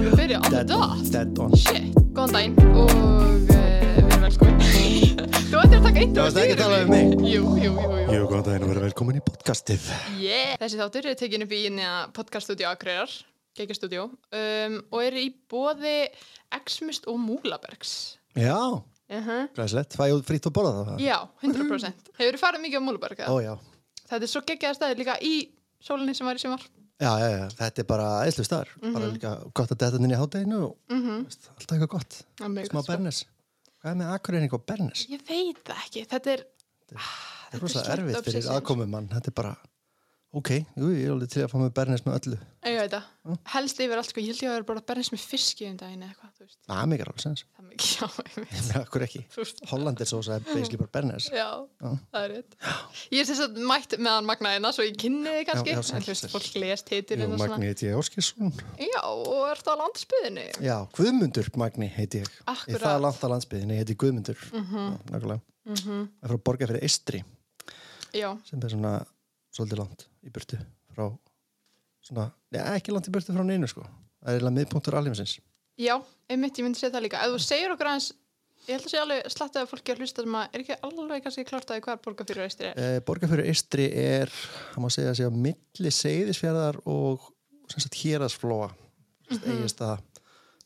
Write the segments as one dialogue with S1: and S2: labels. S1: Dead on.
S2: Dead on.
S1: Shit, góðan daginn og uh, við erum velkomin Þú ættir að taka eitt
S2: Það varst ekki að tala um mig.
S1: Jú, jú, jú, jú
S2: Jú, góðan daginn og verið velkomin í podcastið.
S1: yeah. Þessi þáttur er tekin upp í nýja podcaststudió Akureyrar Gekkjastúdió um, og er í bóði Exmust og Múlabergs
S2: Já,
S1: uh
S2: Uh-huh.
S1: -huh.
S2: glæslegt. Fæ ég frýtt að borða það?
S1: Já, 100% Hefur þú farið mikið á Múlaberg?
S2: Ó, já.
S1: Þetta er svo geggjaða staðið líka í sólinni sem var í sumar
S2: Já, já, já. Þetta er bara eðslu staðar. Bara líka gott að detta inn í hádeginu og veist, alltaf eitthvað gott.
S1: Það er mjög
S2: Mhm.
S1: gott, Mm-hmm.
S2: Smá
S1: sko.
S2: bernes. Hvað er með akkurinn og bernes?
S1: Ég veit það ekki, þetta er Ah,
S2: Þetta er
S1: Þetta er
S2: rosa
S1: svolítið
S2: erfitt fyrir
S1: obsession.
S2: aðkomum mann. Þetta er bara, ok, jú, ég er alveg til að fá með bernes með öllu.
S1: Ég veit það,
S2: Mm.
S1: helst yfir allt sko, ég held ég að vera bara að berjast með fiski um daginn eða eitthvað, þú veist,
S2: Það er mikið ráð, sens.
S1: það er mikið, já, ég veit,
S2: Akkur ekki.
S1: þú veist,
S2: Hollandir sósa er basically bara bernes.
S1: já,
S2: Mm.
S1: það er rétt. Ég er þess að mætt meðan Magnaðina, svo ég kynni þið kannski,
S2: já,
S1: já,
S2: sæll,
S1: en þú veist,
S2: sæll.
S1: fólk lest hitir
S2: Jú,
S1: en hérna svona,
S2: Magni heiti ég Óskilsson.
S1: já, og ert á landsbyðinu,
S2: Já, Guðmundur Magni heiti ég. Ég er
S1: Akkúrat.
S2: það langt að landsbyðinni, ég heiti Guðmundur. Mm
S1: Mhm,
S2: Nákvæmlega. Það er frá borga fyrir Eistri
S1: já,
S2: sem er svona svolítið langt í burtu frá svona, neða ekki langt í burtu frá neinu sko. Það er eiginlega miðpunktur alheimsins.
S1: já, einmitt, ég myndi segja það líka, ef þú segir okkur aðeins, ég held að segja alveg slattið að fólki að hlusta sem að er ekki alveg kannski klart að því hvað borga fyrir eistri er.
S2: E, borga fyrir Eistri er, það má segja að segja, milli seyðisfjörðar og sem sagt héraðsflóa. Egist að,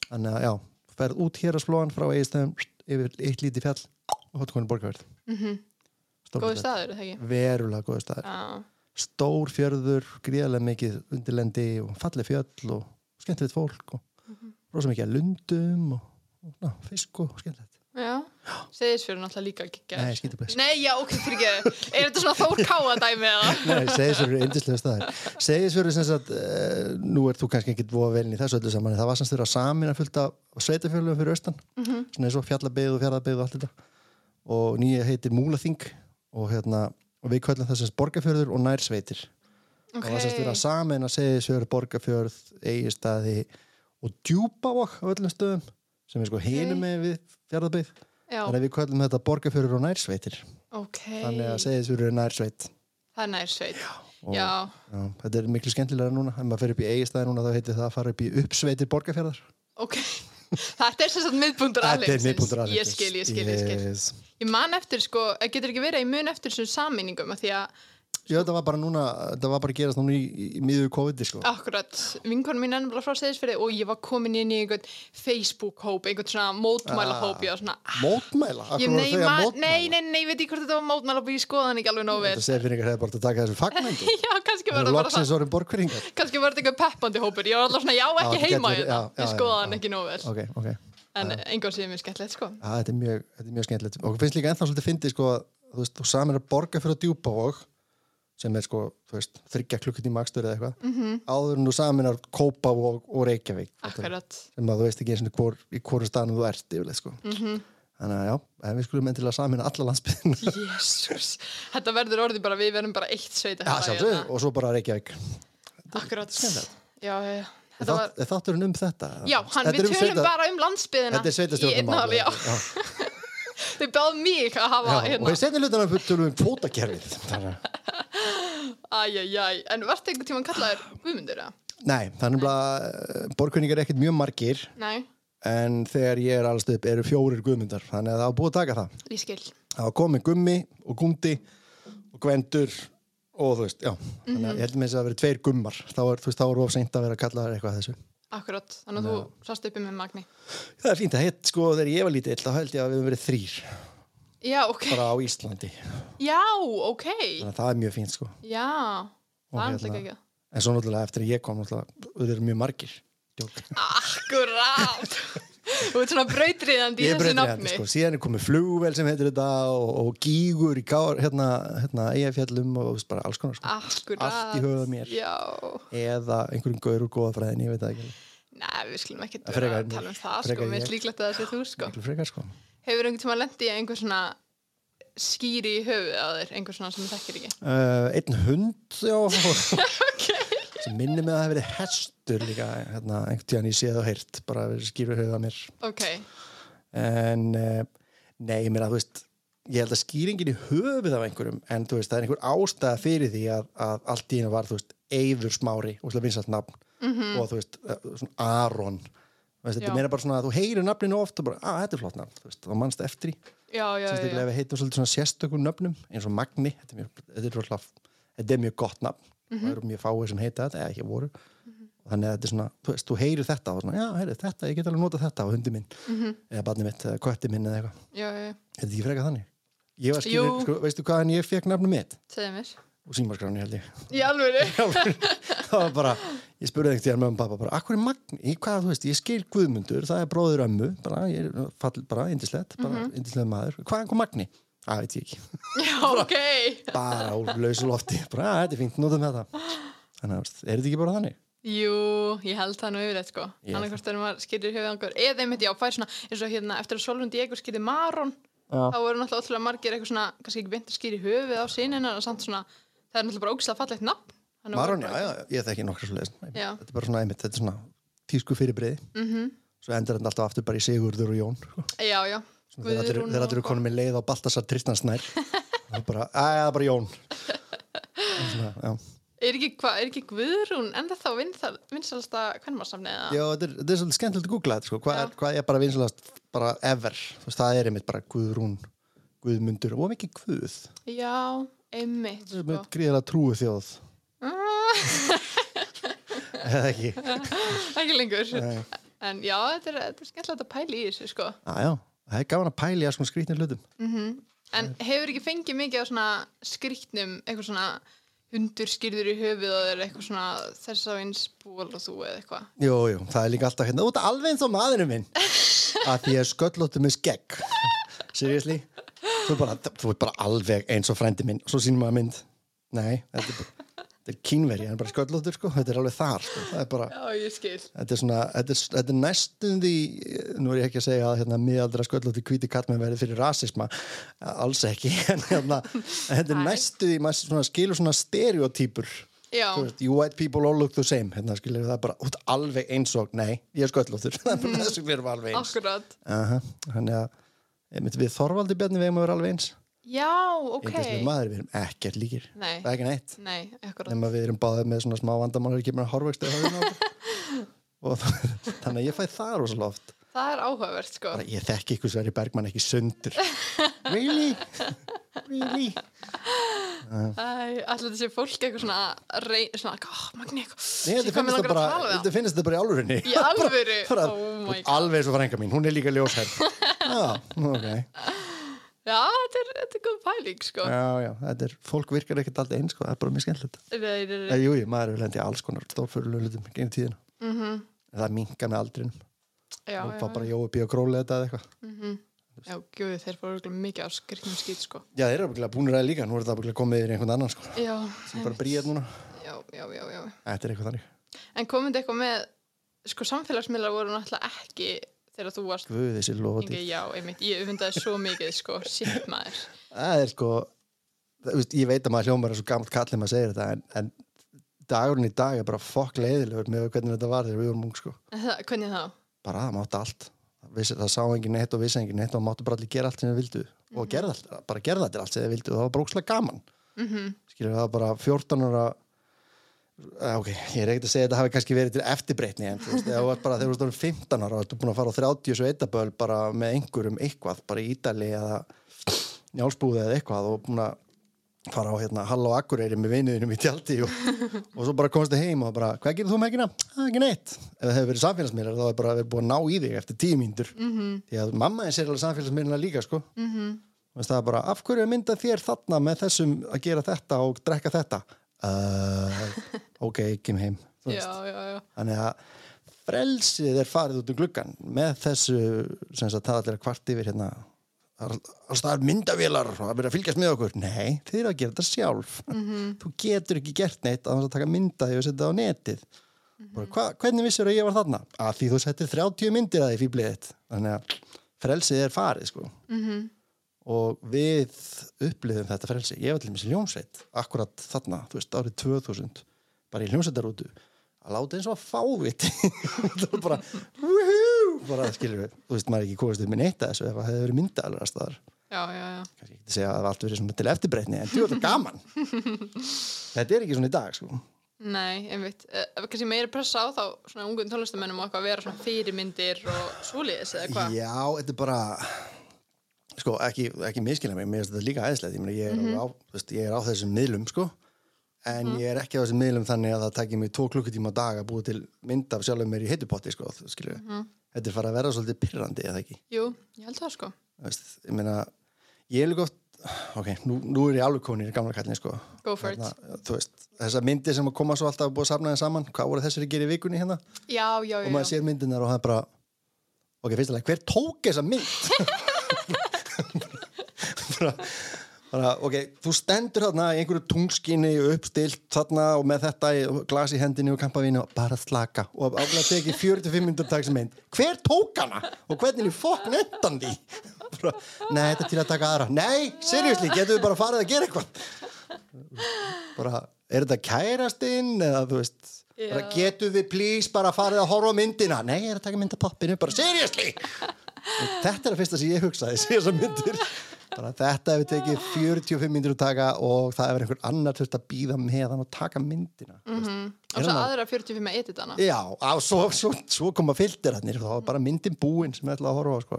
S2: þannig að já, ferð út héraðsflóan frá Egistæðum yfir eitt lítið fjall og hóttu konin borgaverð. Mm -hmm.
S1: Góði Mhm, staður, er það ekki?
S2: Verulega góðu staður.
S1: Já,
S2: stór fjörður, gríðarlega mikið undirlendi og falleg fjöll og skemmtilegt fólk og rosa mikið að lundum og, og na, fisk og skemmtilegt.
S1: já, segðisfjörður náttúrulega líka ekki
S2: Nei, skemmtilegt.
S1: Nei, já, ok, fyrir Er þetta svona Þór Káa dæmi eða?
S2: Nei, segisverður er yndislega staðar. Segisverður sem sagt, e, nú er þú kannski ekki búa vel inn í þessu öllu saman, en það var sem styrra samin að fullta sveitafjörlum fyrir austan, svona eins og fjallabeigð og fjarlabeigð og allt þetta. Og nýja heitir Múlaþing og hérna, og við kvöllum það sem sagt borgarfjörður og nærsveitir.
S1: Ok.
S2: Það var semst verið að samin að segja svör Borgarfjörð, Egistæði og Djúpavokk á öllum stöðum sem er sko hinum með við fjárðabeið
S1: Já,
S2: þannig að við kvöldum þetta Borgarfjörður og nærsveitir
S1: ok.
S2: þannig að segja svör er nærsveit
S1: Það er nærsveit.
S2: og-
S1: Já,
S2: Já, þetta er miklu skemmtilega núna ef maður fer upp í Egistæði núna þá heitir það að fara upp í uppsveitir Borgarfjörðar
S1: ok. Þetta er sem sagt miðbúndur
S2: Þetta
S1: aðlegsins.
S2: er miðbúndur aðeins
S1: Ég skil, ég skil, ég skil. Ég man eftir, sko, það getur ekki verið að ég mun eftir þessum sammeiningum að því að
S2: Já, þetta var bara núna, þetta var bara að gerast núna í, í, í miður COVID-i sko
S1: akkurat vinkonum mín ennum bara frá segðisferði og ég var komin inn í einhvern Facebook-hóp, einhvern svona mótmæla-hóp, já, svona...
S2: Mótmæla,
S1: Ég,
S2: akkur Ah. voru
S1: nei,
S2: þau að
S1: ma-
S2: mótmæla
S1: nei, nei, nei, ég veit ekki hvort þetta var mótmæla og ég skoða hann ekki alveg nóg
S2: Þetta
S1: vel.
S2: segir fyrir einhverja bara að taka þessu fagnandi
S1: Já, kannski
S2: Það
S1: var
S2: eru
S1: það bara það.
S2: loksins orðin borgfyrringar
S1: Kannski var þetta einhver peppandi hópur. Ég var alltaf svona, já,
S2: þetta
S1: ekki
S2: gæti
S1: heima
S2: verið-
S1: hérna.
S2: já, já,
S1: Ég
S2: já,
S1: skoða
S2: já.
S1: hann ekki nóg vel.
S2: ok, ok
S1: En einhvern síðan mér skemmtilegt, sko.
S2: ja, þetta, er mjög, þetta er mjög skemmtilegt og finnst líka ennþá svolítið fyndið sko, að, þú veist, þú saman er að borga fyrir að djúpa og sem er sko, þú veist, þryggja klukkutíma akstur eða eitthvað, -hmm. áður en þú saman er kópa og, og reykjavík Þetta er-
S1: Mhm. Akkurat.
S2: sem að þú veist ekki eins og hvor, í hvorum staðanum þú ert yfirleitt sko
S1: Mhm.
S2: -hmm. þannig að já, en við skulum endilega saman alla landsbyðin
S1: Jésús, þetta verður orðið bara við verðum bara hérna. eitt sveita
S2: ja, sjálfsögðu, og svo bara reykjavík
S1: Akkurat
S2: Skemmtilegt.
S1: Já, já, já.
S2: Er
S1: Þetta
S2: þátt-
S1: var,
S2: er þátturinn um þetta
S1: já, hann,
S2: Þetta er
S1: við
S2: um
S1: tölum
S2: sveita-
S1: bara um landsbyðina
S2: þetta er
S1: mál
S2: sveitastjórnumál
S1: Já, þau báðum mig að hafa
S2: og
S1: hérna
S2: í setni hlutana tölum við um kvótakerfið þannig að
S1: Æjæjæj, en varst einhvern tímann kallaður Guðmundur, eða?
S2: Nei, þannig að eh, borgkunningar er ekkert mjög margir
S1: Nei,
S2: en þegar ég er allast upp eru fjórir guðmyndar þannig að það var búið að taka það
S1: ég skil
S2: það var komið gummi og gúndi og gvendur og þú veist, já þannig að ég held með þess að það verið tveir gummar þá er, þú veist, þá er of seint að vera að kalla það eitthvað að þessu
S1: Akkurat, þannig að þú sást uppi með Magni
S2: Það er fínt að hitt, sko, þegar ég var lítill þá held ég að við höfum verið þrýr
S1: Já, ok,
S2: bara á Íslandi
S1: já, ok
S2: þannig að það er mjög fínt, sko
S1: Já, það er alltaf
S2: hérna-
S1: ekki
S2: en svo náttúrulega eftir að ég kom, náttúrulega, þau eru mjög margir Jók.
S1: Akkurat Þú ert svona brautriðandi í
S2: ég
S1: þessu
S2: breytir hérna,
S1: nafni
S2: sko, síðan er komið flugvel sem heitir þetta og, og gígur í gár, hérna, hérna eigafjallum og þú veist, bara alls konar, sko.
S1: Akkurat
S2: Allt í höfuð á mér.
S1: Já
S2: eða einhverjum gaur úr góðafræðin, ég veit það ekki alveg.
S1: Nei, við skulum ekki
S2: frekar
S1: vera að
S2: mér.
S1: tala um það,
S2: Frekar
S1: sko, mér
S2: ég.
S1: er líklegt að það sé þú, sko.
S2: miklu frekar, sko
S1: Hefur einhvern tíma lendi í einhver svona skýri í höfuð á þér, einhver svona sem þú þekkir ekki?
S2: uh, einn hund, já sem minnir mig að það hefur verið hestur líka, hérna, einhvern tíðan ég séð og heyrt, bara verið skýru höfuð að mér
S1: Ok,
S2: en uh, nei, ég meina, þú veist ég held að skýringin í höfuð af einhverjum en þú veist, það er einhver ástæða fyrir því að, að allt í hennu var, þú veist, Eifur Smári og slá vinsalt nafn og þú veist, eh, svona Aron veist, þetta
S1: Já.
S2: er meira bara svona að þú heyrir nafninu oft og bara, að þetta er flott nafn, þú veist, þá mannst eftir í
S1: já, já, já, já.
S2: sérstaklega ef við heitum svolítið svona sérstökum nöfnum eins og Magni, þetta er mjög, þetta er alltaf, þetta er mjög gott nafn
S1: Mhm.
S2: og það eru mjög fáið sem heita þetta, eða ekki voru þannig að þetta er svona, þú veist, þú heyrir þetta og svona, já, heyri, þetta, ég get alveg notað þetta á hundi minn
S1: Mhm.
S2: eða barni mitt, eða kötti minn eða eitthvað
S1: já, já, já.
S2: er þetta ekki frekar þannig? Ég var skilur,
S1: Jú.
S2: sko, veistu hvaðan ég fekk nafnum mitt?
S1: segðu mér
S2: og símaskráni held ég
S1: í alvöru,
S2: það var bara, ég spurði einhvern tíðan með um pappa bara, akkur er Magni, í hvað, þú veist, ég skil Guðmundur, það er bróður ömmu, bara, ég er fall, bara, indislegt, bara, mm
S1: Mhm.
S2: maður, hvaðan kom Magni? Það veit ég ekki,
S1: já, ok
S2: bara úr lausu lofti, bara, "Ah, þetta er fínt, notum þetta. Þannig að, veist, er þetta ekki bara þannig?
S1: jú, ég held það nú yfirleitt sko
S2: Ég held
S1: annarkvort þegar maður skýrir höfuð angur eða einmitt, já, fær svona, eins og hérna eftir að Solund Diego skýrði Maron
S2: Já.
S1: þá voru náttúrulega ótrúlega margir eitthvað svona kannski ekki beint að skýri höfuð á sínina en samt svona, það er náttúrulega bara ógislega fallegt nafn Þannig
S2: Maron, já,
S1: voru
S2: já, ég þekki nokkra svo leiðis.
S1: Já.
S2: Þetta er bara svona einmitt, þetta er svona tísku fyrirbreyði,
S1: bara- Mhm.
S2: svo endur þetta alltaf aftur bara í Sigurður og Jón. sko.
S1: já, já,
S2: Svona Þeir allir,
S1: Guðrún
S2: þeir
S1: og-
S2: allir eru konum með leið á Baltasar Tristansnær. það er bara, að, það er bara Jón. Og Svona, já.
S1: er ekki, hva, er ekki Guðrún en það þá vinsal, vinsalasta kvennmarsamni eða?
S2: Já, þetta er, þetta er svolítið skemmtilegt að googla þetta sko. Hvað
S1: Já.
S2: er, hvað er bara vinsalast bara ever? Þú veist, það er einmitt bara Guðrún, Guðmundur og mikið Guð.
S1: Já, einmitt
S2: Það er með
S1: sko.
S2: gríðilega trúi þjóð. Eða ekki?
S1: ekki lengur
S2: Nei.
S1: en já, þetta er, þetta er skemmtilegt að pæla í þessu sko.
S2: Á, já, það er gaman að pæli að svona skrýtnir hlutum.
S1: en hefur ekki fengið mikið á svona skrýtnum eitthvað svona hundur skýrður í höfuð og er eitthvað svona þess á eins ból og þú eða eitthvað
S2: Jú, jú, það er líka alltaf hérna út alveg eins og maðurinn minn að ég er sköllóttu með skegg Seriously? Þú er bara, þú er bara alveg eins og frændi minn og svo sínum maður mynd Nei, þetta er, bara- þetta er kínveri, hann er bara sköllóttur sko, þetta er alveg þar sko. það er bara,
S1: Já, ég skil
S2: þetta er svona, þetta er, þetta er næstum því, nú er ég ekki að segja að hérna, miðaldra sköllótti hvíti kallmenn verði fyrir rasisma, alls ekki en hérna, þetta er
S1: Æ.
S2: næstum því maður svona, skilur svona stereotýpur
S1: Já,
S2: Þú veist, you white people all look the same hérna skilur það er bara út alveg eins og nei, ég er sköllóttur, það er
S1: Mm.
S2: bara það sem við erum alveg eins
S1: akkurat
S2: Aha, þannig að einmitt við Þorvaldi Bjarni við erum að vera alveg eins
S1: Já, ok
S2: Yndislegur maður, við erum ekkert líkir
S1: Nei.
S2: það er ekki neitt
S1: Nei, akkurat
S2: nema við erum báðið með svona smá vandamál þegar kemur að horfvexti og þannig að ég fæ það rosalega oft
S1: Það er áhugavert sko
S2: bara, ég þekki ykkur Sverri Bergmann ekki sundur really? really?
S1: Æ, allir þessi fólk eitthvað svona að reyn, svona, oh, magni eitthvað
S2: Nei,
S1: Shit,
S2: þetta
S1: hvað mig
S2: finnst það
S1: langar að
S2: bara,
S1: tala við hann."
S2: þetta finnst það bara í alvörinni
S1: Í alvöru,
S2: bara,
S1: oh
S2: þú
S1: my
S2: ert
S1: god
S2: alveg eins og frænka mín, hún er líka ljósherr Já, ok Já,
S1: Já, þetta er, þetta er góð pæling sko
S2: já, þetta er, fólk virkar ekkert alltaf eins sko, það er bara mjög skemmtilegt
S1: Nei, nei,
S2: Eh,
S1: nei.
S2: Jú, jú, maður er lendið alls konar stórfyrirlega hlutum genið tíðina,
S1: Mm
S2: en það minka með aldrinum
S1: Já,
S2: og
S1: já,
S2: það bara jói bíu og gróli þetta eða eitthvað
S1: já, gjöðu, þeir fóru örugglega mikið á skriknum skýt, sko.
S2: Já, þeir eru örugglega búnir að það líka, nú er þetta örugglega komið yfir í einhvern annan sko,
S1: Já,
S2: sem bara hérna. bríðar núna
S1: já, já, já, já.
S2: Þetta er eitthvað þannig
S1: En komandi eitthvað með, sko, samfélagsmiðlar voru náttúrulega ekki þegar þú varst
S2: Guð, þessi lofati
S1: Ingi, já, einmitt, ég ufundaði svo mikið, sko, shit maður.
S2: Það er sko það, veist, ég veit að maður hljómar er svo gamalt kallið maður segir þetta en, en dagurinn í dag er bara fokk leiðilegur með hvernig þetta var þegar við vorum ung sko.
S1: En Það, hvernig þá?
S2: bara það mátti allt það, vissi, það sá engin neitt og vissi engin neitt og það mátti bara allir gera allt sem þið vildu og gerða allt, bara gerða allir allt sem þið vildu og það var bara ókslega gaman
S1: Mm -hmm.
S2: skilur það var bara 14 ára Eh, ok, ég er ekkert að segja að þetta hafi kannski verið til eftirbreytni en þú veist, þegar þú varst bara þegar þú varst orðin 15 ára og þú búin að fara á 30 svo eittaböl bara með einhverjum eitthvað bara í Ítali eða njálsbúði eða eitthvað og búin að fara á hérna Hall og Akureyri með vinuðinum í tjaldi og, og svo bara komstu heim og bara, hvað gerir þú með ekkiðna? Það er ekki neitt ef það hefur verið samfélagsmiðlar þá er bara verið búin að ná í þig eftir tíu mínútur -hmm. því að mamma þess er alveg samfélagsmiðlar líka sko
S1: Mhm.
S2: Þú veist, það er bara, af hverju er myndað þér þarna með þessum að gera þetta og drekka þetta uh, ok, ekki heim
S1: Já,
S2: þú veist.
S1: já, já.
S2: þannig að frelsið er farið út um gluggan með þessu, sem sagt, það allir að kvart yfir hérna það er- það er myndavélar og það byrja að fylgjast með okkur nei, þið eru að gera þetta sjálf þú getur ekki gert neitt að það taka myndaði og setja það á netið bara, hva, hvernig vissir að ég var þarna? að því þú settir 30 myndir að því fýblið þitt þannig að frelsið er farið sko
S1: Mhm.
S2: og við upplifum þetta frelsi ég var til þessi ljónsveit, akkurat þarna þú veist, árið 2000, bara í ljónsveitarútu að láta eins og að fáviti það var bara woohoo, bara skilur við, þú veist, maður er ekki komast upp með neitt að þessu ef það hefði verið mynda alveg að staðar
S1: Já, já, já.
S2: kannski ekki að segja að það hafi allt verið svona til eftirbreytni en þú er þetta gaman þetta er ekki svona í dag, sko
S1: Nei, einmitt. Uh, kannski meira pressa á þá svona ungum tónlistamennum og eitthvað að vera svona fyrirmyndir og svoleiðis eða hvað?
S2: Já, þetta er bara sko, ekki, ekki miskilja mig, mér finnst þetta líka æðislegt ég,
S1: Mhm.
S2: meina, ég, er alveg á, þú veist, ég er á þessum miðlum sko, en ég er ekki á þessum miðlum þannig að það takir mig tvo klukkutíma á dag að búa til mynd af sjálfum mér í heitupotti sko, þú skilur
S1: Mhm.
S2: þetta er farið að vera svolítið pyrrandi eða ekki
S1: Jú, ég held það sko.
S2: Þú veist, ég meina, ég er líka oft ok, nú, nú er ég alveg komin í gamla kallin sko.
S1: Go for it.
S2: þú veist, þessar myndir sem að koma svo alltaf búið að samna þeim saman, hvað voru þessir að gera í vikunni hérna
S1: Já, já,
S2: og maður
S1: já. já.
S2: sér myndinar og það er bara ok, fyrst alveg, hver tók þessa mynd? bara, bara, ok, þú stendur þarna í einhverju tungskinni uppstilt þarna og með þetta í glas í hendinni og kampavínu og bara slaka og aflega tekið 45 minnum dags mynd hver tók hana og hvernig er fokk nöndan því? bara, nei, þetta er til að taka aðra nei, seriously, getum við bara farið að gera eitthvað bara, er þetta kærastinn eða þú veist bara,
S1: Já.
S2: getum við please bara farið að horfa á myndina nei, ég er að taka mynd af pappinu, bara seriously Og þetta er að fyrsta sem ég hugsaði síðan sem myndir bara, þetta hefur tekið 45 myndir að taka og það hefur einhver annar þurft að býða með hann og taka myndina mm -hmm.
S1: Og svo aðra 45 með editana.
S2: Já, á, svo, svo, svo koma filter hann þá var bara myndin búinn sem ég ætlaði að horfa á sko.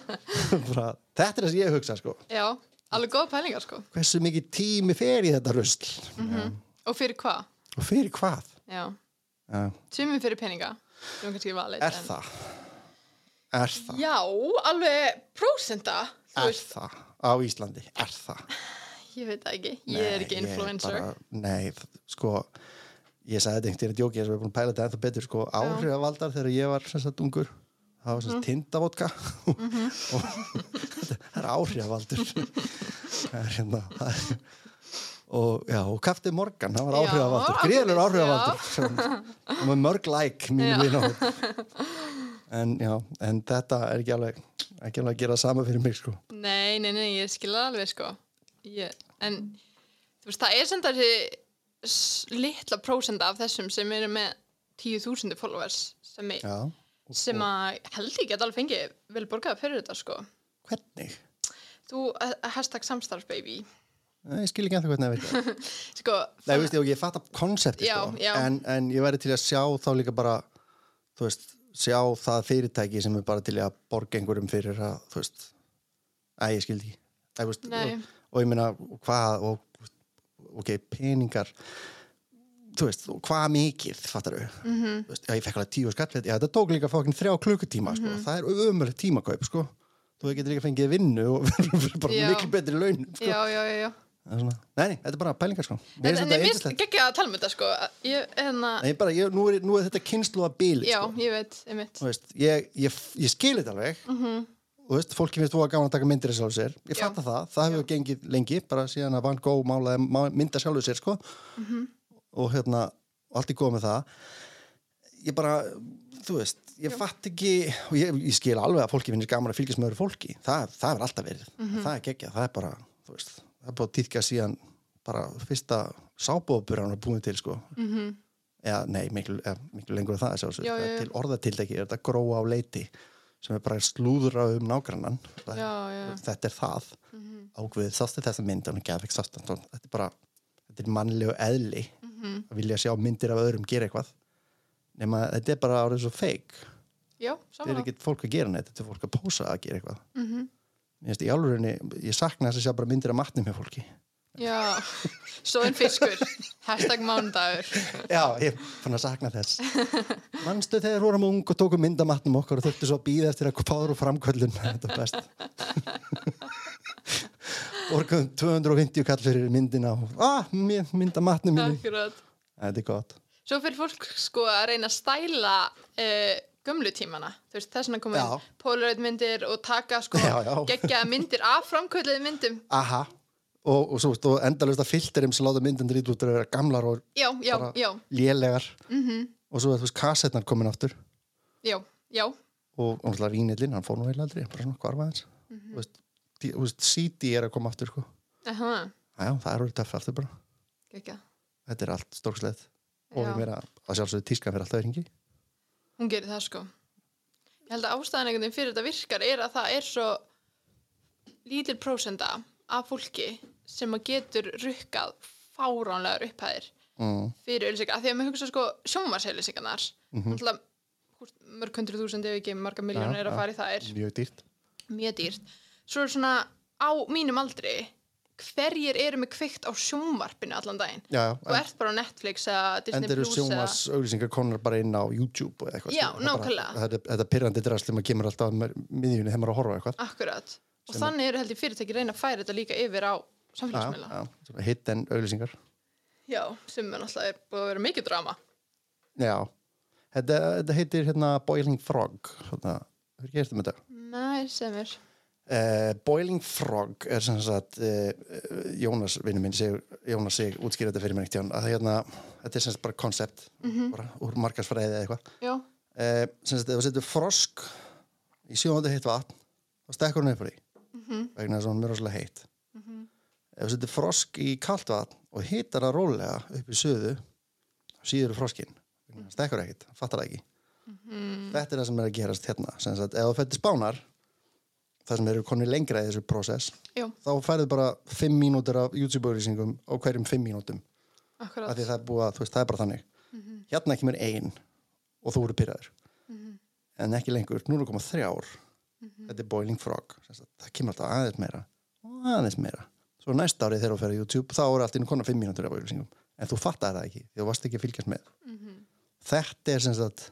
S2: bara, þetta er það sem ég hugsa sko.
S1: Já, alveg góða pælingar sko.
S2: hversu mikið tími fer í þetta rusl
S1: Og fyrir hvað?
S2: og fyrir hvað
S1: Já.
S2: Já.
S1: Sumum fyrir peninga. sem er kannski valið,
S2: er
S1: en-
S2: það er það
S1: Já, alveg prósenda. Þú
S2: er
S1: veist,
S2: það á Íslandi er það
S1: ég veit það ekki. Ég er
S2: Nei,
S1: ekki influencer.
S2: bara, nei, þ- sko ég sagði þetta einhvern veginn að djóki þess að við erum búin að pæla þetta ennþá betur sko, áhrifavaldar þegar ég var sem sagt ungur það var sem
S1: Mhm.
S2: sagt tindavodka og það er áhrifavaldur það er hérna það er- og já, og kafti morgan það var
S1: Já,
S2: áhrifavaldur,
S1: ágætis,
S2: gríðalur
S1: já.
S2: áhrifavaldur sem- og með mörg læk
S1: Já.
S2: mínu vinahótt en já, en þetta er ekki alveg ekki alveg að gera sama fyrir mig sko
S1: Nei, nei, nei, ég skil það alveg sko ég, En þú veist, það er sem þessi s- litla prósenda af þessum sem eru með 10.000 followers sem, er,
S2: já,
S1: sem að held ég get alveg fengið vel borgað fyrir þetta sko
S2: hvernig?
S1: Þú, eh, hashtag samstarfsbaby
S2: Nei, Ég skil ekki eftir hvernig það virkar
S1: Sko,
S2: Nei, þú veist, ég, ég fatt af konsepti
S1: Já,
S2: sko,
S1: já.
S2: En, en ég væri til að sjá þá líka bara þú veist, sjá það fyrirtæki sem er bara til að borga einhverjum fyrir að, þú veist Æ, ég skildi ekki Æ, þú veist,
S1: Nei.
S2: og, og ég meina, hvað og, ok, peningar þú veist, og hvað mikið fattar þau,
S1: Mhm.
S2: -hmm. þú veist, já, ég fekk alveg tíu skattfett, já, þetta tók líka fókin þrjá klukkutíma sko,
S1: Mhm.
S2: það er ömurlegt tímakaup, sko þú getur líka fengið vinnu og bara
S1: Já.
S2: miklu betri laun sko.
S1: já, já, já, já
S2: Það er svona- Nei, nei, þetta er bara pælingar sko Mér
S1: En,
S2: finnst
S1: en
S2: þetta
S1: ég mist
S2: yndislegt.
S1: ekki að tala með þetta sko ég, hérna,
S2: Nei, bara, ég, nú, er, nú er þetta kynslu að bíli
S1: Já,
S2: sko.
S1: ég veit, einmitt
S2: Þú veist, ég, ég, ég skil þetta alveg mm -hmm. veist, fólki finnst þú að gaman að taka myndir af sjálfu sér ég
S1: Mhm. Já.
S2: fatta það, það hefur gengið lengi bara síðan að Van Gogh málaði má- mynda sjálfu sér sko.
S1: Mhm.
S2: og hérna og allt í góð með það ég bara, þú veist ég fatt ekki, og ég, ég skil alveg að fólki finnst gaman að fylgjast með öðru fólki það, það er alltaf verið,
S1: Mhm.
S2: það er gekkja það er bara, þú veist, það er bara týðka síðan bara fyrsta sábóðbúran að búin til sko
S1: Mhm,
S2: eða nei, miklu, eða, miklu lengur en það sjálfsög,
S1: Já, já, já.
S2: til orðatildeki er þetta gróa á leiti sem er bara slúðra um nágrannan Það-
S1: Já, já. Mhm,
S2: þetta er það mm -hmm. ákveðið sástu þessa mynd og hún gaf ekki sástu hann. þetta er bara, þetta er mannlegu eðli
S1: Mhm.
S2: að vilja sjá myndir af öðrum gera eitthvað nema að þetta er bara árið svo feik
S1: Já,
S2: þetta er
S1: samanlega
S2: ekki fólk að gera neitt, þetta er fólk að pósa að gera eitthvað mm
S1: Mhm,
S2: -hmm. ég, alvörinni, ég sakna þess að sjá bara myndir af matnum hjá fólki
S1: Já, stóðin fiskur Hashtag mánudagur
S2: Já, ég fann að sakna þess Manstu þegar vorum ung og tókum mynd af matnum okkar og þurftu svo að býða eftir að fáður og framkvöllun Þetta var best Orkuðum 250 kall fyrir myndina og ah, mér- mynd af matnum mínu
S1: Akkurat
S2: Þetta er gott
S1: Svo fyrir fólk sko að reyna að stæla uh, gömlu tímana, þú veist, þess vegna komið
S2: Já.
S1: inn Polaroid myndir og taka sko
S2: Já, já.
S1: geggjaða myndir af framkvölduði myndum.
S2: Aha Og, og svo stóð endalust að filterum sem láta myndin drít út að vera gamlar og
S1: Já, já,
S2: bara
S1: já,
S2: lélegar -hmm. og svo er þú veist kassetnar komin aftur
S1: já, já,
S2: og og náttúrulega vínillin, hann fór nú heil aldrei bara svona hvarfa hans mm -hmm. veist, tí- þú veist, CD er að koma aftur sko.
S1: aha,
S2: Já, það er orðið töff aftur bara
S1: geggjað.
S2: þetta er allt stórksleð og
S1: Já.
S2: við meira að sjálfsögðu tískan fyrir alltaf í ringi
S1: Hún gerir það sko. Ég held að ástæðan einhvern veginn fyrir þetta virkar er að það er svo lítil prósenda af fólki sem að getur rukkað fáránlegar upphæðir.
S2: mm,
S1: fyrir auðlýsingar, af því að maður hugsa sko sjónvarsauðlýsingarnar
S2: Mhm.
S1: mm -hmm. mörg hundru þúsund ef ekki marga miljónir
S2: Ja,
S1: er að
S2: ja.
S1: fara í þær
S2: mjög dýrt
S1: mjög dýrt svo er svona á mínum aldri hverjir eru með kveikt á sjónvarpinu allan daginn
S2: já, já,
S1: þú
S2: en-
S1: ert bara á Netflix eða
S2: en
S1: Disney
S2: þeir eru
S1: Plus eða
S2: sjómas auglýsingar konar bara inn á YouTube eða eitthvað
S1: Já,
S2: skilur. Það er bara-
S1: nákvæmlega.
S2: þetta, þetta pyrrandi drasli maður kemur alltaf að maður- miðjunni þegar maður er að horfa á eitthvað
S1: akkurat og
S2: Sem er-
S1: þannig eru held ég fyrirtæki að reyna að færa þetta líka yfir á samfélagsmiðla
S2: Já, já, svona hidden auglýsingar
S1: já, sem er náttúrulega er búið að vera mikið drama
S2: já, þetta, þetta heitir hérna Boiling Frog hérna, hefur ekki heirt um þetta
S1: næ, sem er
S2: Uh, Boiling Frog er sem sagt uh, Jónas vinnu minn segur, Jónas sig útskýra þetta fyrir mér eitt að það hérna, þetta er sem sagt bara koncept
S1: Mhm.
S2: bara úr markarsfræði eða eitthvað
S1: já,
S2: uh, sem sagt ef þú setur frosk í sjóðandi heitt vatn þá stekkur hún upp úr því vegna þess að hún er rosalega heitt ef þú setur frosk í kalt vatn og hittar það rólega upp í söðu síður froskin vegna þess að stekkur ekkit, hann fattar það ekki þetta er það sem er að gerast hérna sem sagt ef þú fættir spánar það sem eru konni lengra í þessu prósess
S1: já,
S2: þá færðu bara 5 mínútur af YouTube-auðlýsingum á hverjum 5 mínútum af
S1: akkurat Mhm.
S2: því það er búið að, þú veist, það er bara þannig hérna kemur ein og þú eru pyrraður en ekki lengur, nú eru að koma þrjár
S1: Mhm.
S2: þetta er Boiling Frog sem sagt, það kemur alltaf aðeins meira og aðeins meira svo næsta árið þegar þú ferði YouTube þá eru allt inn konar 5 mínútur af auðlýsingum en þú fattar það ekki, því þú varst ekki að fylgjast með
S1: Mhm.
S2: þetta er sem sagt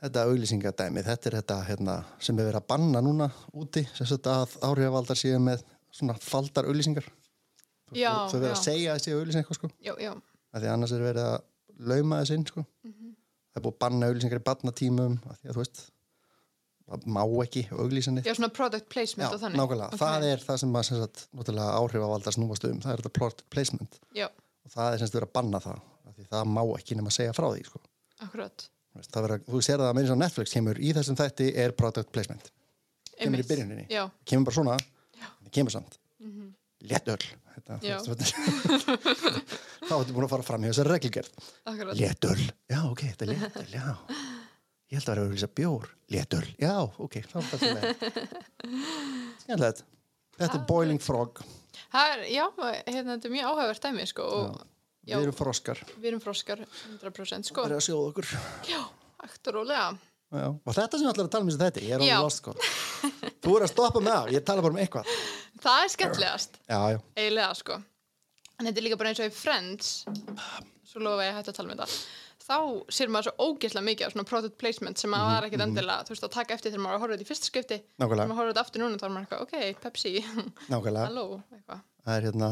S2: þetta auglýsingadæmi, þetta er þetta hérna, sem er verið að banna núna úti sem sagt að áhrifavaldar séu með svona faldar auglýsingar
S1: já,
S2: þau verið að
S1: já,
S2: segja að séu auglýsing eitthvað sko
S1: já, já,
S2: að því að annars er verið að lauma þess inn sko.
S1: Mhm.
S2: það er búið að banna auglýsingar í barnatímum að því að þú veist það má ekki auglýsinni
S1: já, svona product placement og þannig
S2: nákvæmlega, það er það sem að sem sagt, náttúrulega áhrifavaldar snúast um það er þetta plot placement
S1: já,
S2: og það er sem sagt verið að banna það að því það má ekki nema að segja frá því sko.
S1: akkurat
S2: Þú veist, það verið, að- þú sér það að meira sem Netflix kemur í þessum þætti er product placement kemur í
S1: Einmitt.
S2: byrjuninni,
S1: já,
S2: kemur bara svona en kemur samt létt öll
S1: Mhm.
S2: þetta,
S1: Já.
S2: þú veist, þá ertu búin að fara fram í þessari reglgerð
S1: akkurat
S2: Léttöl, já ok, þetta er léttöl, já Ég held að það var að auðvitað bjór Léttöl, já, ok, þá er þetta með Skemmtilegt Þetta er Boiling Frog
S1: Það er, já, hérna, þetta er mjög áhægvert dæmi, sko, og Já.
S2: Við erum froskar,
S1: við erum froskar 100%, sko,
S2: það er að sjóða okkur
S1: hægt og rólega.
S2: já. Og þetta sem ég ætlar að tala um þessi þetta Ég er
S1: Já.
S2: alveg lost sko Þú er að stoppa með það, ég tala bara um eitthvað
S1: Það er skemmtilegast,
S2: Já, já,
S1: eiginlega, sko. En þetta er líka bara eins og í Friends, svo lofa ég að hætta að tala um þetta. Þá sér maður svo ógeðslega mikið af svona product placement sem maður
S2: Mhm,
S1: var ekkit endilega, þú veist, að taka eftir þegar maður var að horfa þetta í fyrsta skipti. Þegar
S2: nákvæmlega,
S1: maður horfa þetta aftur núna, þá er maður eitthvað, ok, Pepsi,
S2: nákvæmlega
S1: halló, eitthvað.
S2: Það er hérna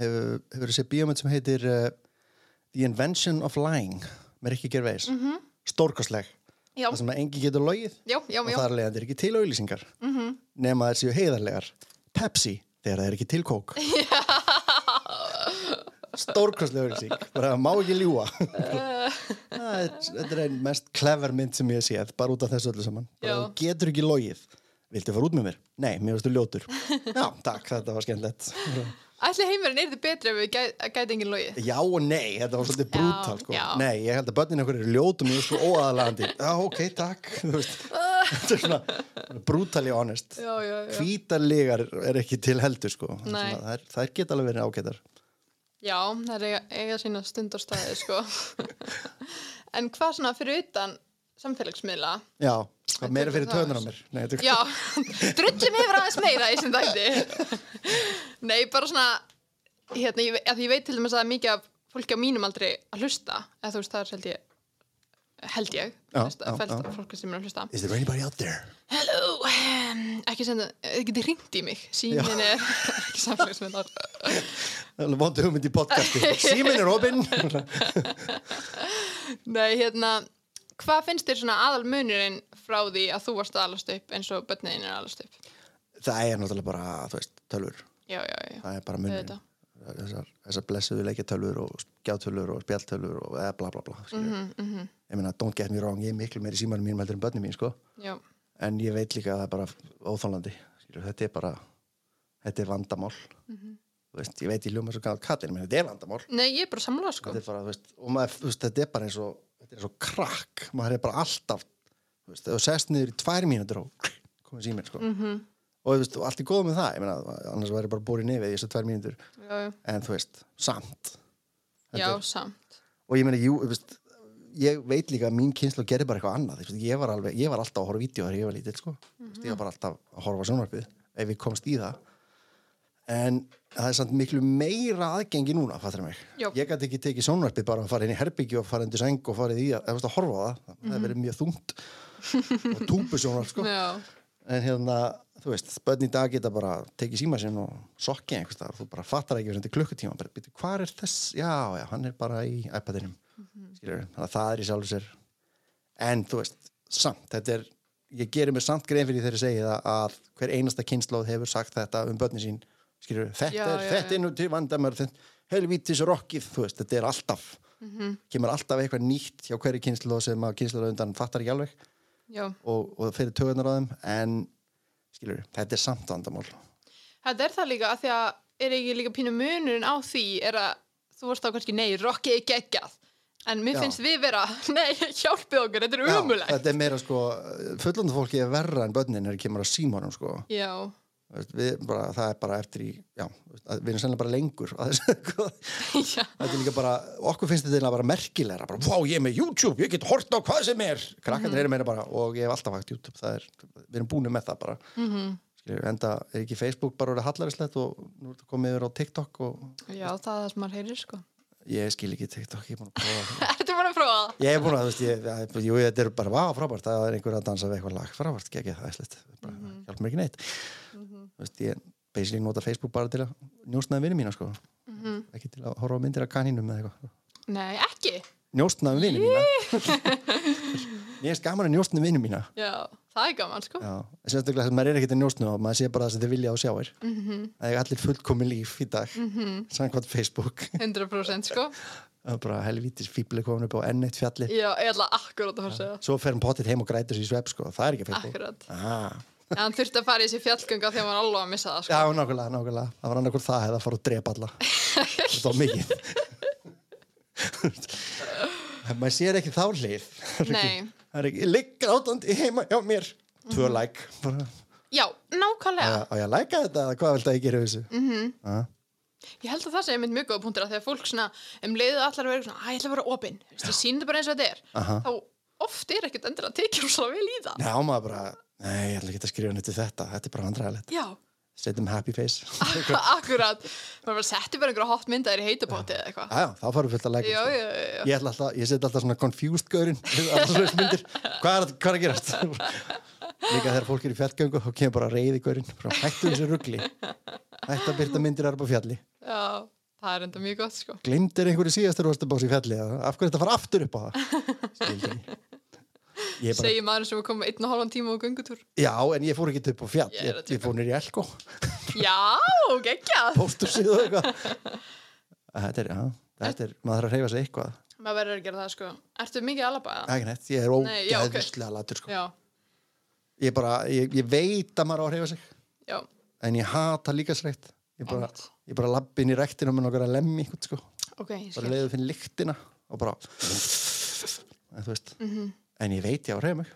S2: Hefur hefur þessi bíómynd sem heitir uh, The Invention of Lying Mér ekki gerveis mm -hmm. Stórkosleg,
S1: Mhm. Já,
S2: það sem að engi getur logið
S1: já, já,
S2: og
S1: já, Mhm.
S2: þar leiðandi er ekki til auðlýsingar -hmm. nema þær séu heiðarlegar Pepsi þegar það er ekki til kók stórkostlega auðlýsing bara má ekki ljúa þetta er einn mest clever mynd sem ég sé bara út af þessu öllu saman bara,
S1: Já.
S2: þú getur ekki logið Viltu fara út með mér? Nei, mér varstu ljótur. Já, takk, þetta var skemmtilegt.
S1: Ætli heimurinn er betri ef við gæ- gæti enginn logið.
S2: Já og nei, þetta var svolítið
S1: Já,
S2: brútal, sko.
S1: já.
S2: Nei, ég held að börnin okkur eru ljótum, ég er svo óaðalagandi. Já, ok, takk. Þú veist, Þetta er svona brútali honest.
S1: Já, já, já.
S2: hvítarlegar er ekki til heldur sko.
S1: Nei.
S2: það er, það er geta alveg verið ágætar
S1: Já, það er eiga, eiga sína stund og staði, sko. en hvað svona fyrir utan samfélagsmiðla?
S2: já, hvað meira fyrir
S1: tekur það
S2: töðunar á
S1: aðeins.
S2: mér Nei, þetta er-
S1: Já, drullum yfir aðeins meira í sem þætti. Nei, bara svona, hérna, ég, ve- að ég veit til dæmis að það er mikið af fólki á mínum aldrei að hlusta, eða þú veist, það er held ég, held ég,
S2: Já,
S1: flest,
S2: já,
S1: flest
S2: já.
S1: fólki sem er að hlusta.
S2: is there anybody out there
S1: Hello, um, ekki senda, þið getið ringt í mig, síminn er ekki samfélagsmiðlar.
S2: Það er alveg vondu hugmynd í podcasti síminn er opinn
S1: Nei, hérna, hvað finnst þér svona aðal munurinn frá því að þú varst að alast upp eins og börnin er að alast upp?
S2: það er náttúrulega bara, þú veist, tölvur
S1: Já, já, já.
S2: það er bara munnin
S1: Auðvitað.
S2: þessar, þessar blessuðu leikjartölvur og gjátölvur og spjaltölvur og eða bla bla bla mm
S1: Mhm.
S2: ég meina, don't get me wrong, ég er miklu meiri símanum mínum heldur en börnum mín, sko
S1: Já,
S2: en ég veit líka að það er bara óþólandi skilur, þetta er bara þetta er vandamál
S1: Mhm.
S2: Þú veist, ég veit ég hljóma svo gæða kallin menn þetta er vandamál
S1: nei, ég er bara samlega sko.
S2: þetta er bara, þú veist, og maður, þú veist, þetta er bara eins og þetta er svo krakk, maður er bara alltaf þú veist, ef þú sest niður í tvær mínútur og komið síminn, sko -hmm. og þú veist, og allt er góð með það, ég meina annars væri bara búin nefið í þessu tvær mínútur
S1: Já, já,
S2: en þú veist, samt
S1: já, samt
S2: og ég meina, jú, þú veist ég veit líka að mín kynslu gerir bara eitthvað annað þú veist, ég, var alveg, ég var alltaf að horfa vídeo þegar ég var lítill sko. mm ég var bara alltaf að horfa á sjónvarpið ef ég komst í það en það er samt miklu meira aðgengi núna, fattur mig
S1: Jó.
S2: ég gæti ekki tekið sjónvarpið bara um að fara inn í herbyggju og fara inn í seng og farið í að, eða, þú veist, að horfa á það það er verið mjög þungt og túpusjónvarp sko.
S1: já,
S2: en hérna, þú veist, börn í dag geta bara tekið síma sinn og sokkið einhvers staðar og þú bara fattar ekki hvernig þetta er klukkutíma bara, býtu, hvar er þess? Já, já, hann er bara í iPadinum, mm
S1: Mhm.
S2: þannig að það er í sjálfu sér en þú veist, samt, þetta er ég gerir mér samt grein fyrir þegar ég segi það að hver einasta kynnslóð hefur sagt þetta um börnin sín, skilur, þetta
S1: Já,
S2: er
S1: já,
S2: þetta
S1: já.
S2: er nú til vandamör helvítis rokkið, þú veist, þetta er alltaf
S1: Mhm.
S2: kemur alltaf eitthvað nýtt hjá hverju kynnslóð sem að kynnslóð undan fattar ekki alveg
S1: já
S2: og, og fyrir tögunar á þeim en skilur, þetta er samt vandamál
S1: Þetta er það líka að því að er ekki líka pínu munurinn á því er að þú vorst þá kannski nei, rockið er geggjað en mér
S2: Já.
S1: finnst við vera, nei, hjálpið okkur þetta er
S2: Já,
S1: umulegt
S2: þetta er meira sko fullandi fólki er verra en börnin er kemur að símónum sko
S1: Já,
S2: Þú veist, við, bara, það er bara eftir í já, þú veist, að við erum sennilega bara lengur að þessu, sko.
S1: já,
S2: þetta er líka bara, okkur finnst þetta eiginlega bara merkilega bara, vá ég er með YouTube, ég get hort á hvað sem er krakkarnir eru meira bara og ég hef alltaf hægt YouTube, það er, við erum búinu með það bara mm
S1: Mhm.
S2: -hmm. skilur, enda er ekki Facebook bara orðið hallarinslegt og nú er þetta komið yfir á TikTok og
S1: já, það er það sem maður heyrir sko
S2: ég skil ekki TikTok, ég er búin að prófa það
S1: Ertu bara að prófa það?
S2: Ég hef búin að, þú veist, ég, að, jú, þetta er bara, vá, frábært, það er einhver að dansa við eitthvað lag, frábært, geggjað, það er slitt, bara, mm hjálp mér ekki neitt. Þú veist, ég basically nota Facebook bara til að njóstnaði vinni mína, sko, ekki til að horfa á myndir af kanínum eða eitthvað.
S1: Nei, ekki
S2: Njóstnaði vinni mína. Ég er skaman að njóstnaði vinni mína.
S1: Já, það er gaman sko
S2: Já, sérstaklega þess að maður er ekkert að njóstnaði á, maður sé bara það sem þið vilja og sjáir. Mm -hmm. Það er allir fullkomi líf í dag, mm -hmm. samkvæmt Facebook,
S1: 100% sko
S2: Það er bara helvítis fíbli komin upp á ennett fjalli.
S1: Já, ég ætla akkurát að fara að segja
S2: Svo fer hann potið heim og grætur sér í svepp, sko, það er ekki Facebook.
S1: Akkurát
S2: Ah.
S1: En hann þurfti að fara í þessi fjallgönga þegar maður alveg að missa það sko
S2: Já, nákvæmlega, nákvæmlega. Það var annarkur það eða að fara og drepa alla. Þetta var mikið. En maður sér ekki þá hlið. Það er ekki-
S1: Nei. Mhm.
S2: Það er ekki, ligg átandi heima hjá mér. Tvö læk. Bara,
S1: Já, Mhm. nákvæmlega
S2: Á ég að læka þetta? eða Hvað vilt að ég gera við þessu? Mm -hmm.
S1: Ég held að það sé einmitt mjög góða punktur að þegar fólk svona, um leiðu allar að vera svona, að ég ætla að vera opinn, þú veist, ég sýndi bara eins og þetta er,
S2: Aha.
S1: þá oft er ekkert endur að tekja svo vel í það.
S2: Já, maður bara, nei, ég ætla ekki að skrifa neitt í þetta. Þetta er bara vandræðilegt.
S1: Já,
S2: Setjum happy face.
S1: akkurat, maður bara setti bara einhverja hot mynda þér í heitupóti eða eitthvað.
S2: Já, já, þá farum við fullt að læka.
S1: Já,
S2: sko.
S1: já, já, já.
S2: Ég, ætla alltaf, ég seti alltaf svona confused gaurinn alltaf svona myndir, hvað er, að- hvað er að gerast líka þegar fólk er í fjallgöngu þá kemur bara reyði gaurinn frá hættu þessu ruggli hættu að byrta myndir erba fjalli
S1: já, það er enda mjög gott, sko.
S2: glimtir einhverju síðastur rostabás í fjalli eða af hverju þetta fara aftur upp á það Skildi ekki. ég bara,
S1: Segir maður sem er komið einn og hálfan tíma á göngutúr.
S2: já en ég fór ekki upp á fjall
S1: Ég er
S2: ég,
S1: að
S2: ég fór nýr í elko
S1: Já, geggjað.
S2: póstur síðu eitthvað þetta er, já, þetta er maður þarf að reyfa sig eitthvað
S1: Maður verður að gera það, sko. Ertu mikið alaba?
S2: Það er ekki neitt, ég er
S1: Nei, já, ok.
S2: ógæðislega latur sko.
S1: Já,
S2: ég, bara, ég, ég veit að maður á að reyfa sig
S1: já,
S2: en ég hata líka sreitt ég bara,
S1: Einmitt.
S2: ég bara labbi inn í rektina með nokkar að lemmi ykkur sko,
S1: ok, ég
S2: bara
S1: skil.
S2: leiðu finn lyktina og bara en, þú veist,
S1: Mhm.
S2: en ég veit ég á reyðum er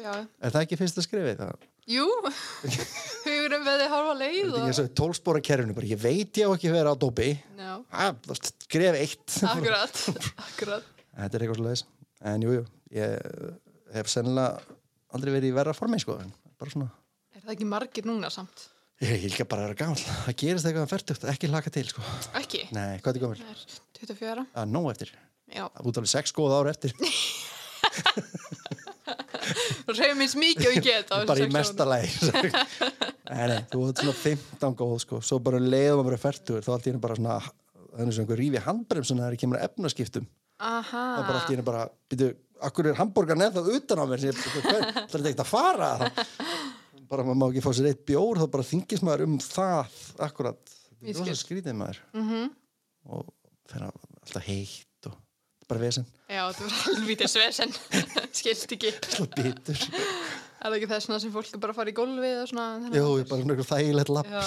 S1: Já,
S2: það ekki fyrst að skrifa það
S1: jú, hugurum veði hálfa leið
S2: ég er
S1: og...
S2: svo tólspóra kerfinu, bara ég veit ég á ekki að vera á dópi
S1: Já.
S2: Ah, þú veist, skref eitt
S1: Akkurat, akkurat.
S2: þetta er eitthvað svo leiðis en jújú, jú, ég hef sennilega aldrei verið í verra formi sko, en bara svona
S1: Er það ekki margir núna samt?
S2: ég er líka bara að vera gamall, það gerist eitthvað að ferdugt ekki laka til sko,
S1: Ekki?
S2: nei, hvað er þetta gamall?
S1: Það er 24?
S2: að nóg eftir,
S1: Já.
S2: út alveg sex góð ár eftir
S1: Þú reyfum minns mikið og ég get á þessum
S2: bara í
S1: sex
S2: mesta
S1: árum.
S2: læg nei, nei, þú varst svona 15 góð sko. svo bara leiðum að vera færtur þá allt í henni bara svona það er eins og einhver rífi handbremsuna þegar kemur að efnaskiptum
S1: Aha.
S2: þá bara allt í henni bara býtu, akkur er hambúrgar neð þá utan á mér sem ég, hver, það er ekkert að fara þá, bara maður má ekki fá sér eitt bjór þá bara þingist maður um það akkurat,
S1: Ég
S2: það er rosa skrítið maður mm
S1: Mhm.
S2: -hmm. og þegar alltaf heitt og bara vesen,
S1: Já, þú var helvítið svesen. Skilt ekki. Er
S2: alltaf bitur
S1: það ekki þess vegna sem fólk er bara að fara í gólfið og svona?
S2: jú, ég er bara svona einhver þægilegt lapp
S1: Já.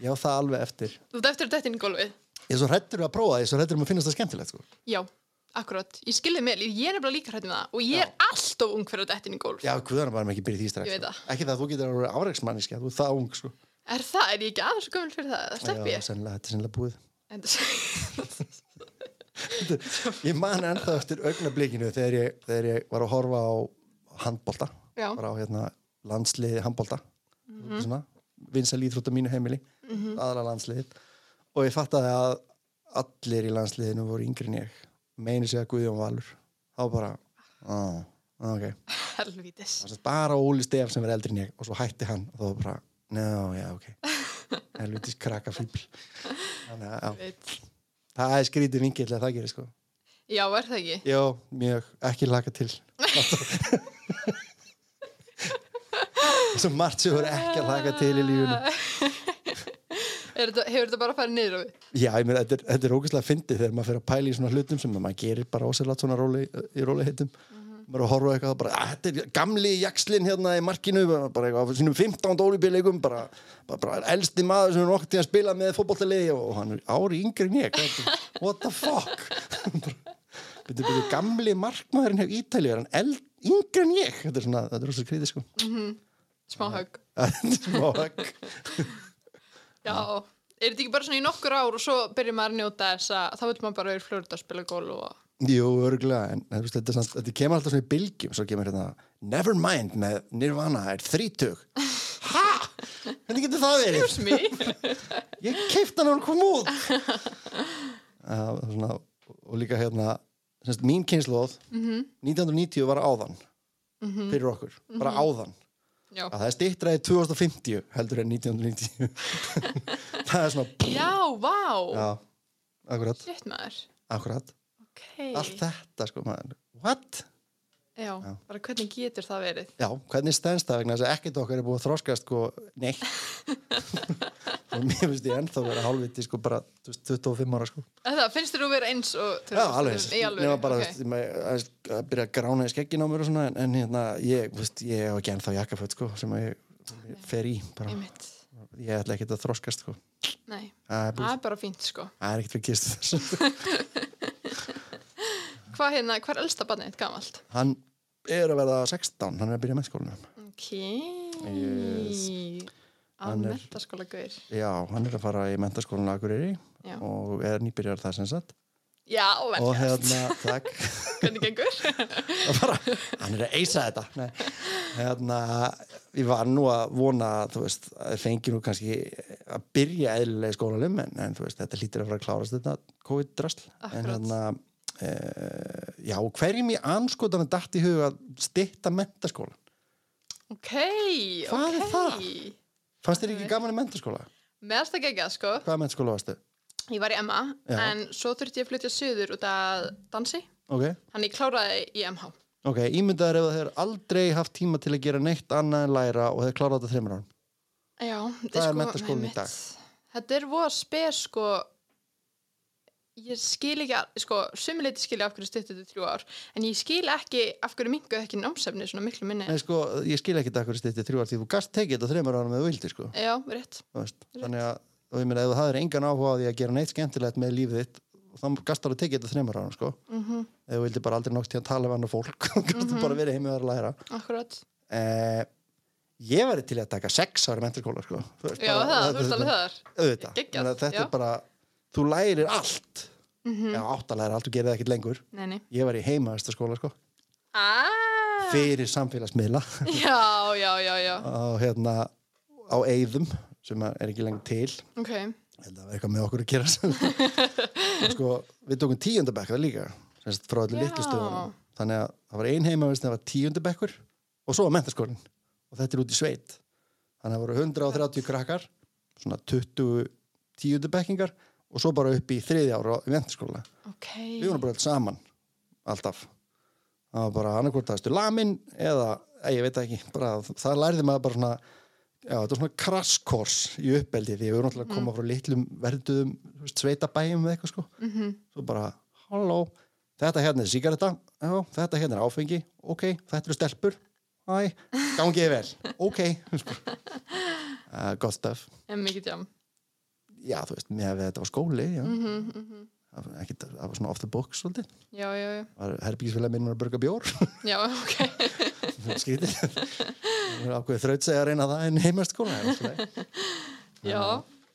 S2: já, það alveg eftir
S1: Þú ert eftir að detta inn í gólfið?
S2: Ég er svo hrættur að prófa það, ég er svo hrættur um að finnast það skemmtilegt sko.
S1: Já, akkurat. Ég skilði mér, ég er nefnilega líka hrætt með það og ég er alltof ung fyrir að detta inn í gólf.
S2: Já, guðan bara með ekki byrja í því strax
S1: Ég veit
S2: sko.
S1: það.
S2: Ekki það að þú getur að vera áreiksmanniski þú er það ung sko.
S1: Er það? Er ég ekki aðeins gömul fyrir það? Það slepp
S2: Já,
S1: ég.
S2: sennilega, þetta er sennilega búið
S1: En,
S2: ég man ennþá eftir augnablikinu þegar ég, þegar ég var að horfa á handbolta,
S1: já,
S2: bara á hérna landsliði handbolta mm
S1: Mhm.
S2: -hmm. svona, vinsal íþrótta mínu heimili aðra landsliðið og ég fattaði að allir í landsliðinu voru yngri en ég meini sig að Guðjón Valur þá bara, á, ok
S1: helvítis.
S2: Það var sem sagt bara Óli Stef sem er eldri en ég og svo hætti hann og þá var bara, njá, já, ok helvitis krakka fíbl þannig að, já,
S1: Veit.
S2: það er skrítið vingill að það gerir sko
S1: Já, er það ekki?
S2: já, mjög, ekki laka til svo margt sem voru ekki að laka til í lífinu
S1: Er þetta, hefur þetta bara farið niður á við?
S2: já, ég meina, þetta er, þetta er ógæslega fyndið þegar maður fer að pæla í svona hlutum sem maður gerir bara óseglátt svona róli, í róli heitum maður er að horfa á eitthvað bara, að þetta er gamli jakslinn hérna í markinu bara eitthvað, á sínum 15. ólíbíleikum bara, bara, bara elsti maður sem er nokkuð tíðan spilað með fótboltalegi og hann er ári yngri en ég hvað- what the fuck byrju, byrju, gamli markmaðurinn hef ítæli er hann eld, yngri en ég þetta er svona, þetta er rosa krítið sko
S1: Smá högg.
S2: Þetta er smá högg.
S1: Já. Er þetta ekki bara svona í nokkur ár og svo byrjar maður að njóta þess að þá vil maður bara vera fljóður að spila gól og...
S2: Jú, örgulega, en þú veist, þetta, er samt- þetta kemur alltaf svona í bylgjum, svo kemur hérna Nevermind með Nirvana er þrítug Ha? Hvernig getur það verið?
S1: Smí?
S2: Ég keipta hann og hann kom út uh, svona, og líka hérna semst, mín kynnslóð
S1: Mhm.
S2: 1990 var áðan fyrir okkur, bara áðan
S1: Já.
S2: að það er stýttra í 2050 heldur en 1990 það er svona
S1: Já, vá.
S2: já, akkurat,
S1: Shit maður.
S2: akkurat
S1: Ok.
S2: allt þetta sko maður. what?
S1: Já, bara hvernig getur það verið?
S2: Já, hvernig stendst það vegna þess að ekkert okkar er búið að þroskast sko, neitt og mér finnst ég ennþá vera hálfviti sko bara þú veist, 25 ára sko
S1: Það finnst þér þú vera eins og...
S2: Já, alveg, eins.
S1: Í alveg,
S2: nema bara
S1: ok.
S2: okay. veist, með, að, að byrja að grána í skeggin á mér og svona en, en hérna, ég, veist, ég hef ekki ennþá jakkaföt sko sem að ég, ég fer í bara,
S1: Einmitt.
S2: ég ætla ekkert að þroskast sko
S1: Nei,
S2: það er
S1: það
S2: búið,
S1: er bara fínt sko.
S2: það er ekkert fyrir kistu þess
S1: Hvað hérna, hvað er elsta barnið þitt gamalt?
S2: hann er að verða 16, hann er að byrja með skólanum
S1: Ok.
S2: Yes.
S1: Á
S2: Hann er-
S1: mentaskóla guður.
S2: já, hann er að fara í mentaskólanum Akureyri
S1: Já.
S2: og er nýbyrjar það sem sagt
S1: Já, vel
S2: og
S1: gert.
S2: hérna, takk
S1: Hvernig gengur?
S2: Það bara, hann er að eisa þetta Nei. hérna, ég var nú að vona að, þú veist, að þeir fengi nú kannski að byrja eðlilega í skólanum en, en þú veist, þetta lítur að fara að klárast þetta COVID-drasl en
S1: Akkúrat.
S2: hérna e, já, hverjum í anskotanum datt í huga að stytta mentaskólan
S1: Ok,
S2: Hvað er
S1: ok.
S2: það? fannst þér
S1: Nei.
S2: ekki gaman í mentaskóla?
S1: Meðast að gegja, sko.
S2: hvaða mentaskóla varstu?
S1: Ég var í MA,
S2: Já.
S1: en svo þurfti ég að flytja söður út að dansi.
S2: ok,
S1: Þannig ég kláraði í MH.
S2: ok, ímyndaður ef þeir aldrei haft tíma til að gera neitt annað en læra og þeir klára þetta þreymur án
S1: Já, sko,
S2: Það er menntaskólinn í
S1: einmitt.
S2: dag.
S1: Þetta er voða spes, sko. Ég skil ekki, að, sko, sumuleiti skil ég af hverju stuttu þetta í þrjú ár, en ég skil ekki af hverju minguð ekki námsefni svona miklu minni.
S2: Nei, sko, ég skil ekki þetta hverju stytti þrjú ár því þú gast tekið þetta þreymur ánum eða þú vildir sko.
S1: Já, rétt.
S2: Þú veist, þannig að og ég meina, ef það er engan áhuga á því að gera neitt skemmtilegt með lífið þitt þá gast það að tekið þetta þreymur árum sko.
S1: Mm -hmm,
S2: ef þú vildi bara aldrei nokk til að tala við annar fólk þá gast
S1: Mhm.
S2: þú bara verið heimið að læra
S1: akkurat.
S2: eh, ég væri til í að taka sex ári menturskóla sko. þú veist,
S1: Já,
S2: bara-
S1: það, þú veist alveg þar.
S2: auðvitað,
S1: Geggjað,
S2: Ég meina, þetta
S1: já.
S2: er bara þú lærir allt
S1: Mm -hmm.
S2: já, átt að læra allt, þú gerir það ekkert lengur
S1: Nei, nei.
S2: ég var í heimaðastaskóla sko,
S1: Ah!
S2: fyrir samfélagsmiðla
S1: Já, já, já, já.
S2: á, hérna, á eyðum sem er ekki lengur til
S1: Ok,
S2: Ég held að það var eitthvað með okkur að gera sem- En sko, við tókum tíundabekk það líka, semst frá öllu
S1: Já.
S2: litlu stöðunum þannig að það var ein heimavist það var tíundabekkur og svo var mentaskólin og þetta er út í sveit þannig að það voru 130 krakkar svona 20 tíundabekkingar og svo bara upp í þriði ára í mentaskóla
S1: ok.
S2: við vorum bara alls saman alltaf það var bara annarkvort aðstu lamin eða, eh, ég veit það ekki bara, það lærði maður bara svona já, þetta var svona kraskors í uppeldi því við vorum alltaf að koma frá litlum verðuðum þú veist, sveitabæjum eða eitthvað sko
S1: Mhm.
S2: svo bara, halló þetta hérna er sigaretta, já, þetta hérna er áfengi ok, þetta eru stelpur Æ, gangi ég vel, ok uh, gott stöf
S1: En mikið jam.
S2: já, þú veist, mér hefði þetta var skóli já. Mhm,
S1: Mm -hmm, mm -hmm.
S2: það var ekkit- það var svona off the box svolítið
S1: já, já, já,
S2: var herbyggisfélag minn var að burga bjór
S1: já, ok
S2: skrítið ákveðið þrautsegar reyna það en heimast skóla
S1: já,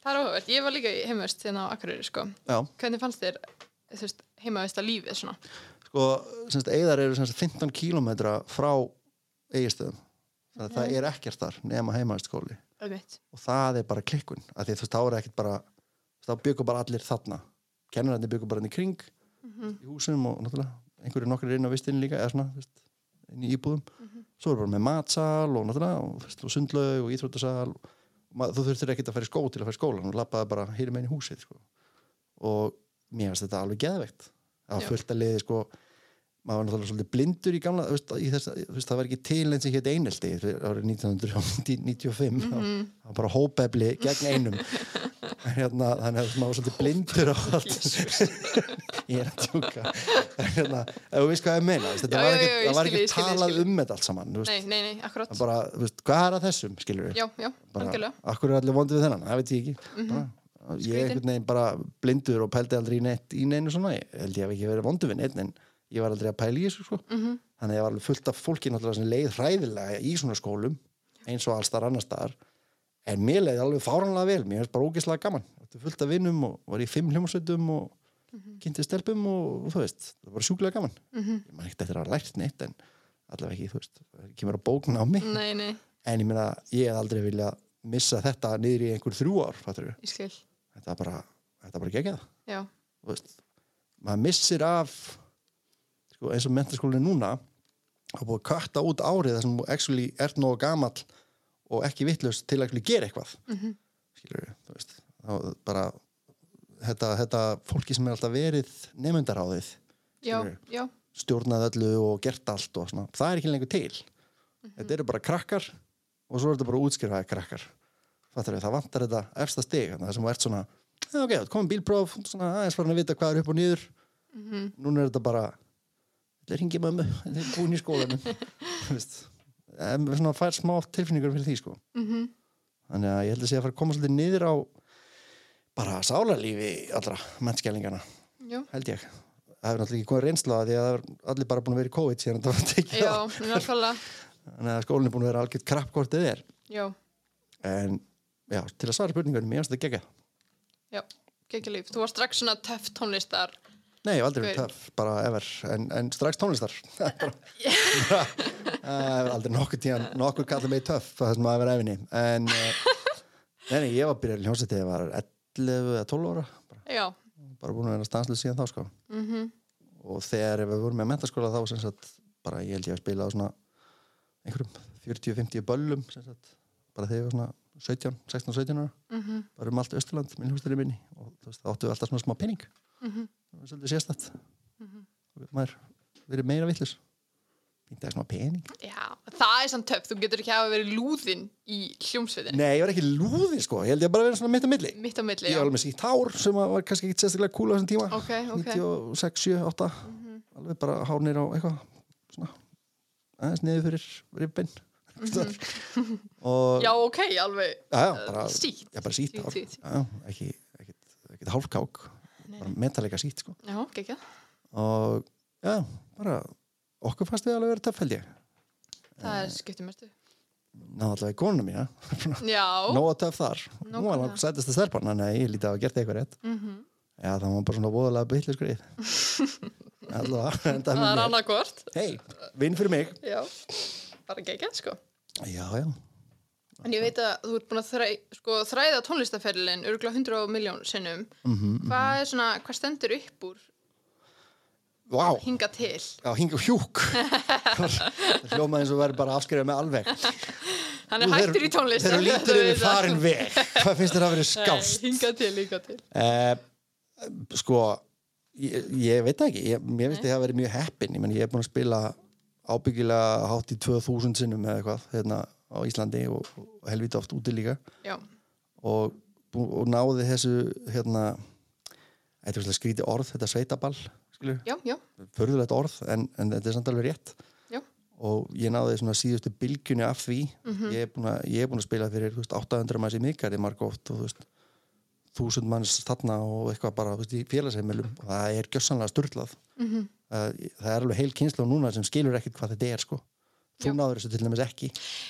S1: það er áhugavert, ég var líka í heimavist þérna á Akureyri, sko
S2: já,
S1: hvernig fannst þér þú veist, heimavist að lífið svona
S2: sko, semst, eigðar eru semst 15 kílómetra frá eigistöðum það, það er ekkert þar nema heimast skóli
S1: Öðvitt.
S2: og það er bara klikkun af því þú veist, þá er ekkert bara þá byggur bara allir þarna kennararnir byggur bara hann í kring í húsum og náttúrulega einhverju nokkur er inn á vistinni líka eða svona, þú veist, inn í íbúðum svo er bara með matsal og náttúrulega og, þú veist, og sundlaug og íþróttasal og, ma- þú þurftir ekkert að fara í skó til að fara í skóla þú lappaði bara hýri meginn í húsið sko. og mér finnst þetta alveg geðveikt það
S1: Já.
S2: var fullt að liði sko maður var náttúrulega svolítið blindur í gamla þú veist, í þess, þú veist, það var ekki til eins og hétt einelti fyrir árið 1995 mm
S1: Mhm.
S2: það var bara hópefli gegn einum hérna, þannig að maður var svolítið blindur á allt ég er að tjúka hérna, ef þú veist hvað ég meina þú
S1: Já,
S2: veist, þetta var
S1: já,
S2: ekki,
S1: já, ég
S2: það var
S1: skil,
S2: ekki
S1: ég skil, ég
S2: talað
S1: skil.
S2: um þetta allt saman þú veist,
S1: Nei, nei, nei, akkurat.
S2: það bara, þú veist, hvað er að þessum skilur við
S1: Já, já,
S2: bara,
S1: algjörlega. Mhm.
S2: akkur er allir vondið við þennan, það veit ég ekki bara, ég er
S1: Skrýtin.
S2: einhvern veginn bara blindur og pældi aldrei í neitt í neinu svona ég held ég hef ekki verið vondið við neitt en ég var aldrei að pæla í þessu sko.
S1: Mhm,
S2: -hmm. þannig að ég var alveg fullt af fólki náttúrulega sem leið hræðilega í svona skólum eins og alls þar annars staðar en mér leiði alveg fáranlega vel mér finnst bara ógeðslega gaman, þetta fullt af vinnum og var í fimm hljómsveitum og mm -hmm. kynnti stelpum og, og þú veist, það var sjúklega gaman mm -hmm.
S1: mhm.
S2: ég man ekkert eftir að hafa lært neitt en allavega ekki, þú veist, það kemur að bókna á mig
S1: Nei, nei,
S2: en ég meina, ég hef aldrei vilja missa þetta niður í einhver þrjú ár fattur.
S1: ég skil.
S2: þetta er bara, þetta er bara geggjað
S1: Já,
S2: þú veist. maður missir af sko, eins og mentaskólinu núna það er búið að kvarta út árið þar sem þú actually ert nógu gamall og ekki vittlust til að actually gera eitthvað mm -hmm. skilur þú veist þá bara þetta, þetta fólki sem er alltaf verið nefndaráðið
S1: já,
S2: Skilurðu?
S1: já,
S2: stjórnað öllu og gert allt og svona. það er ekki lengur til þetta eru bara krakkar og svo er þetta bara útskrifaði krakkar Fattar við, það vantar þetta efsta stig þarna, það sem þú ert svona, "Já, ok, það komið bílpróf svona aðeins farin að vita hvað er upp og niður núna er þetta bara þetta er hingið mömmu, þetta er búin í skólanum Þú veist. Em, svona fær smá tilfinningur fyrir því sko
S1: mhm,
S2: þannig að ég held að sé að fara að koma svolítið niður á bara sálarlífi allra mennskjælingana
S1: já.
S2: held ég það hefur náttúrulega ekki komið reynsla að því að það er allir bara búin að vera í COVID síðan það var tekið
S1: Já,
S2: á.
S1: náttúrulega,
S2: þannig að skólinn er búin að vera algjört krapp hvort þið er
S1: já,
S2: en já, til að svara spurningunum ég finnst þetta gegga
S1: já, geggjulíf. Þú var strax svona töff tónlistar.
S2: nei, ég hef aldrei verið
S1: Gaur.
S2: töff, bara ever en, en strax tónlistar Það er bara- bara- það hefur aldrei nokkur tíðan nokkur kallað mig töff það sem að vera efinni en eh, nei, nei, ég var byrjað í hljómsætti ég var 11 eða 12 ára bara,
S1: Já,
S2: bara búin að vera stanslega síðan þá sko
S1: mhm,
S2: og þegar við vorum með mentaskóla þá sem sagt, bara ég held ég að spila á svona einhverjum 40-50 böllum sem sagt, bara þegar ég var svona 17, 16, 17 ára
S1: mhm,
S2: bara um allt Östurland, minn hústurinn minni og þú veist, þá áttu við alltaf svona smá pening
S1: mhm,
S2: það var svolítið sérstætt og maður verið meira vittlus það er smá pening
S1: já. Það er samt töff, þú getur ekki hafa verið lúðinn í hljómsveitinni.
S2: Nei, ég var ekki lúði sko, ég held ég bara að vera svona mitt á milli
S1: Mitt á milli,
S2: ég
S1: já.
S2: var alveg með sítt hár sem að var kannski ekki sérstaklega cool á þessum tíma
S1: Ok, ok. Mhm.
S2: 96, 7, 8 alveg bara hárnir á eitthvað svona aðeins niður fyrir ribbin og
S1: Mhm. Já, ok, alveg.
S2: já, já, bara,
S1: sítt.
S2: já, bara sítt
S1: Sítt,
S2: hár
S1: sítt, sítt.
S2: Já, já, ekki, ekki, ekki hálfkák bara metalega sítt sko
S1: Já, geggjað.
S2: og já, bara okkur fannst við alveg verið töff held ég
S1: Það
S2: Eh.
S1: er skiptið mestu.
S2: náðu allavega í konuna mína
S1: Já,
S2: nóga töff þar, hún var
S1: Nákvæmlega.
S2: langt sættast að stelpa þannig að ég lítið að hafa gert eitthvað rétt
S1: mhm,
S2: Já, það var bara svona voðalega bygglega skrið. Alltaf, endaði
S1: það
S2: með
S1: er
S2: mér.
S1: annað hvort.
S2: Hei, vinn fyrir mig.
S1: Já, bara geggjað, sko.
S2: Já, já.
S1: En ég veit að þú ert búin að þræ, sko, þræða tónlistaferlin örgulega 100 miljón sinnum.
S2: Mhm,
S1: Hvað er svona, hvað stendur upp úr
S2: Vá,
S1: hinga til?
S2: já, hing og hjúk. það hljómaði eins og verið bara afskrifað með alveg.
S1: Hann er hættur í tónlist.
S2: Þeir eru lítur yfir farin veg. Hvað finnst þér að vera skást?
S1: Hinga til, hinga til.
S2: Eh, sko, ég, ég veit það ekki. Ég, mér finnst það að vera mjög heppin. Ég, meni, ég er búin að spila ábyggilega hátt í 2000 sinnum eða eitthvað hérna á Íslandi og, og helvita oft úti líka.
S1: Já,
S2: og, bú- og náði þessu hérna þetta er svolítið skrítið orð, þetta sveitaball skilur,
S1: já, já,
S2: förðulegt orð en, en þetta er samt alveg rétt
S1: já.
S2: og ég náði svona síðustu bylgjunni
S1: Mhm.
S2: af því ég, er búin að, ég er búin að spila fyrir þú veist, 800 manns í miðgarði margóft og þú veist þúsund manns þarna og eitthvað bara þú veist, í félagsheimilum og það er gjössanlega styrlað mm
S1: Mhm.
S2: -hmm. það er alveg heil kynsla núna sem skilur ekkert hvað þetta er sko þú
S1: Já.
S2: náður þessu til dæmis ekki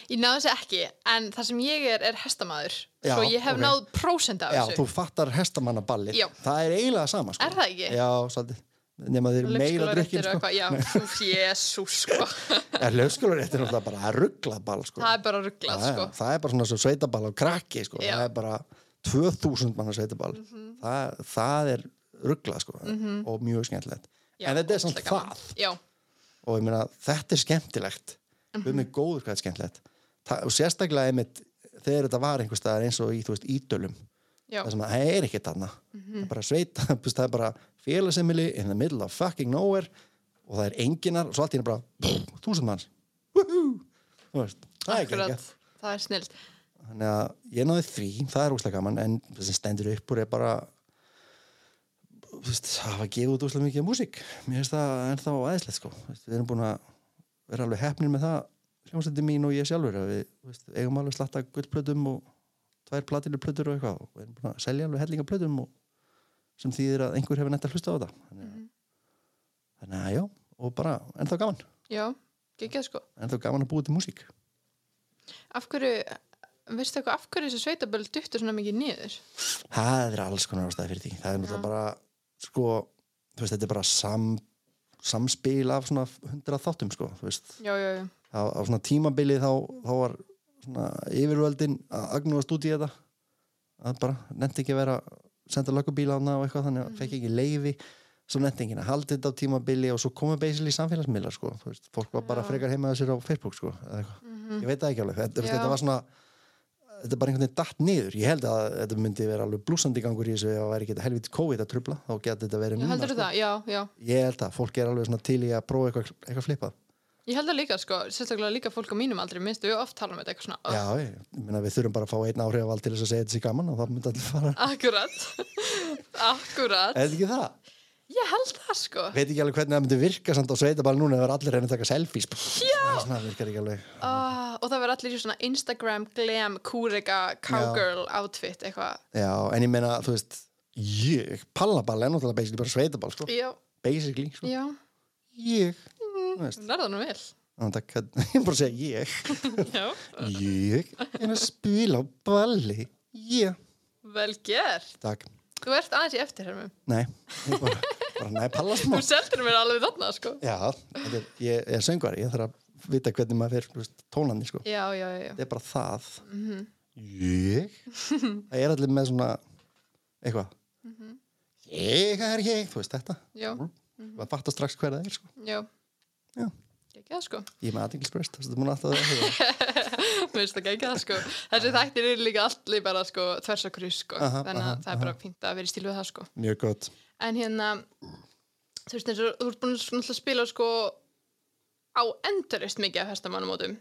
S1: Ég náðu þessu ekki, en það sem ég er er hestamæður,
S2: Já,
S1: svo ég hef
S2: ok.
S1: náð prósend af
S2: já,
S1: þessu.
S2: þú fattar hestamannaballið
S1: Já.
S2: það er eiginlega sama sko
S1: Er það ekki?
S2: já, svolítið nema þeir eru meira drukkin
S1: Leikskólaréttir og
S2: sko.
S1: eitthvað, já, fú, jésús, sko.
S2: ja, lögskólaréttir er náttúrulega bara rugglaball sko.
S1: það er bara rugglað,
S2: það,
S1: sko.
S2: er- það er bara svona svo sveitaball á krakki sko.
S1: Já. Mhm.
S2: það er bara 2000 manna sveitaball það, það er rugglað sko. og mjög skemmtilegt
S1: Já,
S2: en þetta er samt
S1: ógeðslega gaman.
S2: það
S1: Já,
S2: og ég meina þetta er skemmtilegt við
S1: Mhm.
S2: erum góður hvað þetta er skemmtilegt Þa, og sérstaklega einmitt þegar þetta var einhvers staðar eins og í, þú veist, ídölum
S1: já, Mhm.
S2: það sem að það er ekkert annað það er bara sveita, þú veist, það er bara félagsemili in the middle of fucking nowhere og það er enginar og svo allt í henni bara þúsund manns Woohoo! Þú veist, það er ekki ekki
S1: akkurat, það er snilt.
S2: þannig að ég náði því, það er úslega gaman en það sem stendur upp úr er bara þú veist, hafa gefið út úslega mikið af músík mér finnst það ennþá aðeinslegt sko Þú veist, við erum búin að vera alveg hefnir með það hljómsætti mín og ég sjálfur að við þú veist, eigum alveg slatta gullplötum og tvær platilu plötur og eitthvað og við erum búin að selja alveg hellinga plötum og sem þýðir að einhver hefur netta hlusta á það þannig að, þannig að já og bara ennþá gaman,
S1: Já, geggjað, sko.
S2: ennþá gaman að búa til músík
S1: Af hverju, veistu eitthvað, af hverju þessu sveitabölu duttur svona mikið niður?
S2: Það er alls konar ástæði fyrir því. Það er náttúrulega bara, sko, þú veist, þetta er bara sam, samspil af svona hundra þáttum, sko, þú veist.
S1: Já, já, já,
S2: Á, á svona tímabili þá, þá var svona yfirvöldin að agnúast út í þetta. Það bara, nefndi ekki að vera að senda löggubíla hana og eitthvað, þannig að fekk ekki leifi. Svo nefndi ekki að halda þetta á tímabili og svo komið basically samfélagsmiðlar, sko. Þú veist, fólk var bara
S1: Já. Mhm.
S2: frekar heimaða sér á Facebook, sko, eða eitthvað ég veit það ekki alveg, þetta,
S1: Já.
S2: þetta var svona þetta er bara einhvern veginn datt niður ég held að þetta myndi vera alveg blúsandi gangur í þessu ef það væri ekki þetta helviti COVID að trubla þá geti þetta verið
S1: já, heldur
S2: sko.
S1: það, já, já.
S2: ég held að fólk er alveg svona til í að prófa eitthvað, eitthvað flipað
S1: Ég held það líka, sko, sérstaklega líka fólk á mínum aldrei, minnstu við oft tala um þetta eitthvað svona,
S2: já, ég, ég meina við þurfum bara að fá einn áhrifavald til þess að segja þetta sér gaman og það myndi allir fara
S1: akkurat, akkurat,
S2: eða ekki það,
S1: ég held það, sko.
S2: veit ekki alveg hvernig það myndi virka samt á sveitabal núna ef allir reynir að taka selfies já, svona virkar ekki alveg
S1: Ah, og það verður allir í svona Instagram glam kúrega cowgirl outfit eitthvað
S2: já, en ég meina, þú veist ég, pallaball er náttúrulega basically bara sveitabal sko.
S1: já,
S2: basically, sko.
S1: já,
S2: ég þú veist.
S1: nærða nú vel
S2: Ná, takk, ég er bara að segja ég
S1: já,
S2: Ég er að spila á balli Ég
S1: vel gert
S2: Takk,
S1: þú ert aðeins í eftirhermum,
S2: nei ég bara, bara næ palla smá
S1: þú seldur mér alveg þarna sko,
S2: Já, þetta er, ég er söngvari Ég þarf að vita hvernig maður fer tónandi sko.
S1: já, já, já, já.
S2: Þetta er bara það
S1: Mhm.
S2: Ég Það er allir með svona eitthvað
S1: Mhm.
S2: Ég er ég, þú veist þetta
S1: já, Mhm.
S2: Það fattar strax hver það er sko.
S1: já
S2: Já.
S1: geggjað sko,
S2: Ég er með aðinglisbrest Það er múin alltaf að það
S1: mér finnst það geggjað sko þessi þættir eru líka allir bara sko þvers og krus sko,
S2: Aha,
S1: þannig að
S2: aha,
S1: það er bara fínt að vera í stílu við það sko
S2: Mjög gott
S1: en hérna þú veist eins og þú ert búin að náttúrulega spila sko á endurist mikið af hestamannumótum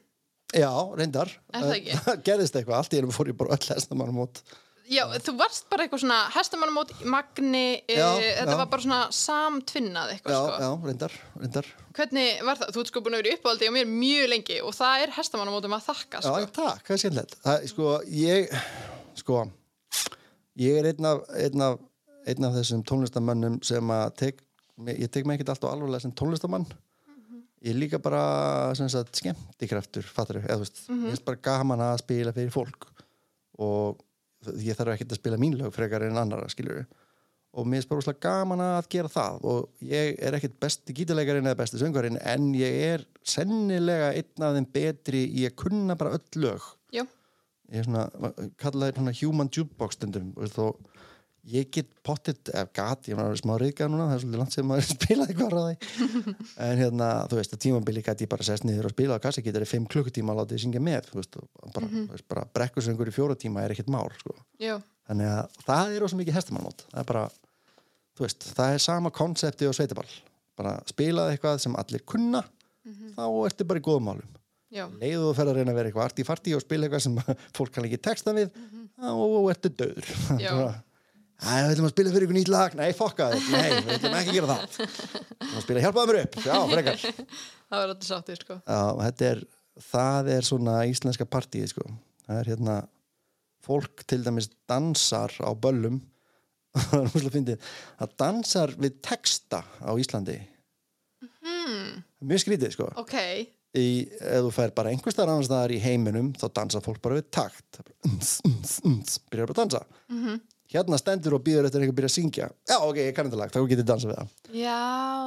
S2: Já, reyndar
S1: Er það ekki?
S2: gerðist eitthvað, allt í einu fór ég bara öll hestamannum út
S1: Já, þú varst bara eitthvað svona hestamannamót, magni, já,
S2: Já,
S1: þetta
S2: já.
S1: var bara svona samtvinnað eitthvað
S2: Já,
S1: sko.
S2: já, reyndar, reyndar
S1: Hvernig var það? Þú ert sko búin að vera í uppáldi á mér mjög lengi og það er hestamannamótum að þakka sko.
S2: Já, takk, hvað er skemmtilegt Það, Sko, ég sko, ég er einn af, einn af, einn af þessum tónlistamönnum sem að tek, ég tek mig ekkert alltaf alvarlega sem tónlistamann ég er líka bara sem sagt, skemmtikraftur, fattar eða þú veist, ég er bara gaman að spila fyrir fólk og ég þarf ekkert að spila mín lög frekar en annara, skilur við og mér er bara úslega gaman að gera það og ég er ekkert besti gítarleikarinn eða besti söngarinn en ég er sennilega einn af þeim betri í að kunna bara öll lög
S1: Já,
S2: ég er svona, kallaði svona human jukebox stundum þú veist, og ég get pottit, ef gat, ég var smá reyðgað núna það er svolítið langt sem maður spilaði hvað ráði en hérna, þú veist, á tímambili gæti ég bara sest niður og spila á kassi, getur ég fimm klukkutíma að láta ég syngja með, þú veist, og bara, mm veist bara brekkusöngur í fjóra tíma er ekkert mál sko.
S1: já,
S2: þannig að það er ósum mikið hestamannmót það er bara, þú veist, það er sama konsepti og sveitaball, bara spilaði eitthvað sem allir kunna þá ertu bara í góðum málum
S1: já,
S2: leið og þú fer að reyna að vera eitthvað arti farti og spila eitthvað sem fólk kann ekki texta við og ertu döður
S1: Já.
S2: Æ, við ætlum að spila fyrir ykkur nýtt lag Nei, fokka þér, nei, við ætlum ekki að gera það Við ætlum að spila hjálpaða mér upp Já, frekar
S1: það var alltaf sáttir sko.
S2: Já, þetta er, það er svona íslenska partíið, sko Það er hérna, fólk til dæmis dansar á böllum það er múslega fyndið það dansar við texta á Íslandi
S1: Hmm,
S2: mjög skrítið sko
S1: ok,
S2: í, ef þú fær bara einhvers staðar annars staðar í heiminum þá dansa fólk bara við takt Það bara uns, uns, uns, byrjar bara að dansa
S1: Mhm.
S2: hérna stendur og býður eftir að einhver byrja að syngja já ok, ég kann þetta lag, þá get ég dansa við það
S1: já.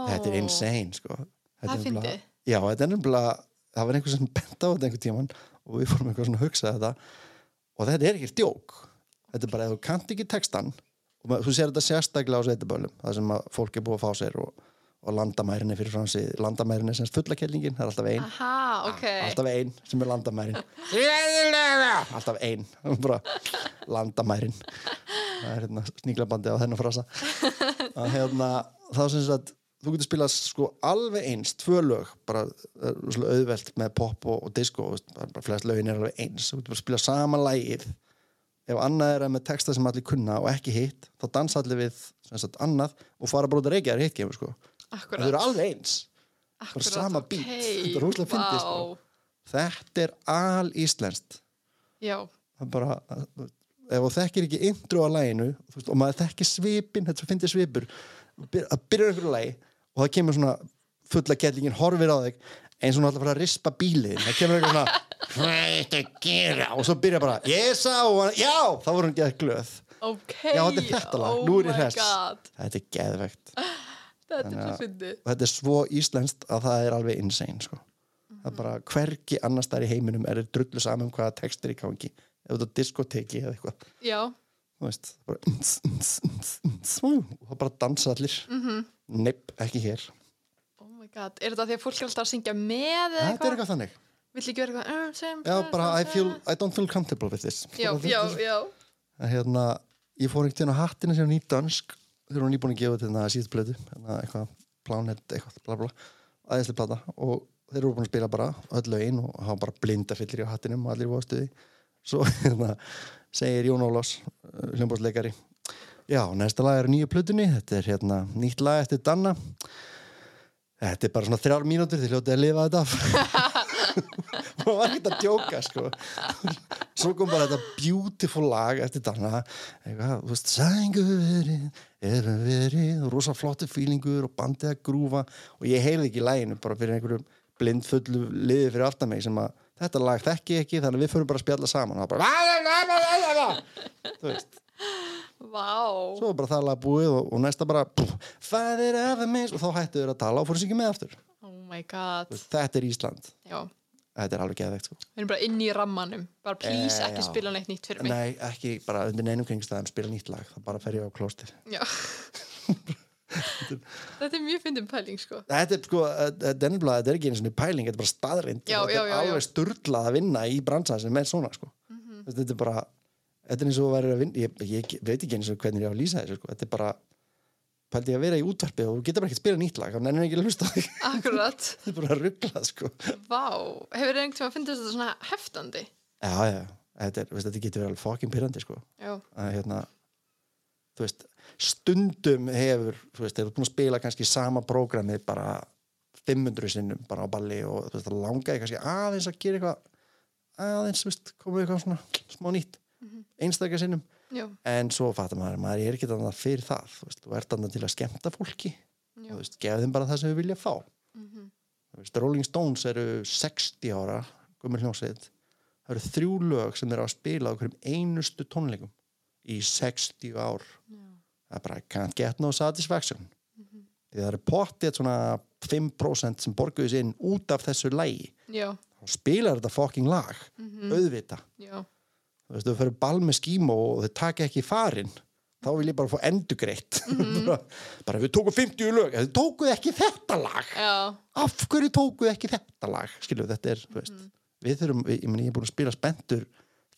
S2: þetta er insane sko Þetta
S1: Það
S2: er nefnilega-
S1: fyndið.
S2: já, þetta er nefnilega, það var einhver sem bent á þetta einhver tíman og við fórum eitthvað svona að hugsa þetta og þetta er ekki djók þetta er bara að þú kannt ekki textan og ma- þú sér þetta sérstaklega á sveitabölum það sem að fólk er búið að fá sér og, og landamærinni fyrir frá sig landamærinni sem fulla kellingin, það er alltaf ein
S1: Aha, ok.
S2: Ah, alltaf ein sem er landamærin alltaf ein bara landamærin það er hérna sníklabandi á þennan frasa að hérna þá sem sagt þú getur spilað sko alveg eins tvö lög, bara eh, rosalega auðvelt með pop og, og disco, þú veist, bara, bara flest lögin er alveg eins, þú getur bara spilað sama lagið ef annað er að með texta sem allir kunna og ekki hitt, þá dansa allir við sem sagt annað og fara bara út að reykja þar hitt kemur sko,
S1: Akkurat.
S2: það eru alveg eins
S1: Akkurat,
S2: sama
S1: ok.
S2: beat. Þetta er rosalega fyndið, sko.
S1: Vá.
S2: þetta er al íslenskt
S1: Já,
S2: það er bara ef þú þekkir ekki intro á læginu þú veist, og maður þekkir svipin, þetta finnir svipur byr- að byrja einhverju lægi og það kemur svona fulla kellingin horfir á þig eins og hún ætlar að fara að rispa bílið það kemur eitthvað svona hvað ertu að gera og svo byrja bara, ég sá hann já, þá voru hún geða glöð
S1: ok.
S2: já, þetta er þetta lag, nú er ég hress
S1: Oh my god,
S2: þetta er geðvegt
S1: þetta er
S2: Þannig
S1: svo
S2: að-
S1: fyndið.
S2: og þetta er svo íslenskt að það er alveg insane sko. það er bara hvergi annars þar í heiminum er þeir drullu saman um hvaða textir í gangi ef þetta er diskoteki eða eitthvað
S1: Já,
S2: þú veist bara, ns, ns, ns, ns, ú, og það bara dansa allir mm
S1: Mhm.
S2: nepp, ekki hér
S1: oh my god. Er þetta því að fólk er alltaf að syngja með eða
S2: þetta er
S1: eitthvað?
S2: eitthvað þannig
S1: Vill ekki vera eitthvað? um, sem-
S2: já,
S1: sem-
S2: bara, I,
S1: sem-
S2: feel, I don't feel comfortable with this
S1: Já,
S2: Bara,
S1: já,
S2: þetta er-
S1: já.
S2: En hérna, ég fór einhvern veginn á hattinu sem nýtt dansk þegar hún er nýbúin að gefa þetta síðust blötu hérna, eitthvað, plánet, eitthvað, bla bla aðeinslega plata og þeir eru búin að spila bara öll lögin og hafa bara blinda fyllir í hattinum og allir voru á stuði svo hérna, segir Jón Ólafs hljómbóðsleikari já, næsta lag er á nýju plötunni þetta er hérna, nýtt lag eftir Danna þetta er bara svona þrjár mínútur þið hljótið að lifa þetta af maður var ekkert að djóka sko svo kom bara þetta beautiful lag eftir Danna eitthvað, þú veist, sængu verið erum verið, rosa flottu fílingur og bandið að grúfa og ég heyrði ekki í læginu bara fyrir einhverju blindfullu liði fyrir aftan mig sem að þetta lag þekki ég ekki þannig að við förum bara að spjalla saman og það bara þú veist
S1: Vá.
S2: svo var bara það lag búið og, og næsta bara pff, fæðir af þeim eins og þá hættu þeir að tala og fórum sér ekki með aftur
S1: Oh my god.
S2: þetta er Ísland,
S1: Já,
S2: þetta er alveg geðvegt sko.
S1: við erum bara inn í rammanum. Bara please
S2: Eh,
S1: ekki
S2: já.
S1: spila neitt nýtt fyrir mig.
S2: nei, ekki bara undir neinum kringstæðum spila nýtt lag, þá bara fer ég á klóstið
S1: Já. þetta er mjög fyndin pæling, sko.
S2: Þetta er sko, þetta er nefnilega, þetta er ekki einu svona pæling, þetta er bara staðrind
S1: Já,
S2: þetta
S1: já,
S2: er
S1: já, Mm. já.
S2: alveg sturlað að vinna í bransan sem er svona sko.
S1: Mhm,
S2: þetta er bara, þetta er eins og verður að vinna ég, ég veit ekki eins og hvernig ég á að lýsa þessu sko. þetta er bara, pældi ég að vera í útvarpi og þú getur bara ekki að spila nýtt lag, þannig er ekki að hlusta á þig.
S1: Akkurat.
S2: þetta er bara rugglað sko.
S1: Vá, hefur þið einhvern tíma að finna þetta svona heftandi?
S2: já, já, þetta, er, veist, þetta getur verið alveg fucking pyrrandi sko.
S1: Já,
S2: að hérna þú veist, stundum hefur þú veist, hefur búin að spila kannski sama prógramið bara 500 sinnum bara á balli og þú veist, það langaði kannski aðeins að gera eitthvað aðeins, þú veist, komið eitthvað svona smá nýtt, einstakja sinnum
S1: já,
S2: en svo fattar maður, maður er ekki þannig fyrir það þú veist, þú ert þannig til að skemmta fólki
S1: já.
S2: og þú veist, gefa þeim bara það sem við vilja fá
S1: Mhm,
S2: þú veist, Rolling Stones eru 60 ára, gummur hljómsveit það eru þrjú lög sem eru að spila á hverjum einustu tónleikum í 60 ár
S1: Já.
S2: það er bara can't get no satisfaction því það eru pottið svona 5% sem borguðis inn út af þessu lægi
S1: Já, Mhm,
S2: og spilar þetta fucking lag
S1: Mm.
S2: auðvita,
S1: já,
S2: þú veist, þau fyrir ball með skímó og þau taka ekki farin þá vil ég bara fá endugreitt bara, bara við tókum 50 lög þau tókuð ekki þetta lag
S1: já,
S2: af hverju tókuð ekki þetta lag skiljuð, þetta er, þú veist
S1: Mhm.
S2: við þurfum, ég, ég, meni, ég er búin að spila spendur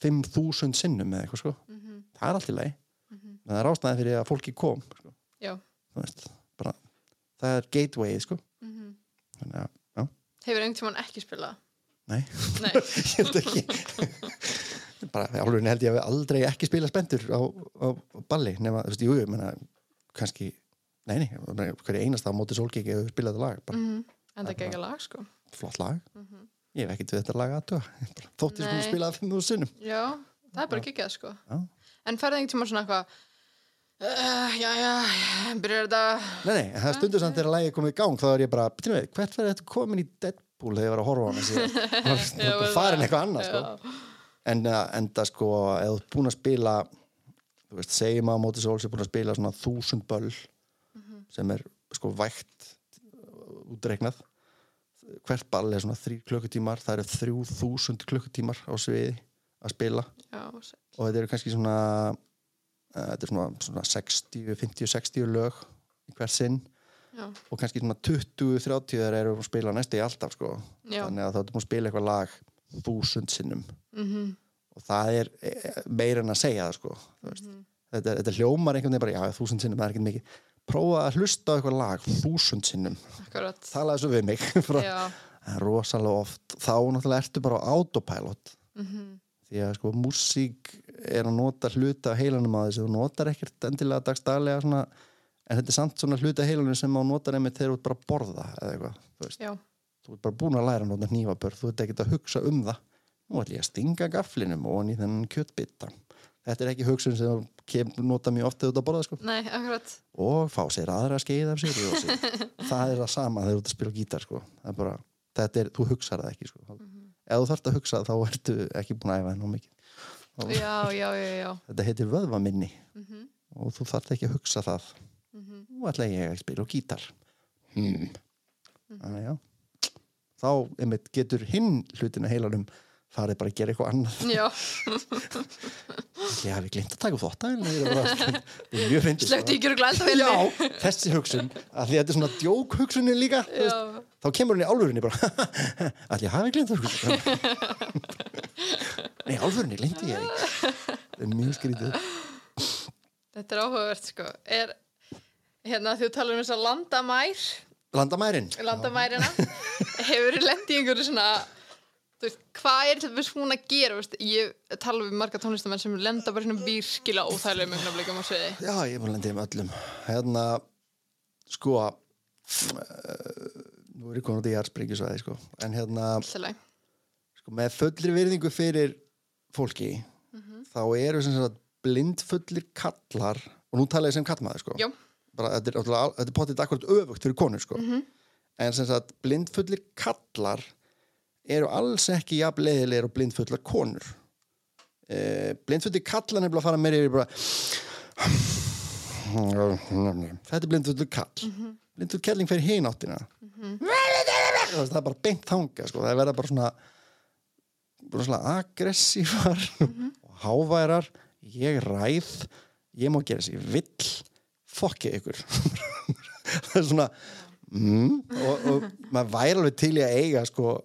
S2: 5.000 sinnum eða eitthvað sko
S1: Mhm,
S2: það er allt í lagi en það er ástæði fyrir að fólki kom sko.
S1: já.
S2: þú veist, bara, það er gateway sko. þannig að, já,
S1: mhm. Hefur einhvern tíma ekki spilað?
S2: nei
S1: Nei,
S2: ég held ekki bara álurinn held ég að við aldrei ekki spila spendur á, á, á balli nema, þú veist, jú, ég meina, kannski nei, nei, ég meina, hverju einasta á móti sólkiki ef við spila þetta lag, bara
S1: Mhm. en það gegja lag, sko.
S2: flott lag ég hef ekkert við þetta lag aðtöga þótt ég sem
S1: Mhm. Nei.
S2: spila það 5.000 sinnum
S1: Já, það er bara geggjað, sko.
S2: Já.
S1: En ferði einhvern tíma svona eitthvað, uh, já, já, byrjar þetta
S2: Nei, nei, en það stundur samt þegar lægi komið í gang þá er ég bara, býtum við, hvert verður þetta komin í Deadpool þegar ég var að horfa á hana síðan
S1: Já,
S2: og
S1: við
S2: farin
S1: það.
S2: eitthvað annað sko.
S1: já,
S2: en uh, enda sko, ef þú ert búin að spila þú veist, segjum að móti sól sem búin að spila svona þúsund böll
S1: Mhm.
S2: sem er sko vægt uh, útreiknað hvert ball er svona þrjú klukkutímar það eru þrjú þúsund klukkutímar á sviði að spila
S1: já, sæll.
S2: og þetta eru kannski svona uh, þetta er svona, svona 60, 50, 60 lög í hvert sinn
S1: já,
S2: og kannski svona 20-30 þeir eru að spila næstu í alltaf sko.
S1: Já.
S2: þannig að þá ertu búin að spila eitthvað lag þúsund sinnum
S1: mhm,
S2: og það er eh, meira en að segja það sko. mm
S1: Mhm.
S2: -hmm. þetta, þetta hljómar einhvern veginn bara já, þúsund sinnum, það er ekkert mikið prófa að hlusta á eitthvað lag þúsund sinnum
S1: akkurat
S2: talaði svo við mig frá,
S1: já,
S2: Það er rosalega oft þá náttúrulega ertu bara á autopilot
S1: mhm,
S2: því að sko músík er að nota hluta af heilanum að þessu þú notar ekkert endilega dagstaglega svona, en þetta er samt svona hluta af heilanum sem á notar einmitt þegar þú ert bara að borða eða eitthvað, þú veist,
S1: já,
S2: þú ert bara búin að læra að nota hnífabörð, þú ert ekkert að hugsa um það nú ætlum ég að stinga gaflinum og hann í þennan kjötbita þetta er ekki hugsun sem þú kem, nota mjög oft þegar þú ert að borða sko,
S1: nei, akkurat
S2: og fá sér aðra skeið af sér það er það sama þegar þú ert að spila á gítar sko, það er bara, þetta er, þú hugsar það ekki sko, ef þú þarft að hugsa þá ertu ekki búin að æfa þér nógu mikið Þá-
S1: já, já, já, já,
S2: þetta heitir vöðvaminni
S1: mhm,
S2: og þú þarft ekki að hugsa það
S1: mhm,
S2: nú ætla ég að spila á gítar hmm.
S1: Mhm.
S2: þannig já þá einmitt getur hinn hlutina heilanum farið bara að gera eitthvað annað
S1: já
S2: ég hafi gleymt að taka upp þvottavélina, ég er bara- þetta er mjög fyndið
S1: slefti
S2: sko.
S1: ekki og glænta
S2: já, þessi hugsun að því að þetta er svona djók hugsunin líka þú veist,
S1: já,
S2: þá kemur hún í álfurinni bara allir ég hafi gleymt það hugsun nei, álfurinni gleyndi ég ekki. þetta er mjög skrítið
S1: þetta er áhugavert sko er, hérna þú talar um þess að landamær
S2: landamærin
S1: landamærina hefur þið lendið einhverju svona þú veist, hvað er til þess hún að gera þú veist, ég tala við marga tónlistamenn sem lenda bara svona virkilega óþægilegum augnablikum á sviði
S2: Já, ég er búin að lenda í þeim öllum Hérna, sko uh, Nú er ég komin út í jarðsprengjusvæði sko. En hérna,
S1: Alltileg.
S2: sko, með fullri virðingu fyrir fólki þá eru sem sagt blindfullir kallar og nú tala ég sem kallmaður sko.
S1: Já.
S2: Bara, þetta, er, náttúrulega al- þetta er potið akkurat öfugt fyrir konur sko. en sem sagt blindfullir kallar eru alls ekki jafn leiðilegir og blindfullar konur eh, blindfullir kallar nefnilega fara meira yfir bara þetta er blindfullur kall mm -hmm. blindfull kelling fyrir hináttina mm -hmm. það er bara beint þanga sko. það verða bara svona bara svona aggressífar og háværar ég ræð, ég má gera sér vill fokkið ykkur það er svona mm, og, og maður væri alveg til í að eiga sko,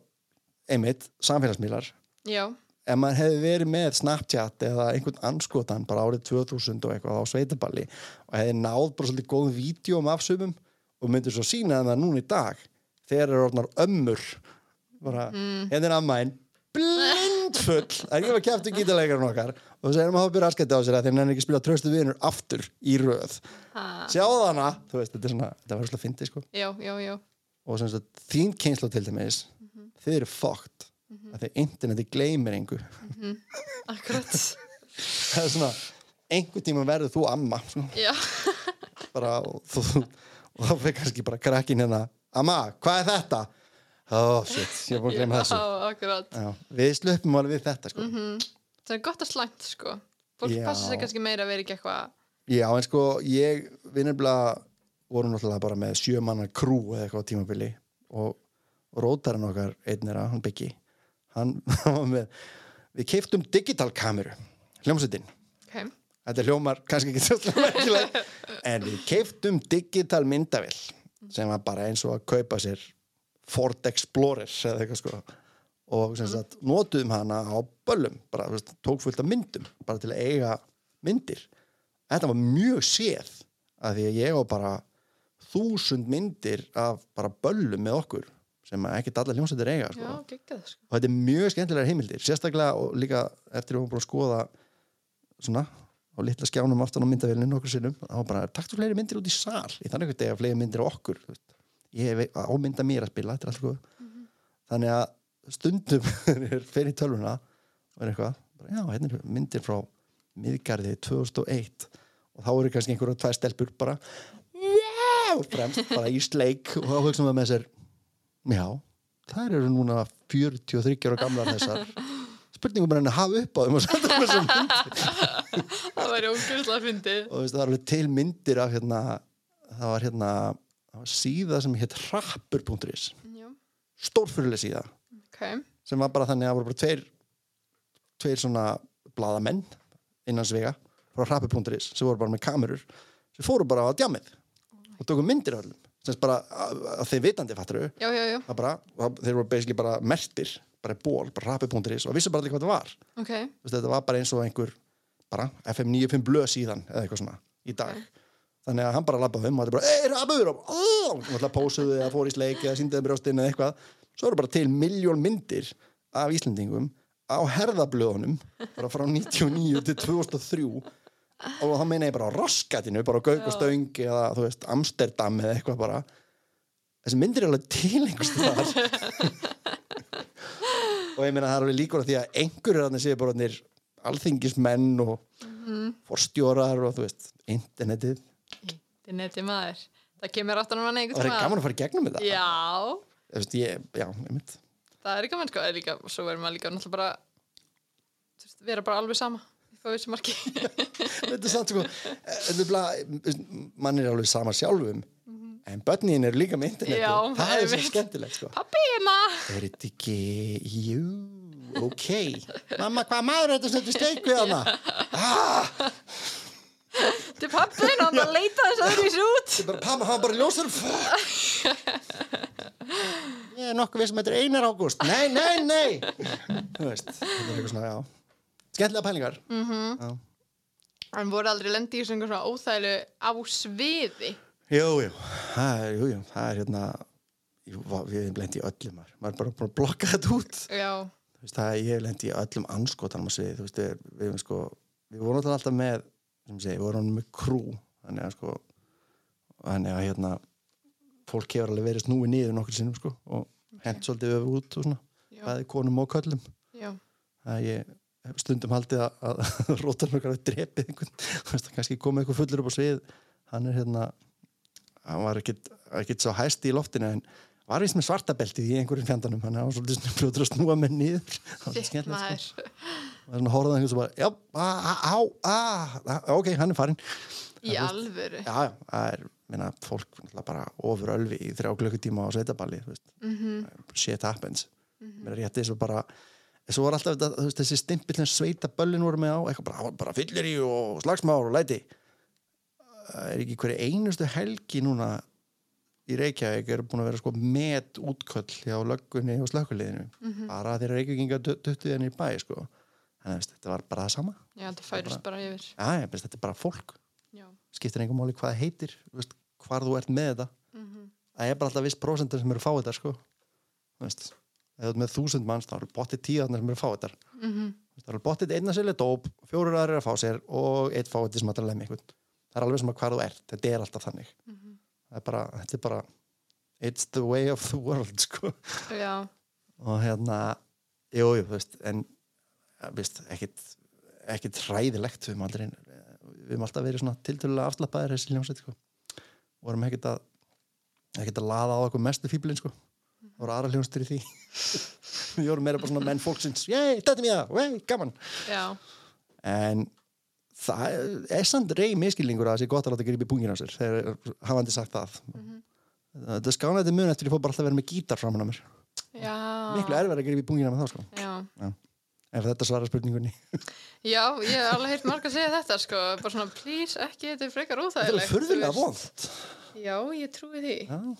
S2: einmitt, samfélagsmiðlar
S1: já,
S2: ef maður hefði verið með Snapchat eða einhvern anskotan bara árið 2000 og eitthvað á sveitaballi og hefði náð bara svolítið góðum vídjóm af sumum og myndir svo sína það núna í dag þegar eru orðnar ömmur bara, hérna er ammæn blindfull, það er ekki að kæftu gítaleikarinn okkar og þess erum að hafa byrja askætti á sér að þeir nefnir ekki að spila tröstu vinur aftur í röð
S1: ha,
S2: sjá þarna, þú veist, þetta er svona þetta var svolítið fyndið sko
S1: já, já, já
S2: og sem sagt, þín kynslu til dæmis þið eru fókt mm -hmm. þegar interneti gleymir engu
S1: akkurat
S2: það er svona einhvern tíma verður þú amma sko,
S1: já,
S2: bara, og, þú, og þá fyrir kannski bara krakkin hérna amma, hvað er þetta? ó, shit, ég er búin að
S1: já
S2: glemma þessu
S1: akkurat
S2: Já, við slöpum alveg við þetta sko.
S1: það er gott að slæmt sko fólk
S2: Já.
S1: passa sig kannski meira að vera ekki eitthvað
S2: já, en sko ég, við nefnilega vorum náttúrulega bara með sjö manna krú eða eitthvað á tímabili og rótarinn okkar einn er að, hann byggi hann hann var með við keiftum digital kameru hljómsveitin
S1: okay.
S2: þetta hljómar kannski ekki svolítið merkileg en við keiftum digital myndavill sem var bara eins og að kaupa sér Ford Explorer eða eitthvað sko og sem sagt notuðum hana á böllum bara þú veist, tók fullt af myndum bara til að eiga myndir þetta var mjög séð af því að ég á bara þúsund myndir af bara böllum með okkur sem að ekkert allar hljómsveitir eiga sko
S1: já, geggjað sko
S2: og þetta er mjög skemmtilegar heimildir sérstaklega og líka eftir að hún búin að skoða svona á litla skjánum aftan á myndavélinu nokkur sinnum þá var bara taktu fleiri myndir út í sal í þannig að dega fleiri myndir á okkur þú veist. ég e- veit- ámynda mér að spila þetta er allt góð þannig að stundum er fyrir í tölvuna og er eitthvað bara, já, hérna er myndir frá miðgarði 2001 og þá eru kannski einhverja tvær stelpur bara yeah! og fremst bara í sleik og þá hugsaum við með sér já, þær eru núna 43 ára gamlar þessar spurningum er henni að hafa upp á þeim og senda þeim þessum
S1: það væri ógjörðslega fyndið
S2: og þú veist, það var alveg til myndir af hérna, það var hérna það var síða sem hétt rappur.is
S1: Já,
S2: stórfyrirlega síða
S1: ok,
S2: sem var bara þannig að það voru bara tveir tveir svona bladamenn innan svega frá rappur.is sem voru bara með kamerur sem fóru bara á djamið og tóku myndir af öllum sem sagt bara að að þeir vitandi fattur þau
S1: já, já, já,
S2: það bara, það, þeir voru basically bara mertir bara í ból, bara rappur.is og vissu bara allir hvað það var
S1: ok
S2: Þú veist, þetta var bara eins og einhver bara FM 95 blöð síðan eða eitthvað svona í dag þannig að hann bara labbaði um og þetta bara ei, rabur og "Ó!" og alltaf pósuðu eða fór í sleik eða síndaði brjóstin eða eitthvað svo eru bara til miljón myndir af Íslendingum á herðablöðunum bara frá 99 til 2003 og þá meina ég bara á raskatinu bara á Gauk og Stöng eða þú veist Amsterdam eða eitthvað bara þessi myndir er alveg til einhvers þar og ég meina það er alveg líkur að því að einhverjur þarna séu bara orðnir alþingismenn og forstjórar og þú veist, internetið
S1: Interneti maður, það kemur aftan að manna
S2: og það
S1: einhvern
S2: er gaman að fara í gegnum þetta
S1: Já,
S2: Þú veist, ég, já, einmitt
S1: það er gaman sko, það er líka, svo verður maður líka náttúrulega bara þú veist, vera bara alveg sama þá vissi marki
S2: þetta er samt sko þetta er bara, mann er alveg sama sjálfum en börnin eru líka með internetið
S1: Já,
S2: það er svo
S1: einmitt.
S2: skemmtilegt sko
S1: Pappi hérna
S2: er þetta ekki, jú ok, mamma hvað maður er þetta sem þetta steik við hana
S1: Þetta er pappin og hann bara leita þess að þessu út
S2: Þetta er bara pama, hann bara ljósar Fuck Ég er nokkuð við sem þetta er einar ágúst Nei, nei, nei Þú veist, þetta er eitthvað svona, já Skemmtilega pælingar -hmm.
S1: Hann voru aldrei lendi í þessu einhver svona óþælu á sviði
S2: Jú, jú, það er, jú, jú, það er hérna jú, vá, Við erum lent í öllum maður Maður er bara búin að blokka þetta út
S1: Já,
S2: Þú veist, það, Ég hef lent í öllum anskotanum að sviði Þú veist, við, við, erum sko, við vorum alltaf alltaf með sem segi, Við vorum með krú Þannig að sko Þannig að hérna Fólk hefur alveg verið snúið niður nokkur sinnum sko Og hent svolítið öfu út og svona
S1: já,
S2: bæði konum og köllum
S1: já
S2: að ég hef stundum haldið að, að rótan okkar að drepið einhvern Þú veist, það kannski komið eitthvað fullur upp á svið hann er hérna hann var ekkit, ekkit svo hæsti í loftinu en var vist með svartabeltið í einhverjum fjandanum hann var svolítið svona fljótur að snúa mér niður það var
S1: Sitt
S2: skemmtilegt sko
S1: maður
S2: og svona horfði hann og bara, já, á, á, á, á ok, hann er farinn
S1: Í alvöru
S2: já, já, það er, minna, fólk náttúrulega bara ofur ölvi í þrjá klukkutíma á sveitaballi, þú veist
S1: Mhm.
S2: shit happens, mér er rétt eins og bara svo var alltaf þetta, þú veist, þessi stimpill sem sveitaböllin voru með á, eitthvað bara, bara fyllir í og slagsmár og læti Það er ekki hverju einustu helgi núna í Reykjavík eru búin að vera sko met útköll hjá löggunni og slökkuliðinu bara þegar Reykjavíkinga duttu henni í bæ sko, þannig að veist, þetta var bara það sama
S1: Já, þetta færist bara yfir
S2: já, ég veist, þetta er bara fólk
S1: Já,
S2: skiptir engum máli hvað það heitir þú veist, hvar þú ert með þetta
S1: Mhm.
S2: það er bara alltaf viss prósendur sem eru að fá þetta sko. Þú veist, ef þú ert með þúsund manns þá eru bóttið tíðarnir sem eru að fá þetta mm
S1: Mhm.
S2: -hmm. það eru bóttið einna sérlega dóp fjórir aðra er að fá sér og eitt fá þetta sem að lemja einhvern það er alveg sem að hvar þú ert, þetta er alltaf þannig
S1: Mhm.
S2: það er bara, þetta er bara it's the way of the world sko.
S1: já,
S2: og hérna jú, jú, þú veist, en ja, veist, ekkit, ekkit hræðilegt við höfum aldrei við höfum alltaf verið svona tiltölulega afslappaðir þessi hljómsveit sko. vorum ekkit að ekkit að laða á okkur mestu fíblin sko. það voru aðra hljómsveitir í því við vorum meira bara svona menn fólksins jæ, þetta er mér það, vei, gaman
S1: já
S2: en það er- er samt rey miskilningur að það sé gott að láta grípa í pungin á sér þegar hafandi sagt það þetta skánaði mun eftir ég fór bara alltaf að vera með gítar framan á mér
S1: Já
S2: miklu erfæri að grípa í pungin á mér þá sko
S1: Já
S2: ef þetta svarar spurningunni
S1: Já, ég hef alveg heyrt marg að segja þetta sko, bara svona, please, ekki, þetta er frekar
S2: þetta
S1: óþægilegt.
S2: er furðulega
S1: þú veist.
S2: vond
S1: Já, ég trúi því.
S2: Já.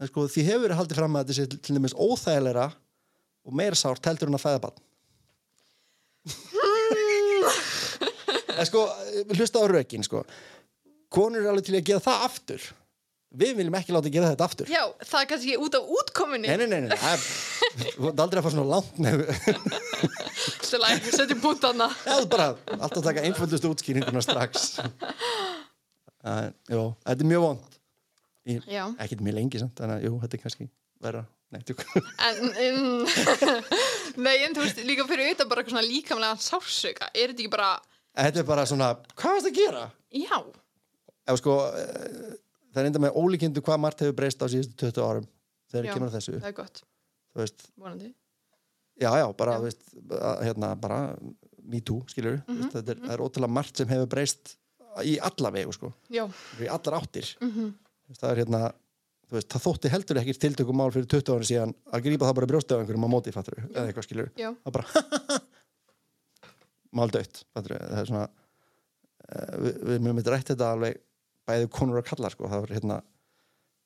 S2: En sko, því hefur verið haldið fram að þetta sé til- til dæmis óþægilegra og meira sárt heldur en að fæða barn en sko, hlusta á rökin sko. konur eru alveg til í að gera það aftur við viljum ekki láta gera þetta aftur
S1: Já, það er kannski út af útkominni.
S2: nei, nei, nei, nei, það er þú ert aldrei að fara svona langt nefn
S1: Þetta er læg, setjum búnt hana.
S2: Já, þú bara alltaf taka einföldustu útskýringuna strax uh, Jó, þetta er mjög vond Ég,
S1: Já.
S2: Ekkert mjög lengi samt, þannig að jú, þetta er kannski verra Nei, tjók
S1: En, en, nei, en þú veist, líka fyrir auðvitað bara eitthvað svona líkamlega sársöka. Er þetta ekki bara,
S2: En Þetta er bara svona, hvað varst að gera?
S1: Já,
S2: Ef sko, eh, það er enda með ólíkindu hvað margt hefur breyst á síðustu 20 árum þegar
S1: Já.
S2: kemur að þessu,
S1: það er gott,
S2: þú veist,
S1: vonandi
S2: já, já, bara,
S1: Já.
S2: þú veist, að, hérna, bara, me too, skilur, mm
S1: Mhm,
S2: -hmm. þetta er, það er ótrúlega margt sem hefur breyst í alla vegu, sko,
S1: Já,
S2: í allar áttir, mm
S1: Mhm.
S2: -hmm. það er hérna, þú veist, það þótti heldur ekkert tiltökumál fyrir 20 árum síðan að grípa það bara brjóstið á einhverjum á móti, fattur, eða eitthvað, skilur,
S1: já,
S2: það er bara máldautt fattur, það er svona eh, við, við mjög myndi rætt þetta alveg bæði konur og kallar sko, það var hérna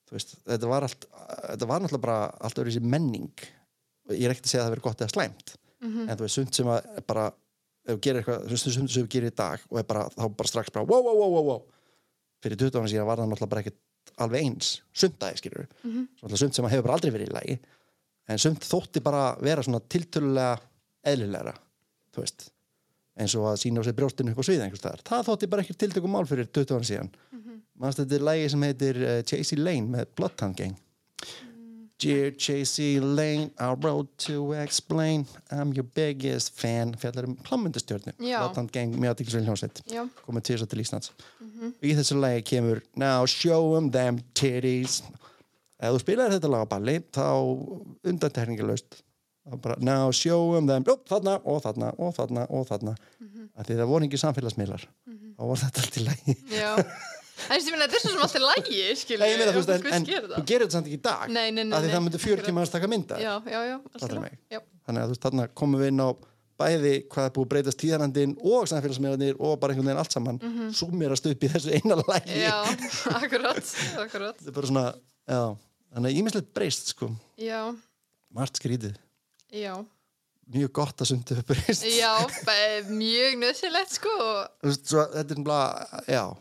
S2: þú veist, þetta var allt þetta var náttúrulega bara allt öðru þessi menning ég er ekkert að segja að það verið gott eða slæmt en þú veist, sumt sem að er bara ef þú gerir eitthvað, sumt sumt sem þú gerir í dag og er bara, þá bara strax bara wow, wow, wow, wow, wow. fyrir 20 ára síðan var það náttúrulega bara ekkert alveg eins, sumtaði skilur mm sumt sem að hefur bara aldrei verið í lagi en sumt þótti bara vera svona tiltölulega eðlilegra þú veist, eins og að sína á sig brjóstinu upp á sviða einhvers staðar, það þótti bara ekkert tiltökum mál fyrir 20 ára síðan mm -hmm. mannst þetta er lægi sem heitir uh, Chasey Lane með Bloodhound Gang Dear Chasey Lane I wrote to explain I'm your biggest fan fjallar um klámyndastjörnu
S1: Já.
S2: Bloodhound Gang mjög aðdiklisvel hljónsett
S1: já
S2: komið til þess að til Íslands
S1: Mhm.
S2: í þessu lagi kemur Now show 'em them titties ef þú spilaðir þetta lag á balli þá undantekningalöst bara, Now show 'em them upp, þarna og þarna og þarna og þarna mm
S1: Mhm.
S2: því það voru ekki samfélagsmiðlar þá var þetta allt í lagi
S1: Já, það er sem ég meina, þetta er svo sem allt er lægi, skilju
S2: Nei, ég meina, þú veist, en, en þú
S1: en
S2: gerir þetta samt ekki í dag
S1: Nei, nei, nei,
S2: af því
S1: nei,
S2: það myndi 40
S1: akkurat.
S2: manns taka mynda
S1: Já, já, já,
S2: Fattar
S1: algjörlega.
S2: mig.
S1: Já,
S2: þannig að þú veist, þarna komum við inn á bæði hvað er búið að breytast tíðarandinn og samfélagsmiðlarnir og bara einhvern veginn allt saman mm -hmm. upp í þessu eina lagi
S1: Mhm. já, akkurat, akkurat
S2: þetta er bara svona já, þannig að ímislegt breyst sko
S1: Já,
S2: margt skrítið,
S1: já,
S2: mjög gott að sumt hefur breyst
S1: já, bara mjög nöðsilegt, sko og-
S2: Þú veist, svo, þetta er bara, já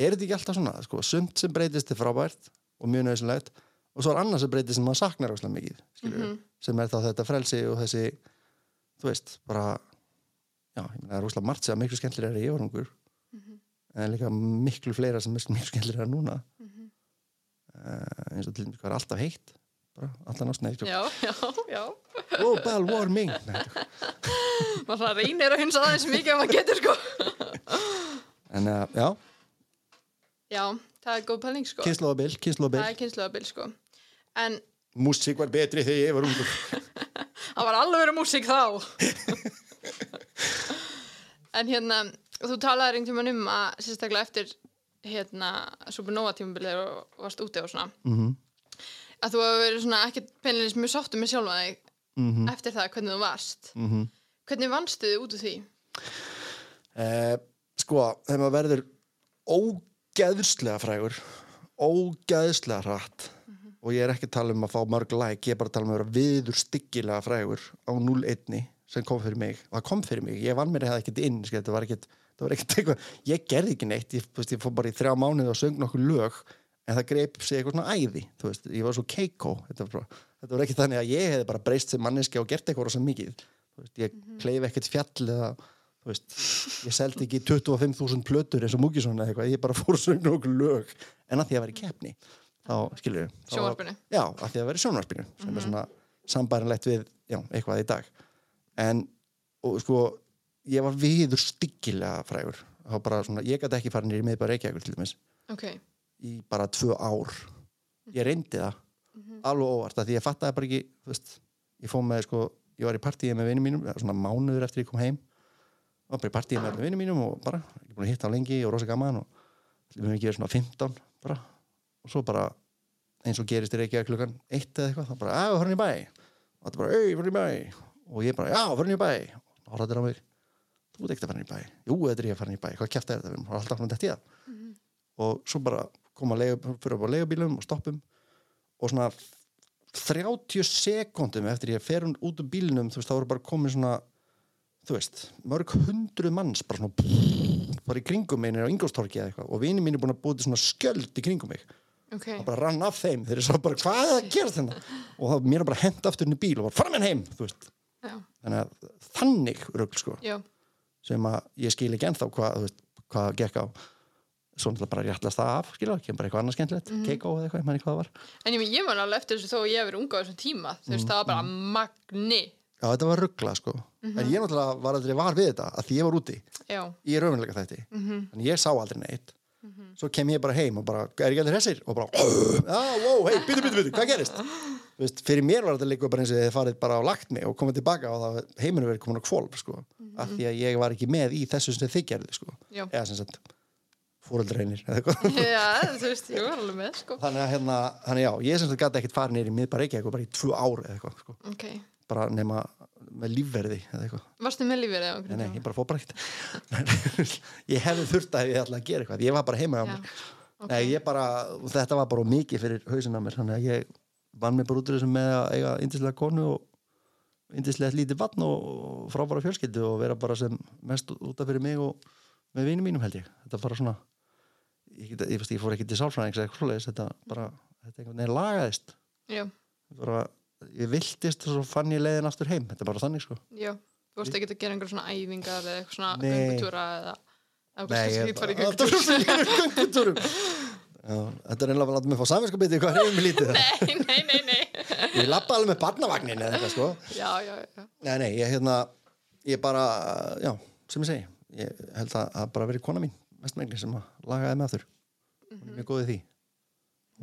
S2: er þetta ekki alltaf svona, sko, sumt sem breytist er frábært og mjög nöðsynlegt og svo er annars sem breytist sem maður saknar áslega mikið skilur,
S1: Mhm.
S2: sem er þá þetta frelsi og þessi þú veist, bara já, ég meina, það er rúslega margt sem er miklu skemmtilega í jórungur
S1: Mhm.
S2: en líka miklu fleira sem er miklu skemmtilega núna mm
S1: Mhm.
S2: eins og til dæmis hvað er alltaf heitt bara, alltaf náttúrulega
S1: Já, já, já
S2: global warming Nei,
S1: Maður svona reynir að hunsa aðeins mikið ef maður getur, sko
S2: en uh, já,
S1: Já, það er góð pæling, sko
S2: kynnslóðabil, kynnslóðabil
S1: Það er kynsluðabil, sko En
S2: músík var betri þegar ég var ungur
S1: það var alveg verið músík þá en hérna þú talaðir einhvern tímann um að sérstaklega eftir hérna supernova tímabilið og varst úti og svona
S2: Mhm.
S1: að þú hefur verið svona ekkert penilins mjög sáttu með sjálfa þig
S2: Mhm.
S1: eftir það hvernig þú varst
S2: mm -hmm.
S1: hvernig vannstu þið út úr því?
S2: sko, þegar maður verður ógeðslega frægur ógeðslega hratt og ég er ekki að tala um að fá mörg like ég er bara að tala um að vera viður styggilega frægur á 0-1 sem kom fyrir mig og það kom fyrir mig, ég vann mér það ekkert inn skil, það var ekkert, það var ekkert eitthvað ég gerði ekki neitt, ég, þú veist, ég fór bara í þrjá mánuð og söng nokkur lög en það greip sig eitthvað svona æði, þú veist, ég var svo keiko þetta var, bara, þetta var ekki þannig að ég hefði bara breyst sem manneski og gert eitthvað rosa mikið þú veist, ég kleif ekkert fjall eða þú veist, ég seldi ekki 25.000 plötur eins og Múkisson eða eitthvað, ég bara fór að sögna okkur lög en að því að vera í keppni þá skilur við þá-
S1: Sjónvarpinu.
S2: já, að því að vera í sjónvarpinu sem er svona sambarinlegt við já, eitthvað í dag en og, sko, ég var viður styggilega frægur þá bara svona, ég gæti ekki farin í miðbæra Reykjavíkur til dæmis
S1: ok,
S2: í bara tvö ár ég reyndi það alveg óvart af því ég fattaði bara ekki þú veist, ég fóð með sko, ég var í partíi með vinnum mínum eða svona mánuður eftir ég kom heim var bara í partíi með vinnum mínum og bara ekki búin að hitta á lengi og rosa gaman og við höfum ekki verið svona 15 bara, og svo bara eins og gerist er ekki að klukkan eitt eða eitthvað þá bara, að, við höfum í bæ og þetta bara, ei, við höfum í bæ og ég bara, já, við höfum í bæ og það er á mig, þú ert ekkert að fara í bæ jú, þetta er ég að fara í bæ, hvað kæft er þetta við erum alltaf frá þetta í það og svo bara koma leigu, fyrir upp á leigubílum og stoppum og svona 30 sekundum eftir ég fer hún út úr bílnum þú veist, þá eru bara komin svona þú veist, mörg hundruð manns bara svona bara í kringum minni á Ingolstorki eða eitthvað og vini mín er búin að búið til svona skjöld í kringum mig
S1: ok
S2: það bara rann af þeim, þeir eru svo bara hvað er að gera þetta og þá mér er bara hent aftur inn í bíl og bara fara með hann heim, þú veist
S1: já,
S2: þannig að þannig rögl sko
S1: já,
S2: sem að ég skil ekki ennþá hvað, þú veist, hvað gekk á svo náttúrulega bara réttlast það af skilur, kemur bara eitthvað annað skemmtilegt, keiko eða eitthvað, ég man ekki hvað það var Mhm,
S1: en ég, meina, ég man alveg eftir þessu þó að ég hef verið unga á þessum tíma þú veist, það var bara magni
S2: já, þetta var ruggla sko en ég náttúrulega var aldrei var við þetta að því ég var úti
S1: já,
S2: í raunveruleika þætti en ég sá aldrei neitt svo kem ég bara heim og bara, er ekki allir hressir? og bara, ah, wow, hei, byttu, byttu, byttu, hvað gerist? Þú veist, fyrir mér var þetta líka bara eins og ég hefði farið bara og lagt mig og komið tilbaka og það heiminu verið komin á kvolf sko, af því að ég var ekki með í þessu sem þið gerði sko,
S1: Já.
S2: eða sem sagt fóröldreinir eða eitthvað
S1: já, þú veist, ég var alveg með sko.
S2: þannig að hérna, þannig já, ég sem sagt gæti ekkert farið neyri miðbæra ekki eitthvað bara í tvö ári eða eitthvað sko.
S1: ok,
S2: bara nema með lífverði eða eitthvað
S1: varstu með lífið eða okkur
S2: Nei, nei, ég bara fór bara ekkert Ég hefði þurft að ef ég ætla að gera eitthvað Ég var bara heima á
S1: Já,
S2: mér Nei, ég bara, Þetta var bara of mikið fyrir hausinn á mér Þannig að ég vann mig bara út úr þessum með að eiga yndislega konu og yndislega lítið vatn og og frábæra fjölskyldu og vera bara sem mest út af fyrir mig og með vinum mínum held ég Þetta var bara svona ég, get, ég, veist, ég fór ekki til sálfræðings eða eitthvað svoleiðis, þetta bara, þetta einhvern veginn lagaðist
S1: já,
S2: bara, ég viltist og svo fann ég leiðin aftur heim þetta er bara þannig sko
S1: já þú varst ekki að gera einhver svona æfingar eða eitthvað svona
S2: Nei.
S1: göngutúra eða eða
S2: Nei,
S1: eitthvað svona
S2: ég- Þetta var
S1: skýtfari
S2: svona göngutúrum Já, þetta er einlega að láta mig fá saminskapiti hvað reyðum við lítið það.
S1: nei, nei, nei, nei
S2: Ég lappa alveg með barnavagnin eða eitthvað sko.
S1: já, já, já,
S2: Nei, nei, ég hérna, ég bara, já, sem ég segi, ég held að, að bara verið kona mín, mestmengli sem að lagaði með aftur. Hún er mjög góðið því.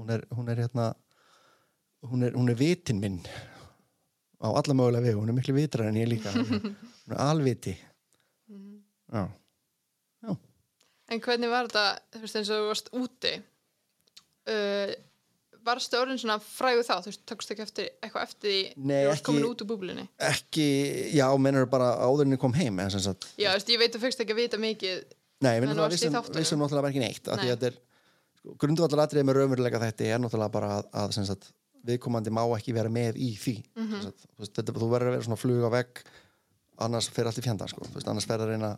S2: Hún er, hún er hérna, hún er, hún er vitin minn á alla mögulega vegu, hún er miklu vitrar en ég líka. Hún er, hún er alviti. Já.
S1: en hvernig var þetta, þú veist, eins og þú varst úti uh, varstu orðin svona frægu þá, þú veist, tökst ekki eftir eitthvað eftir því,
S2: Nei,
S1: þú varst
S2: ekki-
S1: komin út úr búblinni
S2: Ekki, já, mennur bara áðurinn kom heim, eða sem sagt,
S1: já, þú veist, ég veit að fyrst ekki að vita mikið
S2: Nei, við
S1: En
S2: náttúrulega
S1: varst í
S2: vissum,
S1: þáttunum?
S2: vissum náttúrulega bara ekki neitt af
S1: Nei.
S2: því að þetta er sko, grundvallar atriðið með raunveruleika þetta er náttúrulega bara að, að sem sagt, viðkomandi má ekki vera með í því
S1: Mhm.
S2: mm sagt, þú veist, þetta, þú verður að vera svona flug á vegg annars fer allt í fjanda sko, þú veist, annars verður að reyna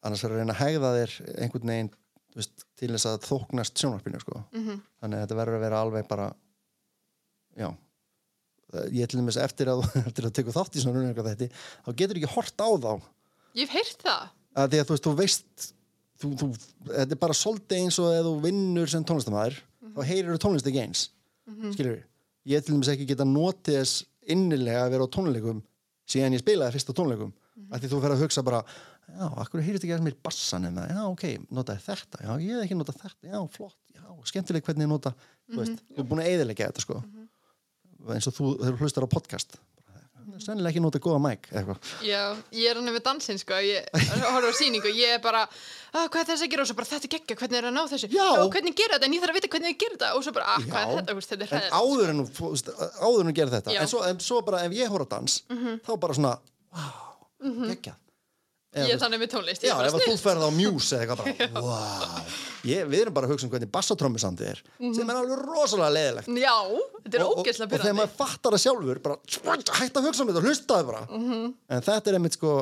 S2: annars verður að reyna að hegða þér einhvern veginn þú veist, til þess að þóknast sjónarpinu sko. -hmm. þannig að þetta verður að vera alveg bara já ég til dæmis eftir að, eftir að teku þátt í svona raunveruleika þetta þá getur ekki hort á þá
S1: ég hef heyrt það
S2: að því að þú veist, þú veist þú, þú, þetta er bara svolítið eins og ef þú vinnur sem tónlistamæður þá heyrir þú tónlist ekki eins mm ég til dæmis ekki geta notið þess innilega að vera á tónleikum síðan ég spilaði fyrst á tónleikum mm því þú fer að hugsa bara já, akkur heyrist ekki þess mér bassan eða, já, ok, notaði þetta, já, ég hef ekki notað þetta já, flott, já, skemmtileg hvernig ég nota þú veist, þú er búin að eyðilega þetta sko eins og þú, þegar þú hlustar á podcast sennilega ekki nota góða mæk eitthvað
S1: Já, ég er hann með dansinn sko ég horfði á sýningu, ég er bara "Ah, hvað er þess að gera og svo bara þetta er geggja, hvernig er að ná þessu
S2: Já.
S1: hvernig gera þetta, en ég þarf að vita hvernig ég gera þetta og svo bara, ah, hvað er þetta, Þú veist, þetta er
S2: en
S1: hræðið
S2: áður en hún þú veist, áður en hún gerir þetta
S1: Já. Mhm.
S2: en svo, en svo bara ef ég horf á dans þá bara svona wow, mm
S1: ég er þannig með tónlist, ég
S2: já,
S1: Mhm. er
S2: ef
S1: bara
S2: að þú
S1: snill
S2: ferð á mjús eða eitthvað bara wow ég, við erum bara að hugsa um hvernig bassatrömmusandi er sem er alveg rosalega leðilegt
S1: Já, Mhm. þetta er
S2: og, og, og
S1: ógeðslega
S2: þegar
S1: byrjandi
S2: maður fattar það sjálfur bara hætt að hugsa um þetta, hlustaði bara
S1: Mhm.
S2: en þetta er einmitt sko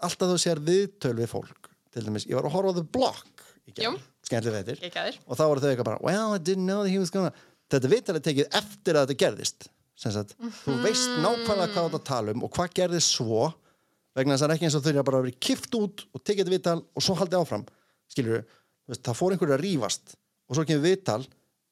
S2: alltaf þú sér viðtöl við fólk til dæmis, ég var að horfa á The Block í
S1: Já.
S2: gerð, skemmtileg þetta
S1: Geggjaðir.
S2: og þá voru þau eitthvað bara well, I didn't know that he was gonna þetta viðtal er tekið eftir að þetta gerðist sem sagt, þú
S1: Mhm.
S2: veist nákvæmlega hvað þetta tala um og hvað gerðist svo vegna þess að það er ekki eins og þau eru bara að vera kift út og tekið þetta viðtal og svo haldið áfram skilur veist, það fór einhverju að rífast og svo kemur viðtal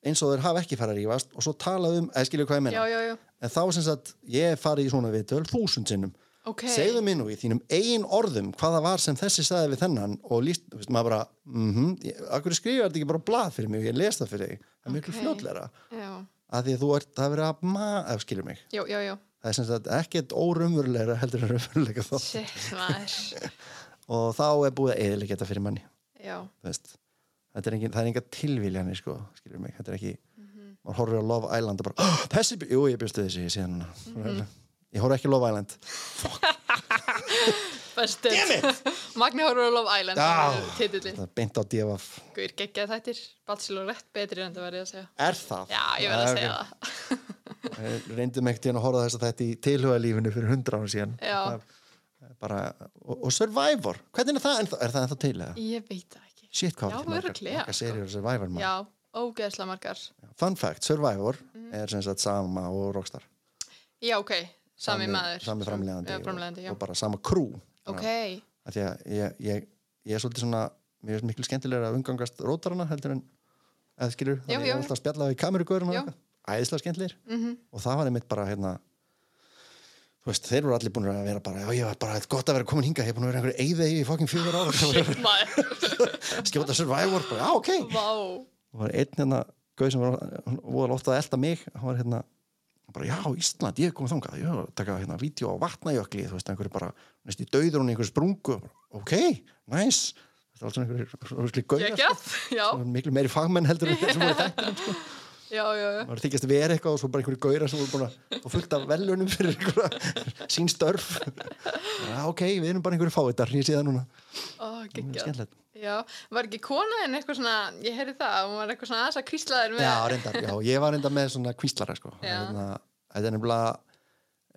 S2: eins og þeir hafa ekki farið að rífast og svo talað um, eða skilur hvað ég meina
S1: Já, já, já,
S2: en þá sem sagt, ég hef farið í svona viðtöl þúsund sinnum
S1: ok
S2: segðu mér nú í þínum eigin orðum hvað það var sem þessi sagði við þennan og líst, þú veist, maður bara, mhm, mm akkur skrifa þetta ekki bara á blað fyrir mig og ég les það fyrir þig það er miklu
S1: Ok.
S2: fljótlegra,
S1: Já,
S2: af því að þú ert það er verið að ma, ef skilur mig
S1: já, já, já,
S2: það er sem sagt ekkert órumverulegra heldur en raunveruleika þá
S1: shit maður
S2: og þá er búið að eðilega þetta fyrir manni
S1: Já,
S2: þú veist, þetta er engin, það er enga tilviljanir sko, skilur mig, þetta er ekki
S1: Mhm.
S2: maður horfir á Love Island og bara oh, þessi, bj- jú, ég bjóstu þessi, ég sé hann
S1: Mhm.
S2: ég horf ekki á Love Island
S1: bestu Magni Horror Love Island
S2: Já.
S1: sem er titillinn.
S2: það er beint á divaf
S1: Guður geggjað þættir, Bachelorette betri en það verði að segja
S2: Er það?
S1: Já, ég verði að segja
S2: ok.
S1: það
S2: Við Reyndum ekkert hérna að horfa þess að þetta í tilhugalífinu fyrir hundra ára síðan.
S1: Já. Mm.
S2: Það er Bara, og, og Survivor, hvernig er það ennþá, er það ennþá til eða?
S1: Ég veit það ekki
S2: Shit, hvað
S1: Já,
S2: til margar-
S1: örugglega,
S2: margar
S1: sko.
S2: seríur um Survivor, maður.
S1: Já, ógeðslega margar
S2: Fun fact, Survivor
S1: Mm.
S2: er sem sagt sama og Rockstar.
S1: Já, ok, sami, maður
S2: Sami framlegandi.
S1: Já, framlegandi, já
S2: Og, og bara sama krú.
S1: Ok,
S2: Því að ég, ég, ég er svolítið svona, mér finnst miklu skemmtilega að umgangast rótarana heldur en, eða skilur,
S1: Já,
S2: þannig ég
S1: já, já.
S2: er alltaf að spjalla við kamerugörun og
S1: Já.
S2: eitthvað. Æðislega skemmtilegir. og það var einmitt bara hérna þú þú veist, þeir voru allir búin að vera bara, já, ég var bara, þetta er gott að vera komin hingað, ég er búin að vera einhverju eyðið í fokkin fjögur ára,
S1: Shit, maður.
S2: skjóta survivor, bara, já, ok.
S1: Vá.
S2: og var einn hérna gauð sem var hann voðalega ofta að elda mig hann var hérna hann bara, já, Ísland, ég er komið þangað ég var að taka hérna vídeo á vatnajökli þú veist, einhverju bara, næst í döður hún í einhverju sprungu Bara, ok, nice þetta var alls einhverju rúsli gauðar
S1: Gekkjað, já,
S2: miklu meiri fagmenn heldur en þeir sem voru þetta
S1: já, já, já.
S2: maður þykjast vera eitthvað og svo bara einhverju gauðar sem voru búin að og fullt af velunum fyrir einhverja sín störf já, ok, við erum bara einhverju fáiðar ég sé það núna,
S1: Ó, geggjað.
S2: skemmtilegt
S1: Já, var ekki konaðin eitthvað svona, ég heyri það, hún var eitthvað svona aðeins að kvíslaðir með.
S2: Já, reyndar, já, ég var reyndar með svona kvíslara sko.
S1: Já.
S2: Hérna, þetta er nefnilega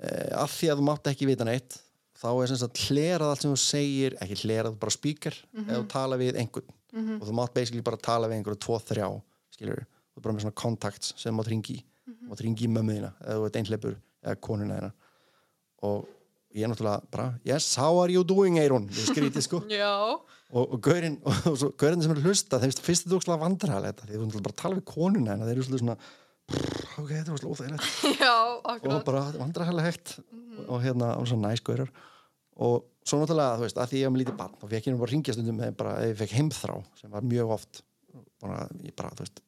S2: e, af því að þú mátt ekki vita neitt þá er sem sagt hlerað allt sem þú segir ekki hlerað, bara spíker
S1: Mhm.
S2: mm ef þú tala við einhvern og þú mátt basically bara tala við einhverju tvo, þrjá, skilur þú er bara með svona contacts sem þú mátt ringi í.
S1: Mhm.
S2: þú mátt ringi í mömmuðina eða þú ert einhleipur eða konuna þeirna og ég er náttúrulega bara yes, how are you doing, Eirun? Ég skrítið sko
S1: Já,
S2: og, og gaurinn og svo gaurinn sem er að hlusta þeim finnst- finnst þetta ókslega vandræðilegt af því þú náttúrulega bara að tala við konuna en þeir eru svolítið svona "Brr, ok, þetta var svolítið óþægilegt
S1: já,
S2: og
S1: akkurat.
S2: bara vandræðilegt og, og hérna, og svona næs gaurar og svo náttúrulega, þú veist, að því ég hef með lítið barn og fekk ég nú bara að ringja stundum með bara ef ég fekk heimþrá sem var mjög oft bara, ég bara, þú veist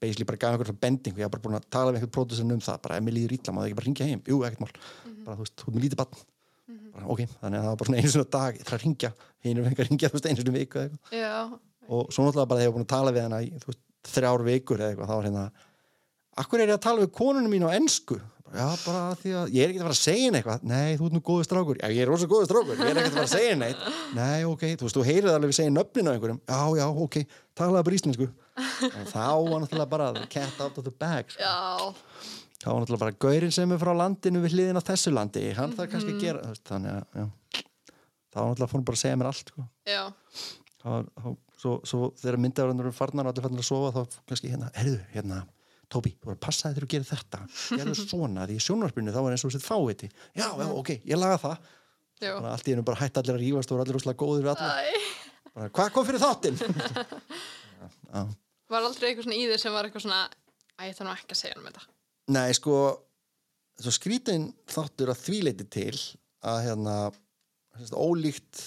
S2: basically bara gaf einhvern bending og ég var bara búin að tala við einhvern pródusinn um það, bara ef mér líður illa maður ekki bara ringja heim, jú, ekkert mál bara, þú veist, þú ert með lítið barn bara, ok, þannig að það var bara svona einu sinni á dag, ég þarf að ringja einu veginn að ringja, þú veist, einu sinni í viku eða eitthvað
S1: Já,
S2: og svo náttúrulega bara þegar ég var búin að tala við hana í þú veist, þrjár vikur eða eitthvað þá var hérna Akkur er ég að tala við konunum mín á ensku? Bara, Já, bara af því að ég er ekki að fara að segja henni eitthvað Nei, þú ert nú góður strákur Já, ég er rosa góður strákur, ég er ekki að fara að segja henni neitt Nei, ok, þú veist, þú heyrið alveg við segja nöfnin á einhverjum Já, já, ok, talaði bara íslensku En þá var náttúrulega bara the cat out of the bag sko.
S1: já,
S2: Þá var náttúrulega bara gaurinn sem er frá landinu við hliðin á þessu landi Hann þarf kannski að gera þú veist, Þannig að, já Þá var náttúrulega fórum bara að segja mér allt sko
S1: já.
S2: það var, þá, svo, svo þegar myndaverðanur eru farnar og allir farnar að sofa þá kannski hérna, herðu, hérna Tóbi, þú voru að passa þegar þú gerir þetta gerðu svona, því í sjónvarpinu þá er eins og þessi fáviti já, já, ok, ég laga það
S1: já.
S2: Bara allt í hennu bara hætt allir að rífast og voru allir úslega góðir við allir,
S1: Æ,
S2: bara, hvað kom fyrir þáttinn? Já.
S1: var aldrei eitthvað svona í þér sem var eitthvað svona, að ég ætla nú ekki að segja hann um þetta.
S2: Nei, sko svo skrítin þáttur að þvíleiti til að hérna sérst, ólíkt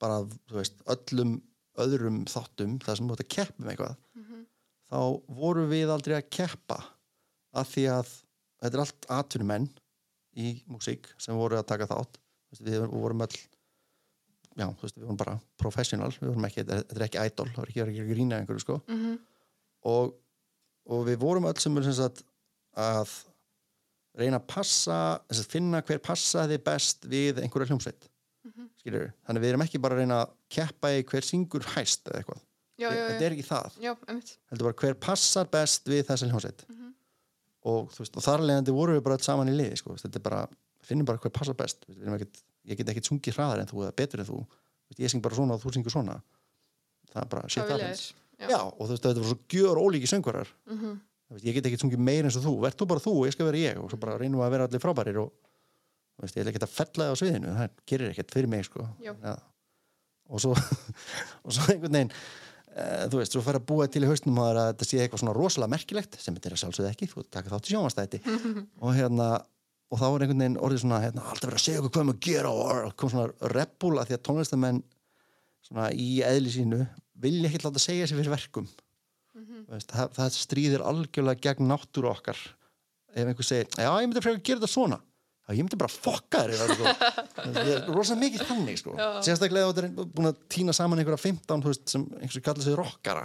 S2: bara, þú veist, öllum öðrum þáttum, þar sem þú ert að keppa með eitthvað þá voru við aldrei að keppa af því að þetta er allt atvinnumenn í músík sem voru að taka þátt Þú veist, við vorum öll já, þú veist, við vorum bara professional við vorum ekki, þetta er- þetta er ekki idol það er ekki, það er ekki að grína að einhverju sko
S1: Mhm.
S2: og, og við vorum öll sem er sem sagt að reyna að passa, þess að finna hver passaði best við einhverja hljómsveit mm
S1: Mhm.
S2: þannig að við erum ekki bara að reyna að keppa í hver syngur hæst eða eitthvað,
S1: Já, já,
S2: þetta
S1: já,
S2: er ekki það
S1: já, einmitt.
S2: heldur bara hver passar best við þessa hljómsveit
S1: Mhm.
S2: og, þú veist, og þar leðandi vorum við bara öll saman í liði sko. þetta er bara, finnum bara hver passar best Við erum ekkit, ég get ekkit sungið hraðar en þú eða betur en þú, Þú veist, ég syng bara svona og þú syngur svona það er bara shit
S1: Hvað vilja
S2: happens.
S1: þér?
S2: Já. og þú veist, þetta voru svo gjör ólíki söngvarar mm
S1: Mhm.
S2: veist, ég get ekki sungið meir eins og þú verð þú bara þú og ég skal vera ég og svo bara reynum við að vera allir frábærir og þú veist, ég ætla ekki að fella það á sviðinu það gerir ekkert fyrir mig sko.
S1: Já.
S2: ja. og svo og svo einhvern veginn Uh, þú veist, svo fara að búa til í hausnum maður að þetta sé eitthvað svona rosalega merkilegt sem þetta er að sjálfsögðu ekki, þú taka þátt í sjónvastæti og hérna, og þá er einhvern veginn orðið svona, hérna, alltaf verið að segja okkur hvað maður gera og kom svona repul að því að tónlistamenn svona í eðli sínu vilja ekki láta segja sér fyrir verkum Þú veist, það, það stríðir algjörlega gegn náttúru okkar ef einhver segir, já ég myndi frekar að gera þetta svona já ég myndi bara fokka þér það, sko. það er rosalega mikið þannig sko. sérstaklega ef þetta er búin að týna saman einhverja 15 þú veist, sem einhversu kallar sig rockara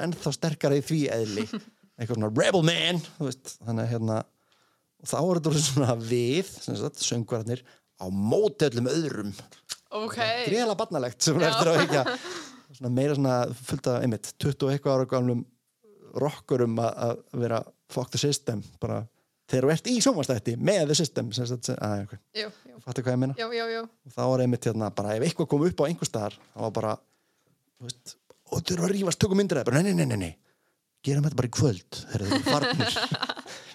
S2: ennþá sterkara í því eðli eitthvað svona rebel man þú veist, þannig að hérna og þá er þetta orðið svona við sem sagt, söngvararnir á móti öllum öðrum
S1: Ok,
S2: greiðlega barnalegt sem hún er
S1: Já.
S2: eftir að vekja svona meira svona fullt af einmitt 20 og eitthvað ára gamlum rockurum að að vera fuck the system bara þegar þú ert í sjónvastætti með the system sem sagt, sem, að, okay.
S1: já, já,
S2: fattu hvað ég meina
S1: já, já, já,
S2: og þá var einmitt hérna bara ef eitthvað kom upp á einhver staðar þá var bara þú veist, og þau eru að rífast tökum myndir af þér." bara nei, nei, nei, nei, nei gerum þetta bara í kvöld þegar þau eru farnir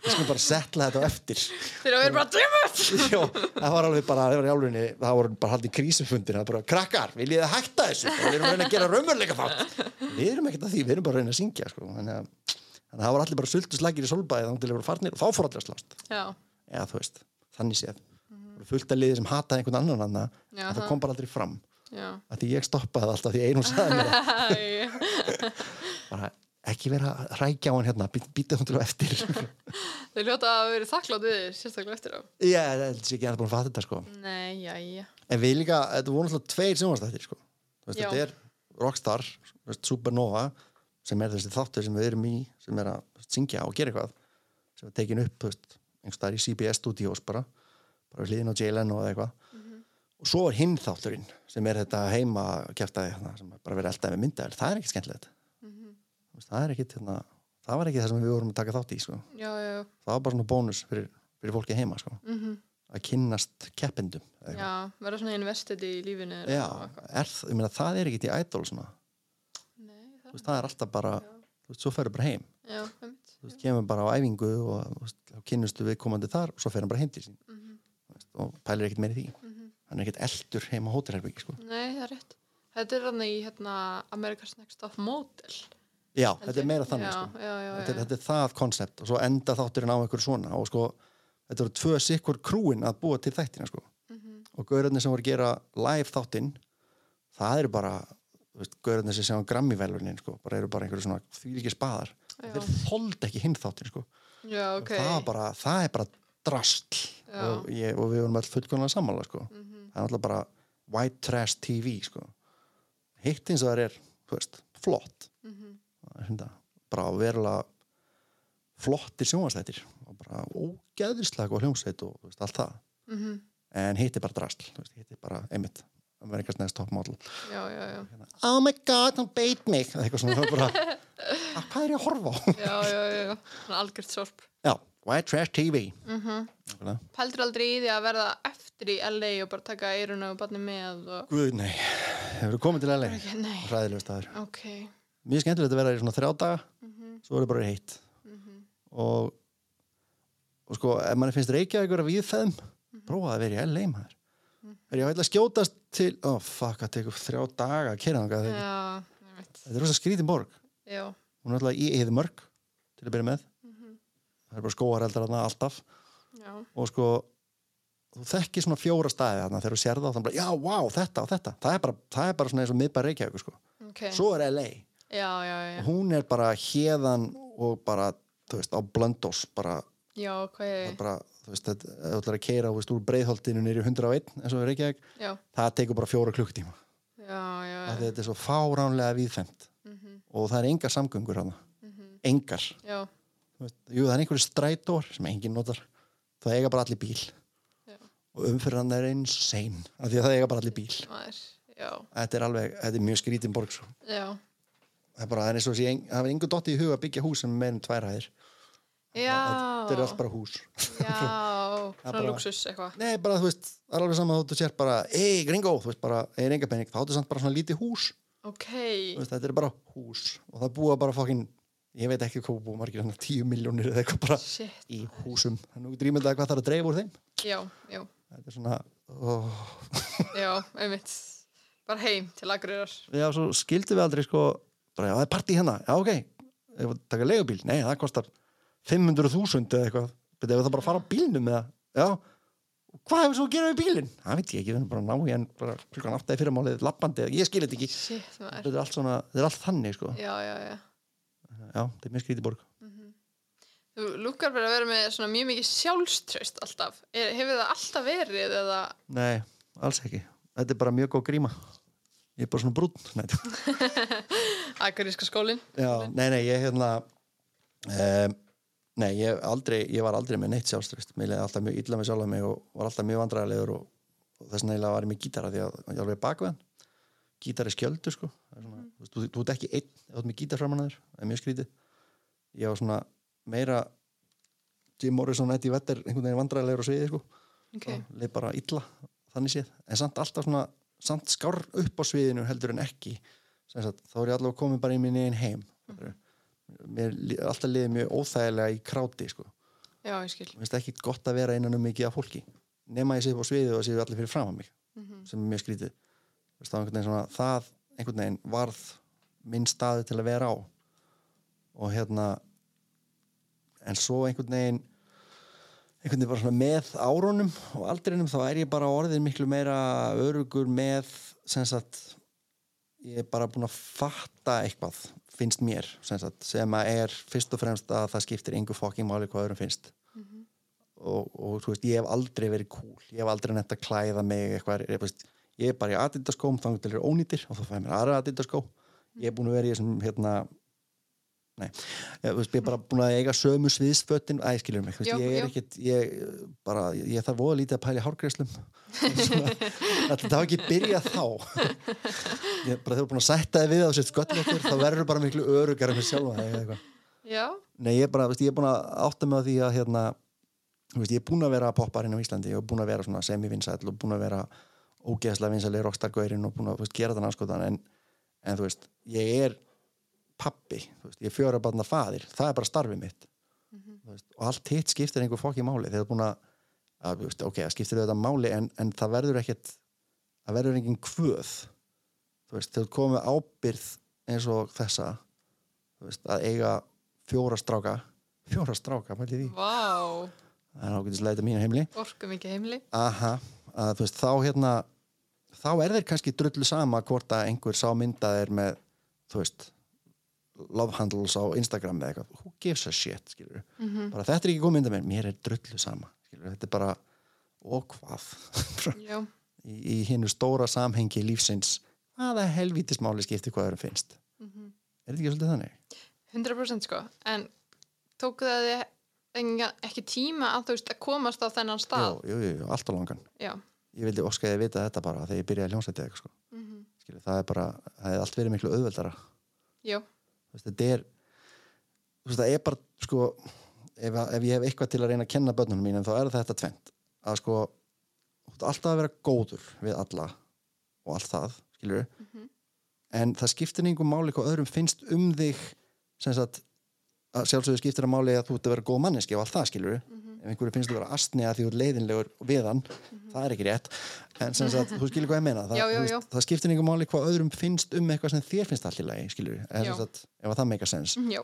S2: við skulum bara setla þetta á eftir
S1: þeir eru bara drifut!
S2: Já, það var alveg bara, það var í álunni, það voru bara haldið krísufundir, það var bara, krakkar, viljið þið hætta þessu, við erum að reyna að gera raumurleika þátt. Við erum ekkert að því, við erum bara að reyna að syngja, sko, þannig að, þannig að það var allir bara sultu slagir í solbæði, þannig að þeir voru farnir og þá fór allir að slást,
S1: Já,
S2: eða þú veist, þannig séð. voru fullt af liði sem hataði einhvern annan anna
S1: Já,
S2: en það
S1: ha.
S2: kom bara aldrei fram
S1: já.
S2: að því ég stoppaði það alltaf því einum sagði mér það.
S1: Æ,
S2: bara ekki vera að hrækja á hann hérna býta hún til á eftir ég
S1: þau hljóta að vera þakklátt við þér, sérstaklega eftir á.
S2: held að sé ekki að það búin að fatta þetta sko
S1: Nei, já, já.
S2: en við líka, þetta voru náttúrulega tveir sjónvastættir sko. Þú veist,
S1: Já.
S2: þetta er Rockstar, þú veist, Supernova sem er þessi þáttur sem við erum í sem er að þú veist, syngja og gera eitthvað sem er tekin upp, þú veist, einhverstaðar í CBS Studios bara, bara við hliðin á Jalen og eitthvað og svo er hinn þátturinn sem er þetta heima kjartaði hérna, sem er bara verið eldaði með myndaður það er ekki skemmtilegt
S1: Mhm.
S2: Þú veist, það er ekki, hérna, það var ekki það sem við vorum að taka þátt í sko.
S1: Já, já,
S2: það var bara svona bónus fyrir, fyrir fólki heima sko.
S1: Mhm.
S2: að kynnast keppendum eða eitthvað.
S1: já. Verða svona investið í lífinu. eða
S2: Já,
S1: svona eitthvað.
S2: er, það- ég meina það er ekkert í idol svona,
S1: Nei,
S2: þú
S1: það,
S2: veist, það er alltaf bara þú veist, svo ferðu bara heim,
S1: já, einmitt.
S2: þú veist, kemur bara á æfingu og þú veist, þá kynnustu við komandi þar og svo fer hann bara heim til sín
S1: Mhm.
S2: þú veist, og pælir ekkert meiri því hann er ekkert eldur heim á hótelherbyggi sko.
S1: Nei, það er rétt. Þetta er hann í, hérna, America's Next Top Model.
S2: já,
S1: held
S2: þetta er
S1: ég.
S2: meira
S1: já,
S2: þannig sko.
S1: Já, já, já.
S2: þetta, er, þetta er það koncept og svo enda þátturinn á einhverju svona og sko, þetta eru tvö sikkur krúin að búa til þættina sko.
S1: Mhm.
S2: og gaurarnir sem voru að gera live þáttinn það eru bara þú veist, gaurarnir sem sem grammivelunin sko, bara eru bara einhverju svona þvílíki spaðar
S1: Já.
S2: þeir þoldi ekki hinn þáttinn sko.
S1: Já, ok.
S2: það, var bara, það er bara drastl
S1: Já. Mhm.
S2: og, ég, og við vorum alltaf fullkonlega sammála sko. það er alltaf bara white trash TV sko. hitt eins og það er þú veist, flott
S1: Mhm,
S2: Það er hérna, bara verulega flottir sjónvarsættir og bara ógeðislega og hljómsveit og þú veist, allt það
S1: Mhm.
S2: en hitt er bara drastl þú veist, hitt er bara einmitt Amerikas next top model
S1: Já, já, já.
S2: oh my god, hann beit mig Það er eitthvað svona, það er bara, "Ah, hvað er ég að horfa á
S1: Já, já, já. já. Svona algjört sorp. Mhm.
S2: já, white trash TV mm -hmm.
S1: Pældur aldrei í því að verða eftir í LA og bara taka eiruna og barni með og...
S2: Guð, nei, hefur komið til LA
S1: Ekki, Nei,
S2: Ræðilegur staður
S1: ok.
S2: Mjög skemmtilegt að vera í svona þrjá daga Svo er það bara heitt og, og sko, ef mann finnst Reykjavík vera viðfæðum Prófaði að vera í LA maður Er ég að ætla að skjótast til Ó, oh, fuck, það tekur þrjá daga að kera þangað þegar-
S1: Já, ég veit.
S2: Þetta er rosa skrítin borg
S1: Já, mhm,
S2: Hún er alltaf í Eðimörk til að byrja með Það er bara skóareldar þarna alltaf
S1: já,
S2: og sko þú þekkir svona fjóra staði þarna þegar þú sér það og þannig bara, já, wow, þetta og þetta það er bara, það er bara svona eins og miðbæð Reykjavík sko.
S1: ok.
S2: svo er LA
S1: Já, já, já.
S2: og hún er bara hérðan og bara, þú veist, á blöndós bara,
S1: Já, hvað
S2: það
S1: ég...
S2: er bara, þú veist, þetta ef þú ætlar að keira, þú veist, úr breiðholtinu nýri 101 eins og er Reykjavík,
S1: Já,
S2: það tekur bara fjóra klukkutíma
S1: já, já.
S2: af því
S1: já.
S2: þetta er svo fáránlega viðfemt
S1: Mhm.
S2: og það er engar samgöngur hana engar,
S1: Já,
S2: þú veist, jú, það er einhverju strætór sem enginn notar, það eiga bara allir bíl
S1: Já.
S2: og umfyrir hann er insane, af því að það eiga bara allir bíl
S1: maður, já,
S2: þetta er alveg, þetta er mjög skrítin borg svo.
S1: já.
S2: það er bara, það er eins og sé, ein- það er engu dotti í huga að byggja hús sem er meir en tvær hæðir
S1: Já,
S2: þetta er allt bara hús
S1: já, svona
S2: bara-
S1: luxus eitthvað.
S2: nei, bara þú veist, það er alveg saman þóttu sér bara ei, gringó, þú veist bara, ei, enga penning þá áttu samt bara svona lítið hús
S1: Ok,
S2: Þú veist, þetta er bara hús og það búa bara fokkin ég veit ekki hvað búa margir hann 10 miljónir eða eitthvað bara
S1: shit,
S2: í húsum þannig að drýmið það hvað þarf að dreifa úr þeim
S1: já, já,
S2: þetta er svona oh.
S1: já, einmitt. Bara heim til agriðar.
S2: já, svo skildi við aldrei sko bara, já, það er partí hérna, já, ok ef við taka leigubíl, nei, það kostar 500.000 eða eitthvað betur ef það bara að fara á bílnum eða, já hvað hefur svo að gera við bílinn? það veit ég ekki, við erum bara að ná í en bara klukkan átta í fyrramálið lappandi, eða- ég skil þetta ekki
S1: Shit, maður.
S2: þetta er allt svona, þetta er allt þannig sko já,
S1: Já, já, já.
S2: þetta er mjög skrítið borg
S1: Þú lukkar bara að vera með svona mjög mikið sjálfströst alltaf. Er, hefur það alltaf verið eða...
S2: nei, alls ekki, þetta er bara mjög góð gríma ég er bara svona brún nei, þetta-
S1: Akaríska skólinn?
S2: Já, nei, nei, ég hérna um, Nei, ég, aldrei, ég var aldrei með neitt sjálfströst Mér leði alltaf mjög illa með sjálfa mig og var alltaf mjög vandræðilegur og, og þess vegna eiginlega var ég með gítara því að ég alveg bakveðan Gítar er skjöldu, sko Það er svona, þú, veist, þú, þú ert ekki einn ef þú ert með gítar framan að þér, það er mjög skrítið Ég var svona meira Jim Morrison, Eddie Vedder einhvern veginn vandræðilegur og sviði, sko
S1: Ok,
S2: og leið bara illa þannig séð en samt alltaf svona samt skár upp á sviðinu heldur en ekki Sem sagt, þá er ég allavega komin bara í minn einn heim mm. mér lí- alltaf liðið mjög óþægilega í kráti sko.
S1: já, ég skil.
S2: mér finnst ekki gott að vera innan um mikið af fólki nema ég sé upp á sviðið og séu allir fyrir fram að mig sem er mjög skrítið Þú veist, það, var einhvern veginn svona, það einhvern veginn varð minn staðu til að vera á og hérna en svo einhvern veginn einhvern veginn bara svona með árunum og aldrinum þá er ég bara orðin miklu meira örugur með sem sagt ég er bara búin að fatta eitthvað finnst mér sem sagt sem að er fyrst og fremst að það skiptir engu fucking máli hvað öðrum finnst og, og þú veist ég hef aldrei verið cool ég hef aldrei nefnt að klæða mig eitthvað ég, veist, ég er bara í adidaskóm þannig til er ónýtir og þá fæði mér aðra adidaskó ég er búin að vera í þessum hérna Nei, ég, þú veist, ég er bara búin að eiga sömu sviðsfötin, æ, skilur mig, þú veist,
S1: Jú,
S2: ég er
S1: jú.
S2: ekkit, ég, eh, bara, ég þarf voða lítið að pæla í hárgreislum. Svona, Þetta hafa ekki byrjað þá. Ég, bara þegar þú er búin að sætta þið við á sér sköllin okkur, þá verður bara miklu örugar með sjálfa þig eða eitthvað.
S1: Já,
S2: Nei, ég er bara, þú veist, ég er búin að átta mig á því að, hérna, þú veist, ég er búin að vera popparinn á Íslandi, ég er búin að vera svona semivinsæll og búin að vera ógeðslega vinsæli rockstargöyrinn og búin að, þú veist, gera þann anskotan, en, en, þú veist, ég er pappi, þú veist, ég er fjóra barna faðir, það er bara starfið mitt þú veist, og allt hitt skiptir einhver fokki máli þegar þú er búin að, að þú veist, ok, það skiptir auðvitað máli en, en það verður ekkert það verður engin kvöð þú veist, þegar þú komið ábyrð eins og þessa þú veist, að eiga fjóra stráka fjóra stráka, mælið því
S1: vá,
S2: það er ágætis leita mínu heimli
S1: orkum ekki heimli.
S2: Aha, að, þú veist, þá hérna þá er þeir kannski drullu sama hvort að einhver sá mynda þeir með þú veist love handles á Instagram eða eitthvað who gives a shit, skilur bara þetta er ekki góð mynda mér, mér er drullu sama skilur þetta er bara, og hvað
S1: Já,
S2: í, í hinnu stóra samhengi lífsins hvaða helvítismáli skipti hvað þeir finnst er þetta ekki svolítið þannig?
S1: 100% Mhm. sko, en tók það þig enga- ekki tíma að þú veist að komast á þennan stað?
S2: Jú, jú, jú, jú, allt á langan
S1: Já,
S2: ég vildi óska ég að vita þetta bara þegar ég byrjaði að hljómsætti eitthvað sko.
S1: mm -hmm.
S2: skilur, það er bara, það hefði allt verið miklu auðveldara
S1: já,
S2: þú veist, þetta er þú veist, það er bara, sko ef, ef ég hef eitthvað til að reyna að kenna börnunum mínum þá er þetta tvent að sko, þú veist, alltaf að vera góður við alla og allt það skilur,
S1: Mhm.
S2: en það skiptir einhver máli hvað öðrum finnst um þig sem sagt að sjálfsögðu skiptir að máli að þú ert að vera góð manneski og allt það skilur,
S1: Mhm.
S2: ef einhverju finnst þú vera astni að því þú ert leiðinlegur við hann það er ekki rétt, en sem sagt þú skilur hvað ég meina, það,
S1: Já, já,
S2: þú
S1: já.
S2: það skiptir einhver máli hvað öðrum finnst um eitthvað sem þér finnst allir lagi, skilur,
S1: Já.
S2: eða sem sagt ef að það meika sens,
S1: Mhm, já,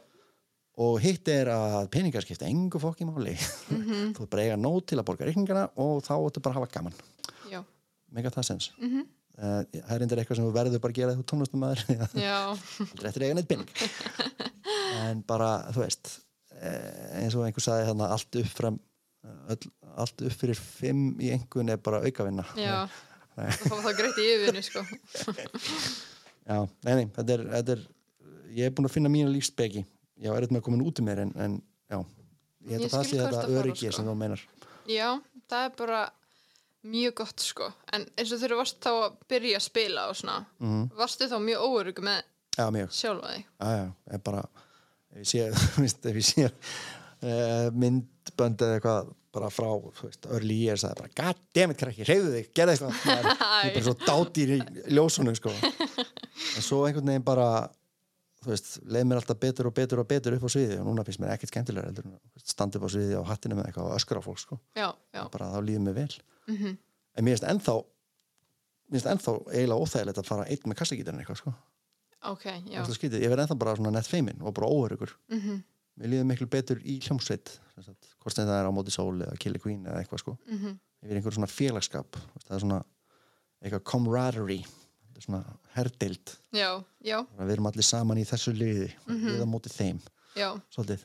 S2: og hitt er að peningar skipta engu fokki máli
S1: Mhm.
S2: þú er bara að eiga nót til að borga reikningana og þá ættu bara að hafa gaman
S1: já,
S2: meika það sens
S1: mm
S2: uh, það er endur eitthvað sem þú verður bara að gera þegar þú tónlistum maður
S1: já,
S2: aldrei eftir að eiga neitt pening en bara, þú veist eh, eins og einhver sagði þarna allt upp fram eh, öll, allt upp fyrir fimm í einhvern er bara aukavinna
S1: já.
S2: Nei.
S1: Það fá það greitt í yfirinu sko.
S2: Já, nei, nei, þetta er, þetta er ég er búin að finna mína lífsbeki ég er eitthvað með að koma út um mér en, en já, ég held
S1: Ég
S2: að það
S1: skil
S2: sé
S1: hvað
S2: þetta
S1: ertu að fara,
S2: öryggi
S1: sko.
S2: sem þú meinar
S1: Já, það er bara mjög gott sko. En eins og þegar þú varst þá að byrja að spila og svona,
S2: mm.
S1: varstu þá mjög óörug með
S2: Já, mjög
S1: sjálfa þig?
S2: já, já, ég bara ef ég sé, þú veist, ef ég sé uh, myndbönd eða eitthvað bara frá, þú veist, early years það er bara, god damn it krakki, reyðu þig, gerðu eitthvað maður, ég er bara svo dátýr í ljósunum sko. en svo einhvern veginn bara þú veist, leið mér alltaf betur og betur og betur upp á sviði og núna finnst mér ekkert skemmtilega heldur en að, þú veist, standa upp á sviði á hattinu með eitthvað og öskra á fólk sko,
S1: Já, já.
S2: bara þá líður mér vel
S1: Mm
S2: en mér finnst ennþá mér finnst ennþá eiginlega óþægilegt að fara einn með kassagítarinn eitthvað sko,
S1: Ok, já.
S2: alltaf skrítið, ég verð ennþá bara svona nett feimin og bara óöryggur
S1: Mm
S2: mér líður miklu betur í hljómsveit sem sagt, hvort sem það er á móti sól eða Kili Queen eða eitthvað sko,
S1: mhm.
S2: yfir einhver svona félagskap þú veist, það er svona eitthvað camaraderie, þetta er svona herdeild,
S1: Já, já,
S2: Bara við erum allir saman í þessu liði, mm
S1: Mhm.
S2: -hmm. við á móti þeim
S1: já,
S2: svolítið,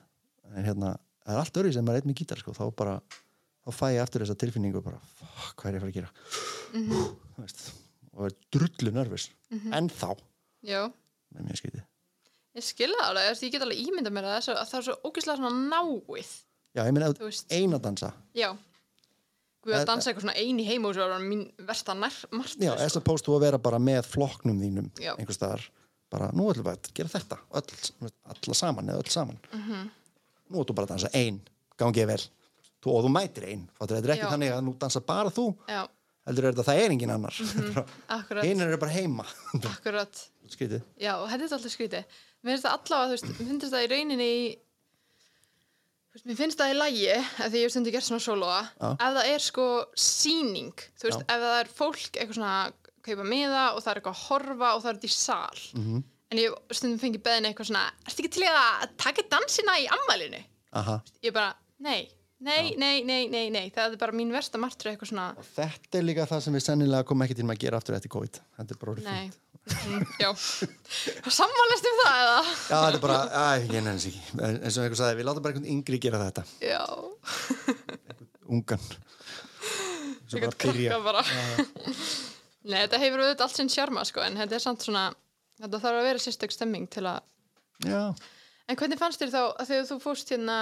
S2: en hérna það er allt öðru sem maður er einn með gítar sko, þá bara þá fæ ég aftur þessa tilfinningu bara, fuck, hvað er ég að fara að gera
S1: Mhm.
S2: þú veist, og er drullu nervus en þá,
S1: já.
S2: með mér skytið
S1: Ég skilða það alveg, þú veist, ég get alveg ímyndað mér að það er svo- að það er svo ógeðslega svona náið,
S2: já, ég meina, ef
S1: þú veist.
S2: eina dansa
S1: Já. Guð
S2: Það-
S1: að dansa eitthvað svona ein í heima og svo er hann mín versta nær sko. margt.
S2: Já, as opposed to að vera bara með flokknum þínum
S1: Já.
S2: einhvers staðar, bara nú ætlum við að gera þetta öll, þú veist, alla saman eða öll saman
S1: Mhm.
S2: nú ætlum bara að dansa ein gangið vel, þú, og þú mætir ein fattur þetta er ekki
S1: Já.
S2: þannig að nú dansa bara þú
S1: Já,
S2: heldur er þetta það er engin annar mm
S1: Mhm. akkurat,
S2: eru bara heima
S1: akkurat.
S2: skrítið,
S1: Já, og þetta er alltaf skrítið. Mér finnst það allavega, þú veist, mér finnst það í rauninni í... þú Veist, mér finnst það í lægi, ef því ég hef stundi gert svona sólóa,
S2: Já.
S1: ef það er sko sýning, þú veist,
S2: Já.
S1: ef það er fólk eitthvað svona að kaupa miða og það er eitthvað að horfa og það er þetta í sal.
S2: Mhm.
S1: -hmm. En ég hef stundum fengið beðin eitthvað svona, ertu ekki til í að taka dansina í ammælinu?
S2: aha
S1: Ég bara, nei, Nei, nei, nei, nei, nei, það er bara mín versta martröð eitthvað svona,
S2: og þetta er líka það sem við sennilega komum ekki til að gera aftur eftir COVID þetta er bara orðið
S1: nei,
S2: fínt
S1: Mhm, já, sammálist um það eða?
S2: já þetta er bara, að, ég nefnins ekki En- eins og einhver sagði, við látum bara einhvern yngri gera þetta
S1: Já,
S2: ungan Svo
S1: eitthvað
S2: bara byrja.
S1: krakka bara. Nei, þetta hefur auðvitað allt sinn sjarma sko, en þetta er samt svona, þetta þarf að vera sérstök stemming til að,
S2: já,
S1: en hvernig fannst þér þá að þegar þú fóst hérna,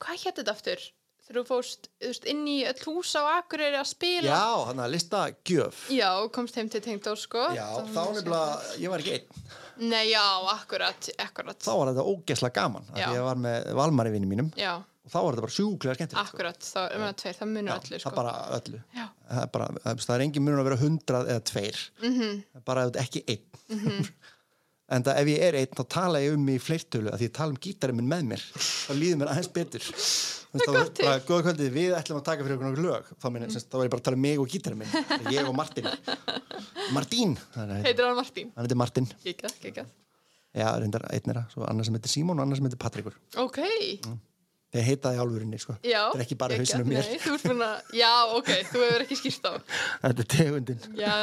S1: hvað hétt þetta aftur? Þegar þú fóst, þú veist, inn í öll hús á Akureyri að spila?
S2: já hann að lista gjöf
S1: Já, komst heim til tengdór sko.
S2: já, þá nefnilega, ég var ekki einn
S1: Nei, já, akkurat, akkurat,
S2: þá var þetta ógeðslega gaman að
S1: Já.
S2: ég var með valmari vinnum mínum
S1: já,
S2: og þá var þetta bara sjúklega skemmtilegt sko.
S1: akkurat, þá er maður tveir, það munur
S2: Já,
S1: öllu
S2: það
S1: sko.
S2: er bara öllu
S1: Já.
S2: það er, bara, það er- það er engin munur að vera hundrað eða tveir mm
S1: Mhm.
S2: -hmm. bara ef þetta er ekki einn en það ef ég er einn þá tala ég um mig í fleirtölu að því ég tala um gítarinn minn með mér þá líður mér aðeins betur Þannig að
S1: gott til.
S2: bara, góða kvöldið, við ætlum að taka fyrir okkur nokkur lög þá, meni, mm. þá var ég bara að tala um mig og gítarinn minn ég og Martin Martín, hann heitir-
S1: Heitir hann Martín?
S2: hann heitir Martin
S1: Gekað, gekað.
S2: já, reyndar einn er það, svo annars sem heitir Simon og annars sem heitir Patrikur
S1: Ok,
S2: þeir heita það í alvörinni sko.
S1: já.
S2: þetta er ekki bara
S1: geggjað.
S2: hausinu mér
S1: Nei, þú ert búin að, já, ok, þú hefur ekki skýrt á.
S2: þetta er tegundin
S1: Já,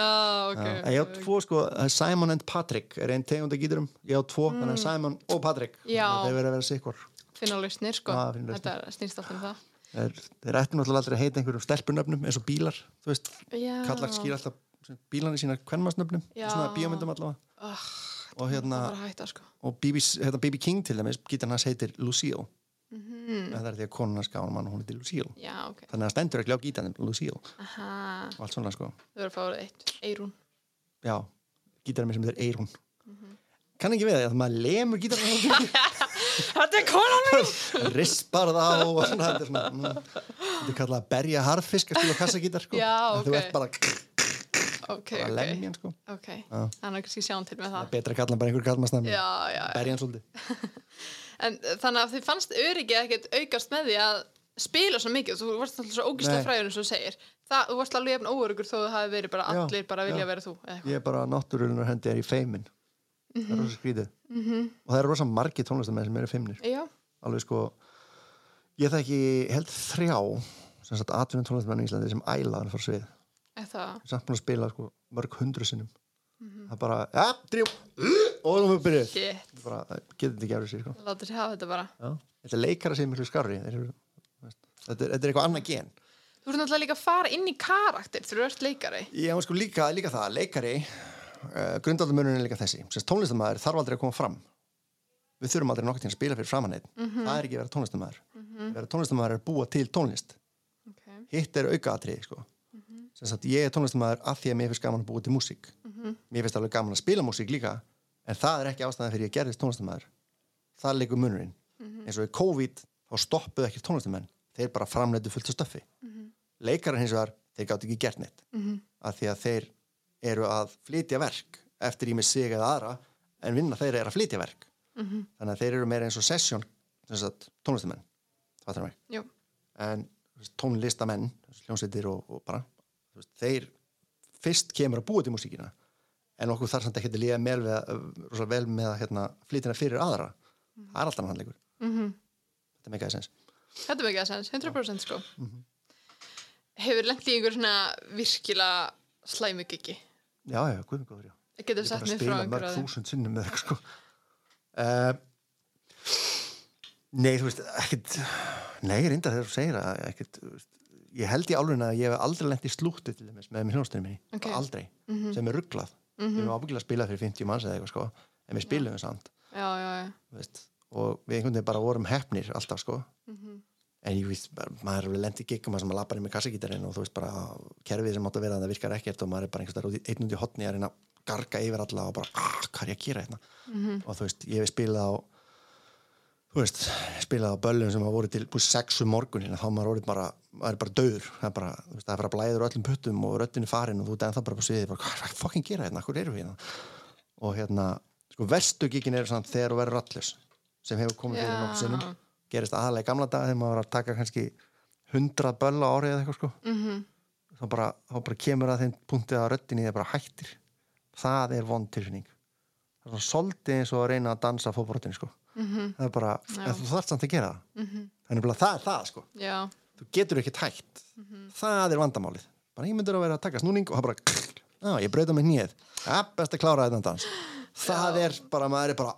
S1: ok.
S2: Já, en ég á tvo sko, það er Simon and Patrick er einn tegund að gíturum, ég á tvo þannig að Simon og Patrick,
S1: Mm. Já.
S2: Þannig að þeir verið að vera sikvar
S1: Finna lausnir, sko.
S2: Já, finna lausnir.
S1: Þetta snýst alltaf um það.
S2: þeir, þeir ættu náttúrulega aldrei að heita einhverjum stelpunöfnum eins og bílar, þú veist
S1: Já.
S2: kallar skýr alltaf bílarni sína kvenmasnöfnum,
S1: Já.
S2: svona bíómyndum allavega
S1: Oh,
S2: og hérna,
S1: það var að hætta, sko.
S2: og BB, hérna BB King til dæmis, gítarn hans heitir Lucille
S1: Mhm.
S2: það er því að konan hans gáðum hann hún heitir Lucille,
S1: Já, ok.
S2: þannig að það stendur ekki á gítarnum Lucille
S1: Aha,
S2: og allt svona sko
S1: þú verður að fá eitt, Eirún.
S2: já, gítarnum sem þeir eirún kann ekki við það, að maður lemur gítarnum
S1: Þetta er konan mín!
S2: rispar það á og svona, þetta er svona mm, þetta er kallað að berja harfisk að spila kassagítar sko.
S1: Já,
S2: Að þú
S1: ok. Ah.
S2: ert bara, bara
S1: Ok,
S2: okay.
S1: ok.
S2: lemjan sko.
S1: Ok, þannig að kannski sjá hann til með það.
S2: betra að kalla hann bara einhver kallmannsnafn
S1: Já, já, já.
S2: berja hann svolítið
S1: En uh, þannig að þið fannst öryggið ekkert aukast með því að spila svo mikið þú varst alltaf svo ógislega
S2: Nei.
S1: fræður eins og þú segir það, þú varst alveg jafn óöryggur þó það hafi verið bara
S2: Já,
S1: allir bara vilja
S2: já.
S1: vera þú eða eitthvað.
S2: ég er bara náttúrulega hendi er í feimin það
S1: Mhm.
S2: er rosa skrítið og það er rosa margi tónlistamenn sem eru feimnir
S1: já,
S2: alveg sko ég þekki held þrjá sem sagt atvinnum tónlistamenn í Íslandi sem ælaðan fór svið
S1: eða
S2: samt búin að spila sko, mörg hundru sinnum það er bara, ja, drjum og þú fyrir byrjuð
S1: shit,
S2: bara, getur þetta ekki að sér sko.
S1: láta sér hafa þetta bara
S2: Já. Þetta er leikara sem er miklu skarri Þeir eru, þú veist, þetta er, þetta er eitthvað annað gen
S1: þú verður náttúrulega líka að fara inn í karakter þegar þú ert leikari
S2: Ég hef sko líka, líka það, leikari uh, grundaldamörun er líka þessi Sérst, tónlistamæður þarf aldrei að koma fram Við þurfum aldrei nokkuð til að spila fyrir framan neitt Það er ekki að vera tónlistamæður mm -hmm. Vera tónlistamæður er að búa til tónlist
S1: okay.
S2: Hitt er aukaatrið sko. Sem sagt, ég er tónlistamæður af því að mér finnst gaman að búa til músík Mér finnst alveg gaman að spila músík líka En það er ekki ástæðan fyrir ég gerðist tónlistamæður Það leikur munurinn Eins og í COVID þá stoppuðu ekki tónlistamenn Þeir bara framleitu fullt af stöffi Leikarar hins vegar, þeir gátt ekki gert neitt Af því að þeir eru að flytja verk Eftir í mig sig eða aðra En vinna þeir er að flytja verk Þannig að þeir eru meira eins og sesjón Tónlistamenn Það mig
S1: Jú.
S2: en þú veist, tónlistamenn þú veist, hljómsveitir og, og bara þú veist, þeir fyrst kemur að búa til músíkina en okkur þarf samt ekki að líða vel, við, að- rosa vel með að hérna, flytina fyrir aðra það er alltaf hannleikur mm -hmm. þetta er meikaði sens
S1: þetta er mikið að sens, 100% sko
S2: Mhm.
S1: hefur lent í einhver svona virkilega slæmugiki
S2: já, já, guðum góður, já
S1: getur
S2: ég er
S1: sett
S2: bara að
S1: mig frá
S2: spila um
S1: einhver
S2: mörg
S1: að þeim
S2: þúsund sinnum með eitthvað sko uh, nei, þú veist, ekkit nei, reyndar þegar þú segir að ekkit, þú veist, ég held í álurinn að ég hef aldrei lent í slútti til þess með hljónstunni minni
S1: Ok. Mhm.
S2: aldrei, sem er rugglað mm -hmm. við erum ábyggilega að spila fyrir 50 manns eða eitthvað sko en við spilum við samt
S1: já, já, já,
S2: þú veist, og við einhvern veginn bara vorum hefnir alltaf sko en ég veist, bara- maður er alveg lent í giggum þar sem maður lappar inn með kassagítarinn og þú veist bara kerfið sem átt að vera það virkar ekkert og maður er bara einhvern veginn einn út í hotni að reyna að garga yfir alla og bara, "Ah, hvað er ég að gera hérna og þú veist, ég hef spilað á þú veist, spilað á böllum sem hafa voru til búið sexu morgunin um þá maður orðið bara, maður er bara döður það er bara, þú veist, það er bara að blæða úr öllum puttum og röddin er farin og þú ert ennþá bara på sviði bara, hvað er að fucking gera hérna, hvað eru við hérna og hérna, sko verstu gíkin eru samt þegar þú verður rallus sem hefur komið fyrir
S1: Já.
S2: nokkuð sinnum gerist aðalega í gamla dag þegar maður var að taka kannski 100 böll á árið eða eitthvað sko -hmm.
S1: Mhm,
S2: þá, bara, þá bara kemur að þeim punktið að röddin í þeir bara hættir það er vond tilfinning það er svona svolítið eins og að reyna að dansa fótbrotinu sko.
S1: Mhm.
S2: það er bara,
S1: Já.
S2: en þú þarft samt að gera það
S1: Mhm.
S2: þannig að það er það sko
S1: Já,
S2: þú getur ekki tækt
S1: Mhm.
S2: það er vandamálið bara ég myndur að vera að taka snúning og það bara á, ég breyta mig nýð ja, best að klára þetta dans það er bara, maður er bara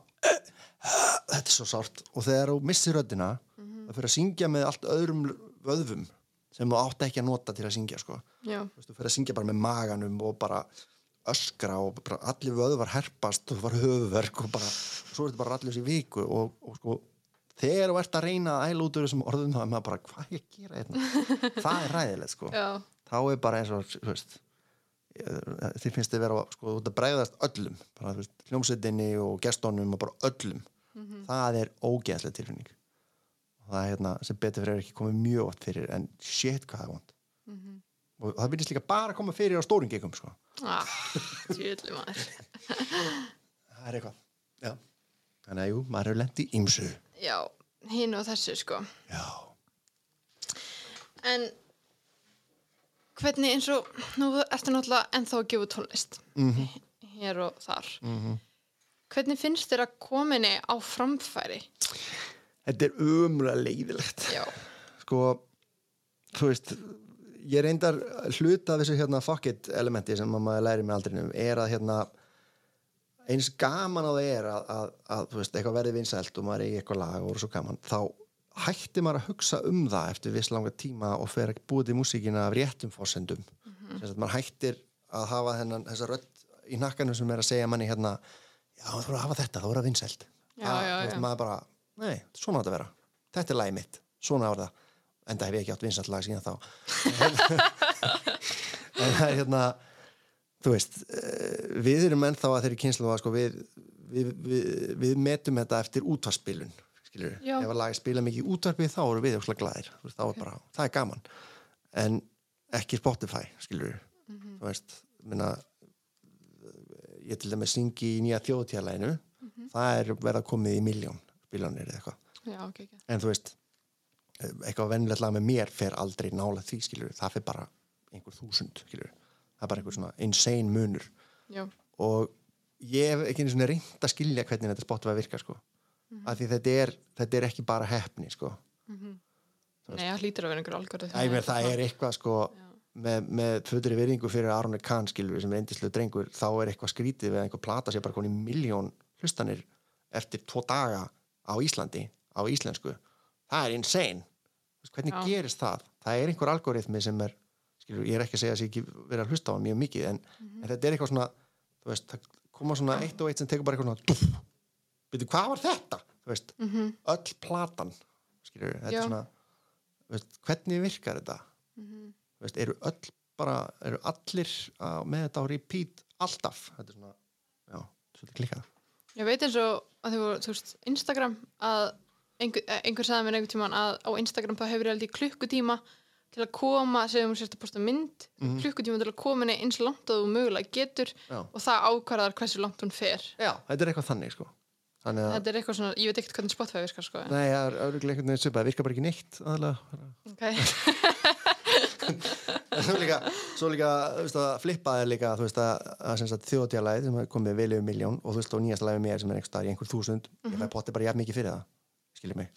S2: þetta er svo sárt og þegar þú missir röddina
S1: Mhm.
S2: það fyrir að syngja með allt öðrum vöðvum sem þú átt ekki að nota til að syngja sko.
S1: já,
S2: Þú veist, þú fyrir að syngja bara með maganum og bara öskra og bara allir vöðvar herpast og þú var höfuverk og bara og svo er þetta bara allir þessi viku og, og sko þegar þú ert að reyna að æla út úr þessum orðum þá er maður bara hvað er ég að gera hérna það er ræðilegt sko
S1: já,
S2: þá er bara eins og þú veist ég- þér finnst þið vera sko út að bregðast öllum bara þú veist hljómsveitinni og gestónum og bara öllum það er ógeðslega tilfinning og það er hérna sem betur fyrir er ekki komið mjög oft fyrir en shit hvað það er vond og það finnst líka bara að koma fyrir á stórum gegum sko
S1: ah, tjöðli maður
S2: það er eitthvað já. þannig að jú, maður hefur lent í ymsu
S1: Já, hinn og þessu sko
S2: já,
S1: En hvernig eins og, nú ertu náttúrulega ennþá að gefa út tónlist
S2: Mhm.
S1: hér og þar Hvernig finnst þér að kominni á framfæri?
S2: þetta er umlega leiðilegt
S1: Já,
S2: sko, þú veist ég reyndar hluta af þessu hérna fuck it elementi sem að maður læri með aldrinum er að hérna eins gaman að það er að, að, að þú veist, eitthvað verði vinsælt og maður eigi eitthvað lag og er svo gaman, þá hætti maður að hugsa um það eftir viss langa tíma og fer að búið til músíkina af réttum fórsendum mm
S1: Mhm.
S2: -hmm. maður hættir að hafa þennan, þessa rödd í nakkanum sem er að segja manni hérna já, þú voru að hafa þetta, þá voru að vinsælt
S1: Já,
S2: Að,
S1: já,
S2: þú veist,
S1: já.
S2: maður bara, nei, svona á þetta að vera þetta er lagið mitt, svona var það enda hef ég ekki átt vinsælt lag síðan þá en það er hérna þú veist, eh, við erum ennþá að þeirri kynslu að sko, við, við, við, við metum þetta eftir útvarspilun skilur
S1: Já.
S2: ef að lagi spila mikið í útvarpið þá eru við óslega glæðir, þú veist, þá er bara, það er gaman en ekki Spotify skilur, þú veist minna, ég til dæmis syngi í nýja þjóðtjálæginu það er verið að komið í miljón biljónir eða eitthvað
S1: já, ok, ok
S2: en þú veist eitthvað venjulegt lag með mér fer aldrei nála því skilur, það fer bara einhver þúsund skilur, það er bara einhver svona insane munur
S1: Já,
S2: og ég hef ekki einu svona reynd að skilja hvernig þetta Spotify virkar sko af því þetta er, þetta er ekki bara heppni sko,
S1: nei, það hlýtur að vera einhver algjörð
S2: æmur það er eitthvað sko með, með fötri virðingu fyrir Arne Kahn skilur sem er eindislu drengur, þá er eitthvað skrítið við að einhver plata sé bara koni miljón hlustanir eftir tvo daga á Íslandi, á íslensku það er insane Þú veist, hvernig
S1: Já.
S2: gerist það? Það er einhver algoritmi sem er skilur, ég er ekki að segja að ég ekki verið að hlusta á hann mjög mikið en, en þetta er eitthvað svona þú veist, það koma svona eitt og eitt sem tekur bara eitthvað svona dúf, veitu hvað var þetta? Þú veist, öll platan skilur,
S1: Mhm.
S2: þetta
S1: Já.
S2: er svona þú veist, hvernig virkar þetta?
S1: Mhm.
S2: Þú veist, eru öll bara, eru allir að, með þetta á repeat alltaf þetta er svona, já, svolítið klikkað
S1: Ég veit eins og að þau voru, þú veist, Instagram að einhver, eh, einhver sagði mér einhver tíman að á Instagram þá hefur ég aldrei klukkutíma til að koma, segjum við sérst að posta mynd klukkutíma til að koma henni eins langt og þú mögulega getur
S2: Mhm. já.
S1: og það ákvarðar hversu langt hún fer
S2: já, þetta er eitthvað þannig sko þannig að
S1: þetta er eitthvað svona, ég veit ekkert hvernig Spotify virkar sko en-
S2: Nei, það er örugglega einhvern veginn svipað, það virkar bara ekki neitt aðalega.
S1: okay.
S2: svo líka, svo líka þú veist, að flippa er líka þú veist, að, að sem sagt, þjóðtjálæð sem er komið vel yfir miljón og þú veist, og nýjast læfið mér sem er einhver staðar í einhver þúsund
S1: Mhm.
S2: ég fæ potti bara jafn mikið fyrir það, skiljið mig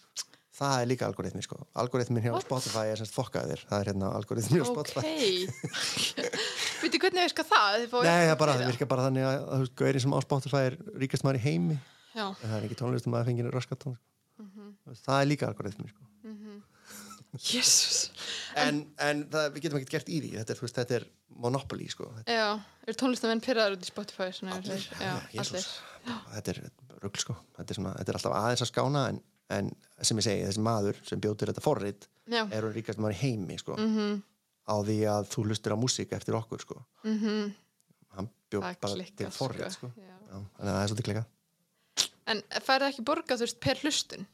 S2: það er líka algoritmi, sko algoritmin hjá
S1: What?
S2: Spotify er sem sagt fokkaðir það er hérna algoritmi hjá
S1: ok
S2: Spotify
S1: veitir hvernig virkar það? Þið fáið
S2: Nei, það, er bara,
S1: meira?
S2: það virkar bara þannig að, að þú veist, gaurinn sem á Spotify er ríkast maður í heimi
S1: Já.
S2: en það er ekki tónlistum að fengið raskatón sko.
S1: Mhm.
S2: það er líka algoritmi, sko
S1: Jesus.
S2: en, en það, við getum ekkert gert í því þetta er, þú veist, þetta er monopoly, sko
S1: Já, eru tónlistamenn pyrraður út í Spotify svona, eru
S2: allir,
S1: þeir-
S2: já,
S1: já, allir.
S2: Jesús þetta er rugl sko þetta er, svona, þetta er alltaf aðeins að skána en, en sem ég segi, þessi maður sem bjóður þetta forrit
S1: Já. Mhm.
S2: er hún ríkast maður í heimi sko, -hmm. á því að þú hlustir á músík eftir okkur sko
S1: Mm
S2: hann bjóð
S1: Það
S2: bara til
S1: klikkar,
S2: forrit
S1: sko.
S2: sko.
S1: Já.
S2: Já, þannig að það er svolítið klikað
S1: En færðu ekki borga þú veist per hlustun?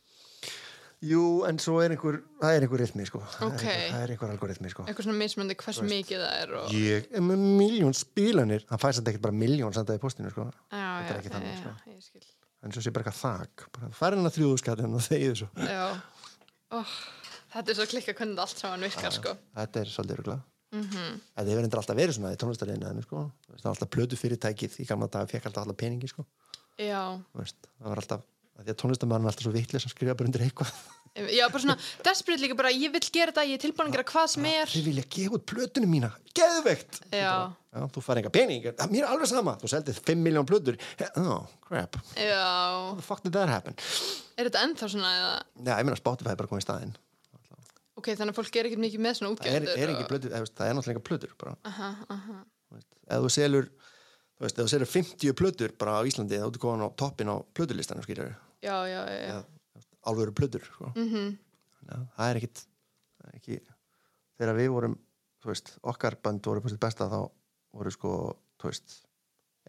S2: Jú, en svo er einhver, það er einhver rithmi sko Það er
S1: Ok.
S2: einhver- það er einhver algoritmi sko
S1: Eitthvað svona mismöndi hversu mikið það er og...
S2: ég er með miljón spílanir hann fæst þetta ekkert bara miljón sendaði í postinu sko
S1: Já, já,
S2: er ekki
S1: já, já,
S2: þannig, sko.
S1: ég skil.
S2: en svo sé bara eitthvað þak bara færi hennar þrjúðuskatinn og þegið svo
S1: Já. Oh, þetta er svo klikka hvernig allt saman virkar, sko.
S2: þetta er svolítið ruglað
S1: Mm
S2: Þetta hefur endur alltaf verið svona í tónlistariðinu sko. Það var alltaf plötu fyrirtækið í gamla dag fekk alltaf alltaf peningi sko.
S1: já,
S2: þú veist, það var alltaf að því að tónlistamann er alltaf svo vitlega sem skrifa bara undir eitthvað
S1: já, bara svona desperate líka bara, ég vil gera þetta, ég er tilbúin að gera hvað sem er
S2: þið vilja gefa út plötunum mína, geðveikt
S1: Já.
S2: Já, þú fari enga pening, "Ah, mér er alveg sama þú seldið 5 miljón plötur He- oh, crap, how
S1: já,
S2: the fuck did that happen
S1: er þetta ennþá svona eða,
S2: Já, ég meina Spotify er bara komið í staðinn
S1: ok, þannig að fólk er ekkert mikið með svona
S2: það er,
S1: útgjöndur
S2: er engin plötur, eða, þú veist, það er náttúrulega enga plötur bara.
S1: aha, aha,
S2: Þú veist, ef þú selur þú veist, ef þú selur 50 plötur bara á Íslandi þá ertu komin á toppin á plötulistanum skýrur
S1: já, já, já, já.
S2: alvöru plötur sko. mm
S1: Mhm.
S2: -hmm. það er ekkit það er ekki, þegar við vorum þú veist, okkar band voru búin besta þá voru sko þú veist,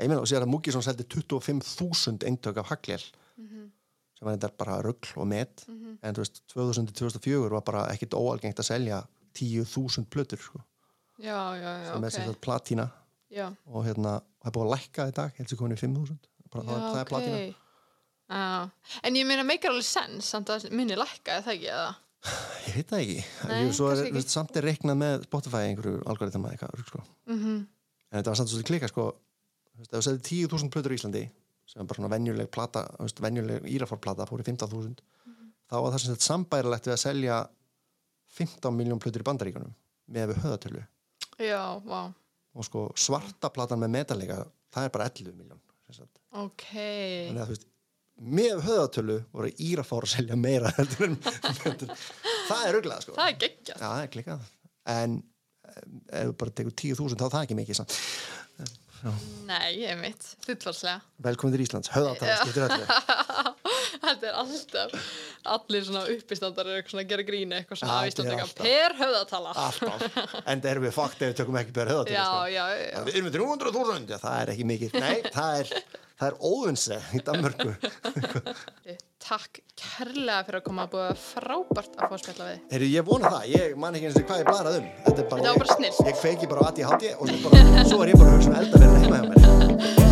S2: ég meina og sér að Múkisson seldi 25.000 eintök af Haglél
S1: Mhm,
S2: sem var þetta bara rugl og met en þú veist, 2000-2004 var bara ekkit óalgengt að selja 10.000 plötur sko,
S1: já, já, já,
S2: sem er sem
S1: ok
S2: sagt platína
S1: já,
S2: og hérna, það er búin að lækka í dag heldur komin í 5.000 bara,
S1: já,
S2: það, er- það er
S1: ok
S2: platína
S1: já, en ég meina meikar alveg sens samt að minni lækka, er það ekki, eða
S2: Ég veit það ekki.
S1: Nei,
S2: Jú, svo er,
S1: kannski ekki.
S2: veist, samt er reiknað með Spotify einhverju algoritma eða eitthvað. rugl, Sko.
S1: mhm,
S2: En þetta var samt svolítið klika, sko. Þú veist, ef þú segði 10.000 plötur í Íslandi, sem er bara svona venjuleg plata, þú veist, venjuleg írafárplata, fór í 15.000, þá var það sem sagt sambærilegt við að selja 15 miljón plötur í bandaríkunum með við höðatölu.
S1: já, vá,
S2: Og sko, svarta platan með metalega, það er bara 11 miljón. Þannig
S1: ok
S2: að, þú veist, með höðatölu voru írafár að selja meira heldur en, það er ruglað, sko.
S1: það er geggjað
S2: Já, það er klikkað En em, ef þú bara tekur 10.000 þá er það ekki mikið samt.
S1: Nei, ég mitt, þullvarslega
S2: Velkomin til Íslands, höfðatala skiptir öllu
S1: Þetta er alltaf Allir svona uppistandar eru eitthvað svona að gera gríni eitthvað svona
S2: Já,
S1: af
S2: þetta er
S1: Íslandika
S2: alltaf.
S1: Per höfðatala
S2: Alltaf, en það erum við fakt ef við tökum ekki bara höfðatala
S1: Já, já, já
S2: Við erum við 300.000, já það er ekki mikið Nei, það er, það er óvinse í Danmörku
S1: Takk kærlega fyrir að koma að búa frábært að fá að spjalla við
S2: Heyrðu, ég vona það, ég man ekki eins og hvað ég barað um Þetta er bara,
S1: Þetta var bara snillt.
S2: ég, ég kveiki bara aðti í hátí og svo, bara, svo er ég bara að hugsa um eldavirna heima hjá mér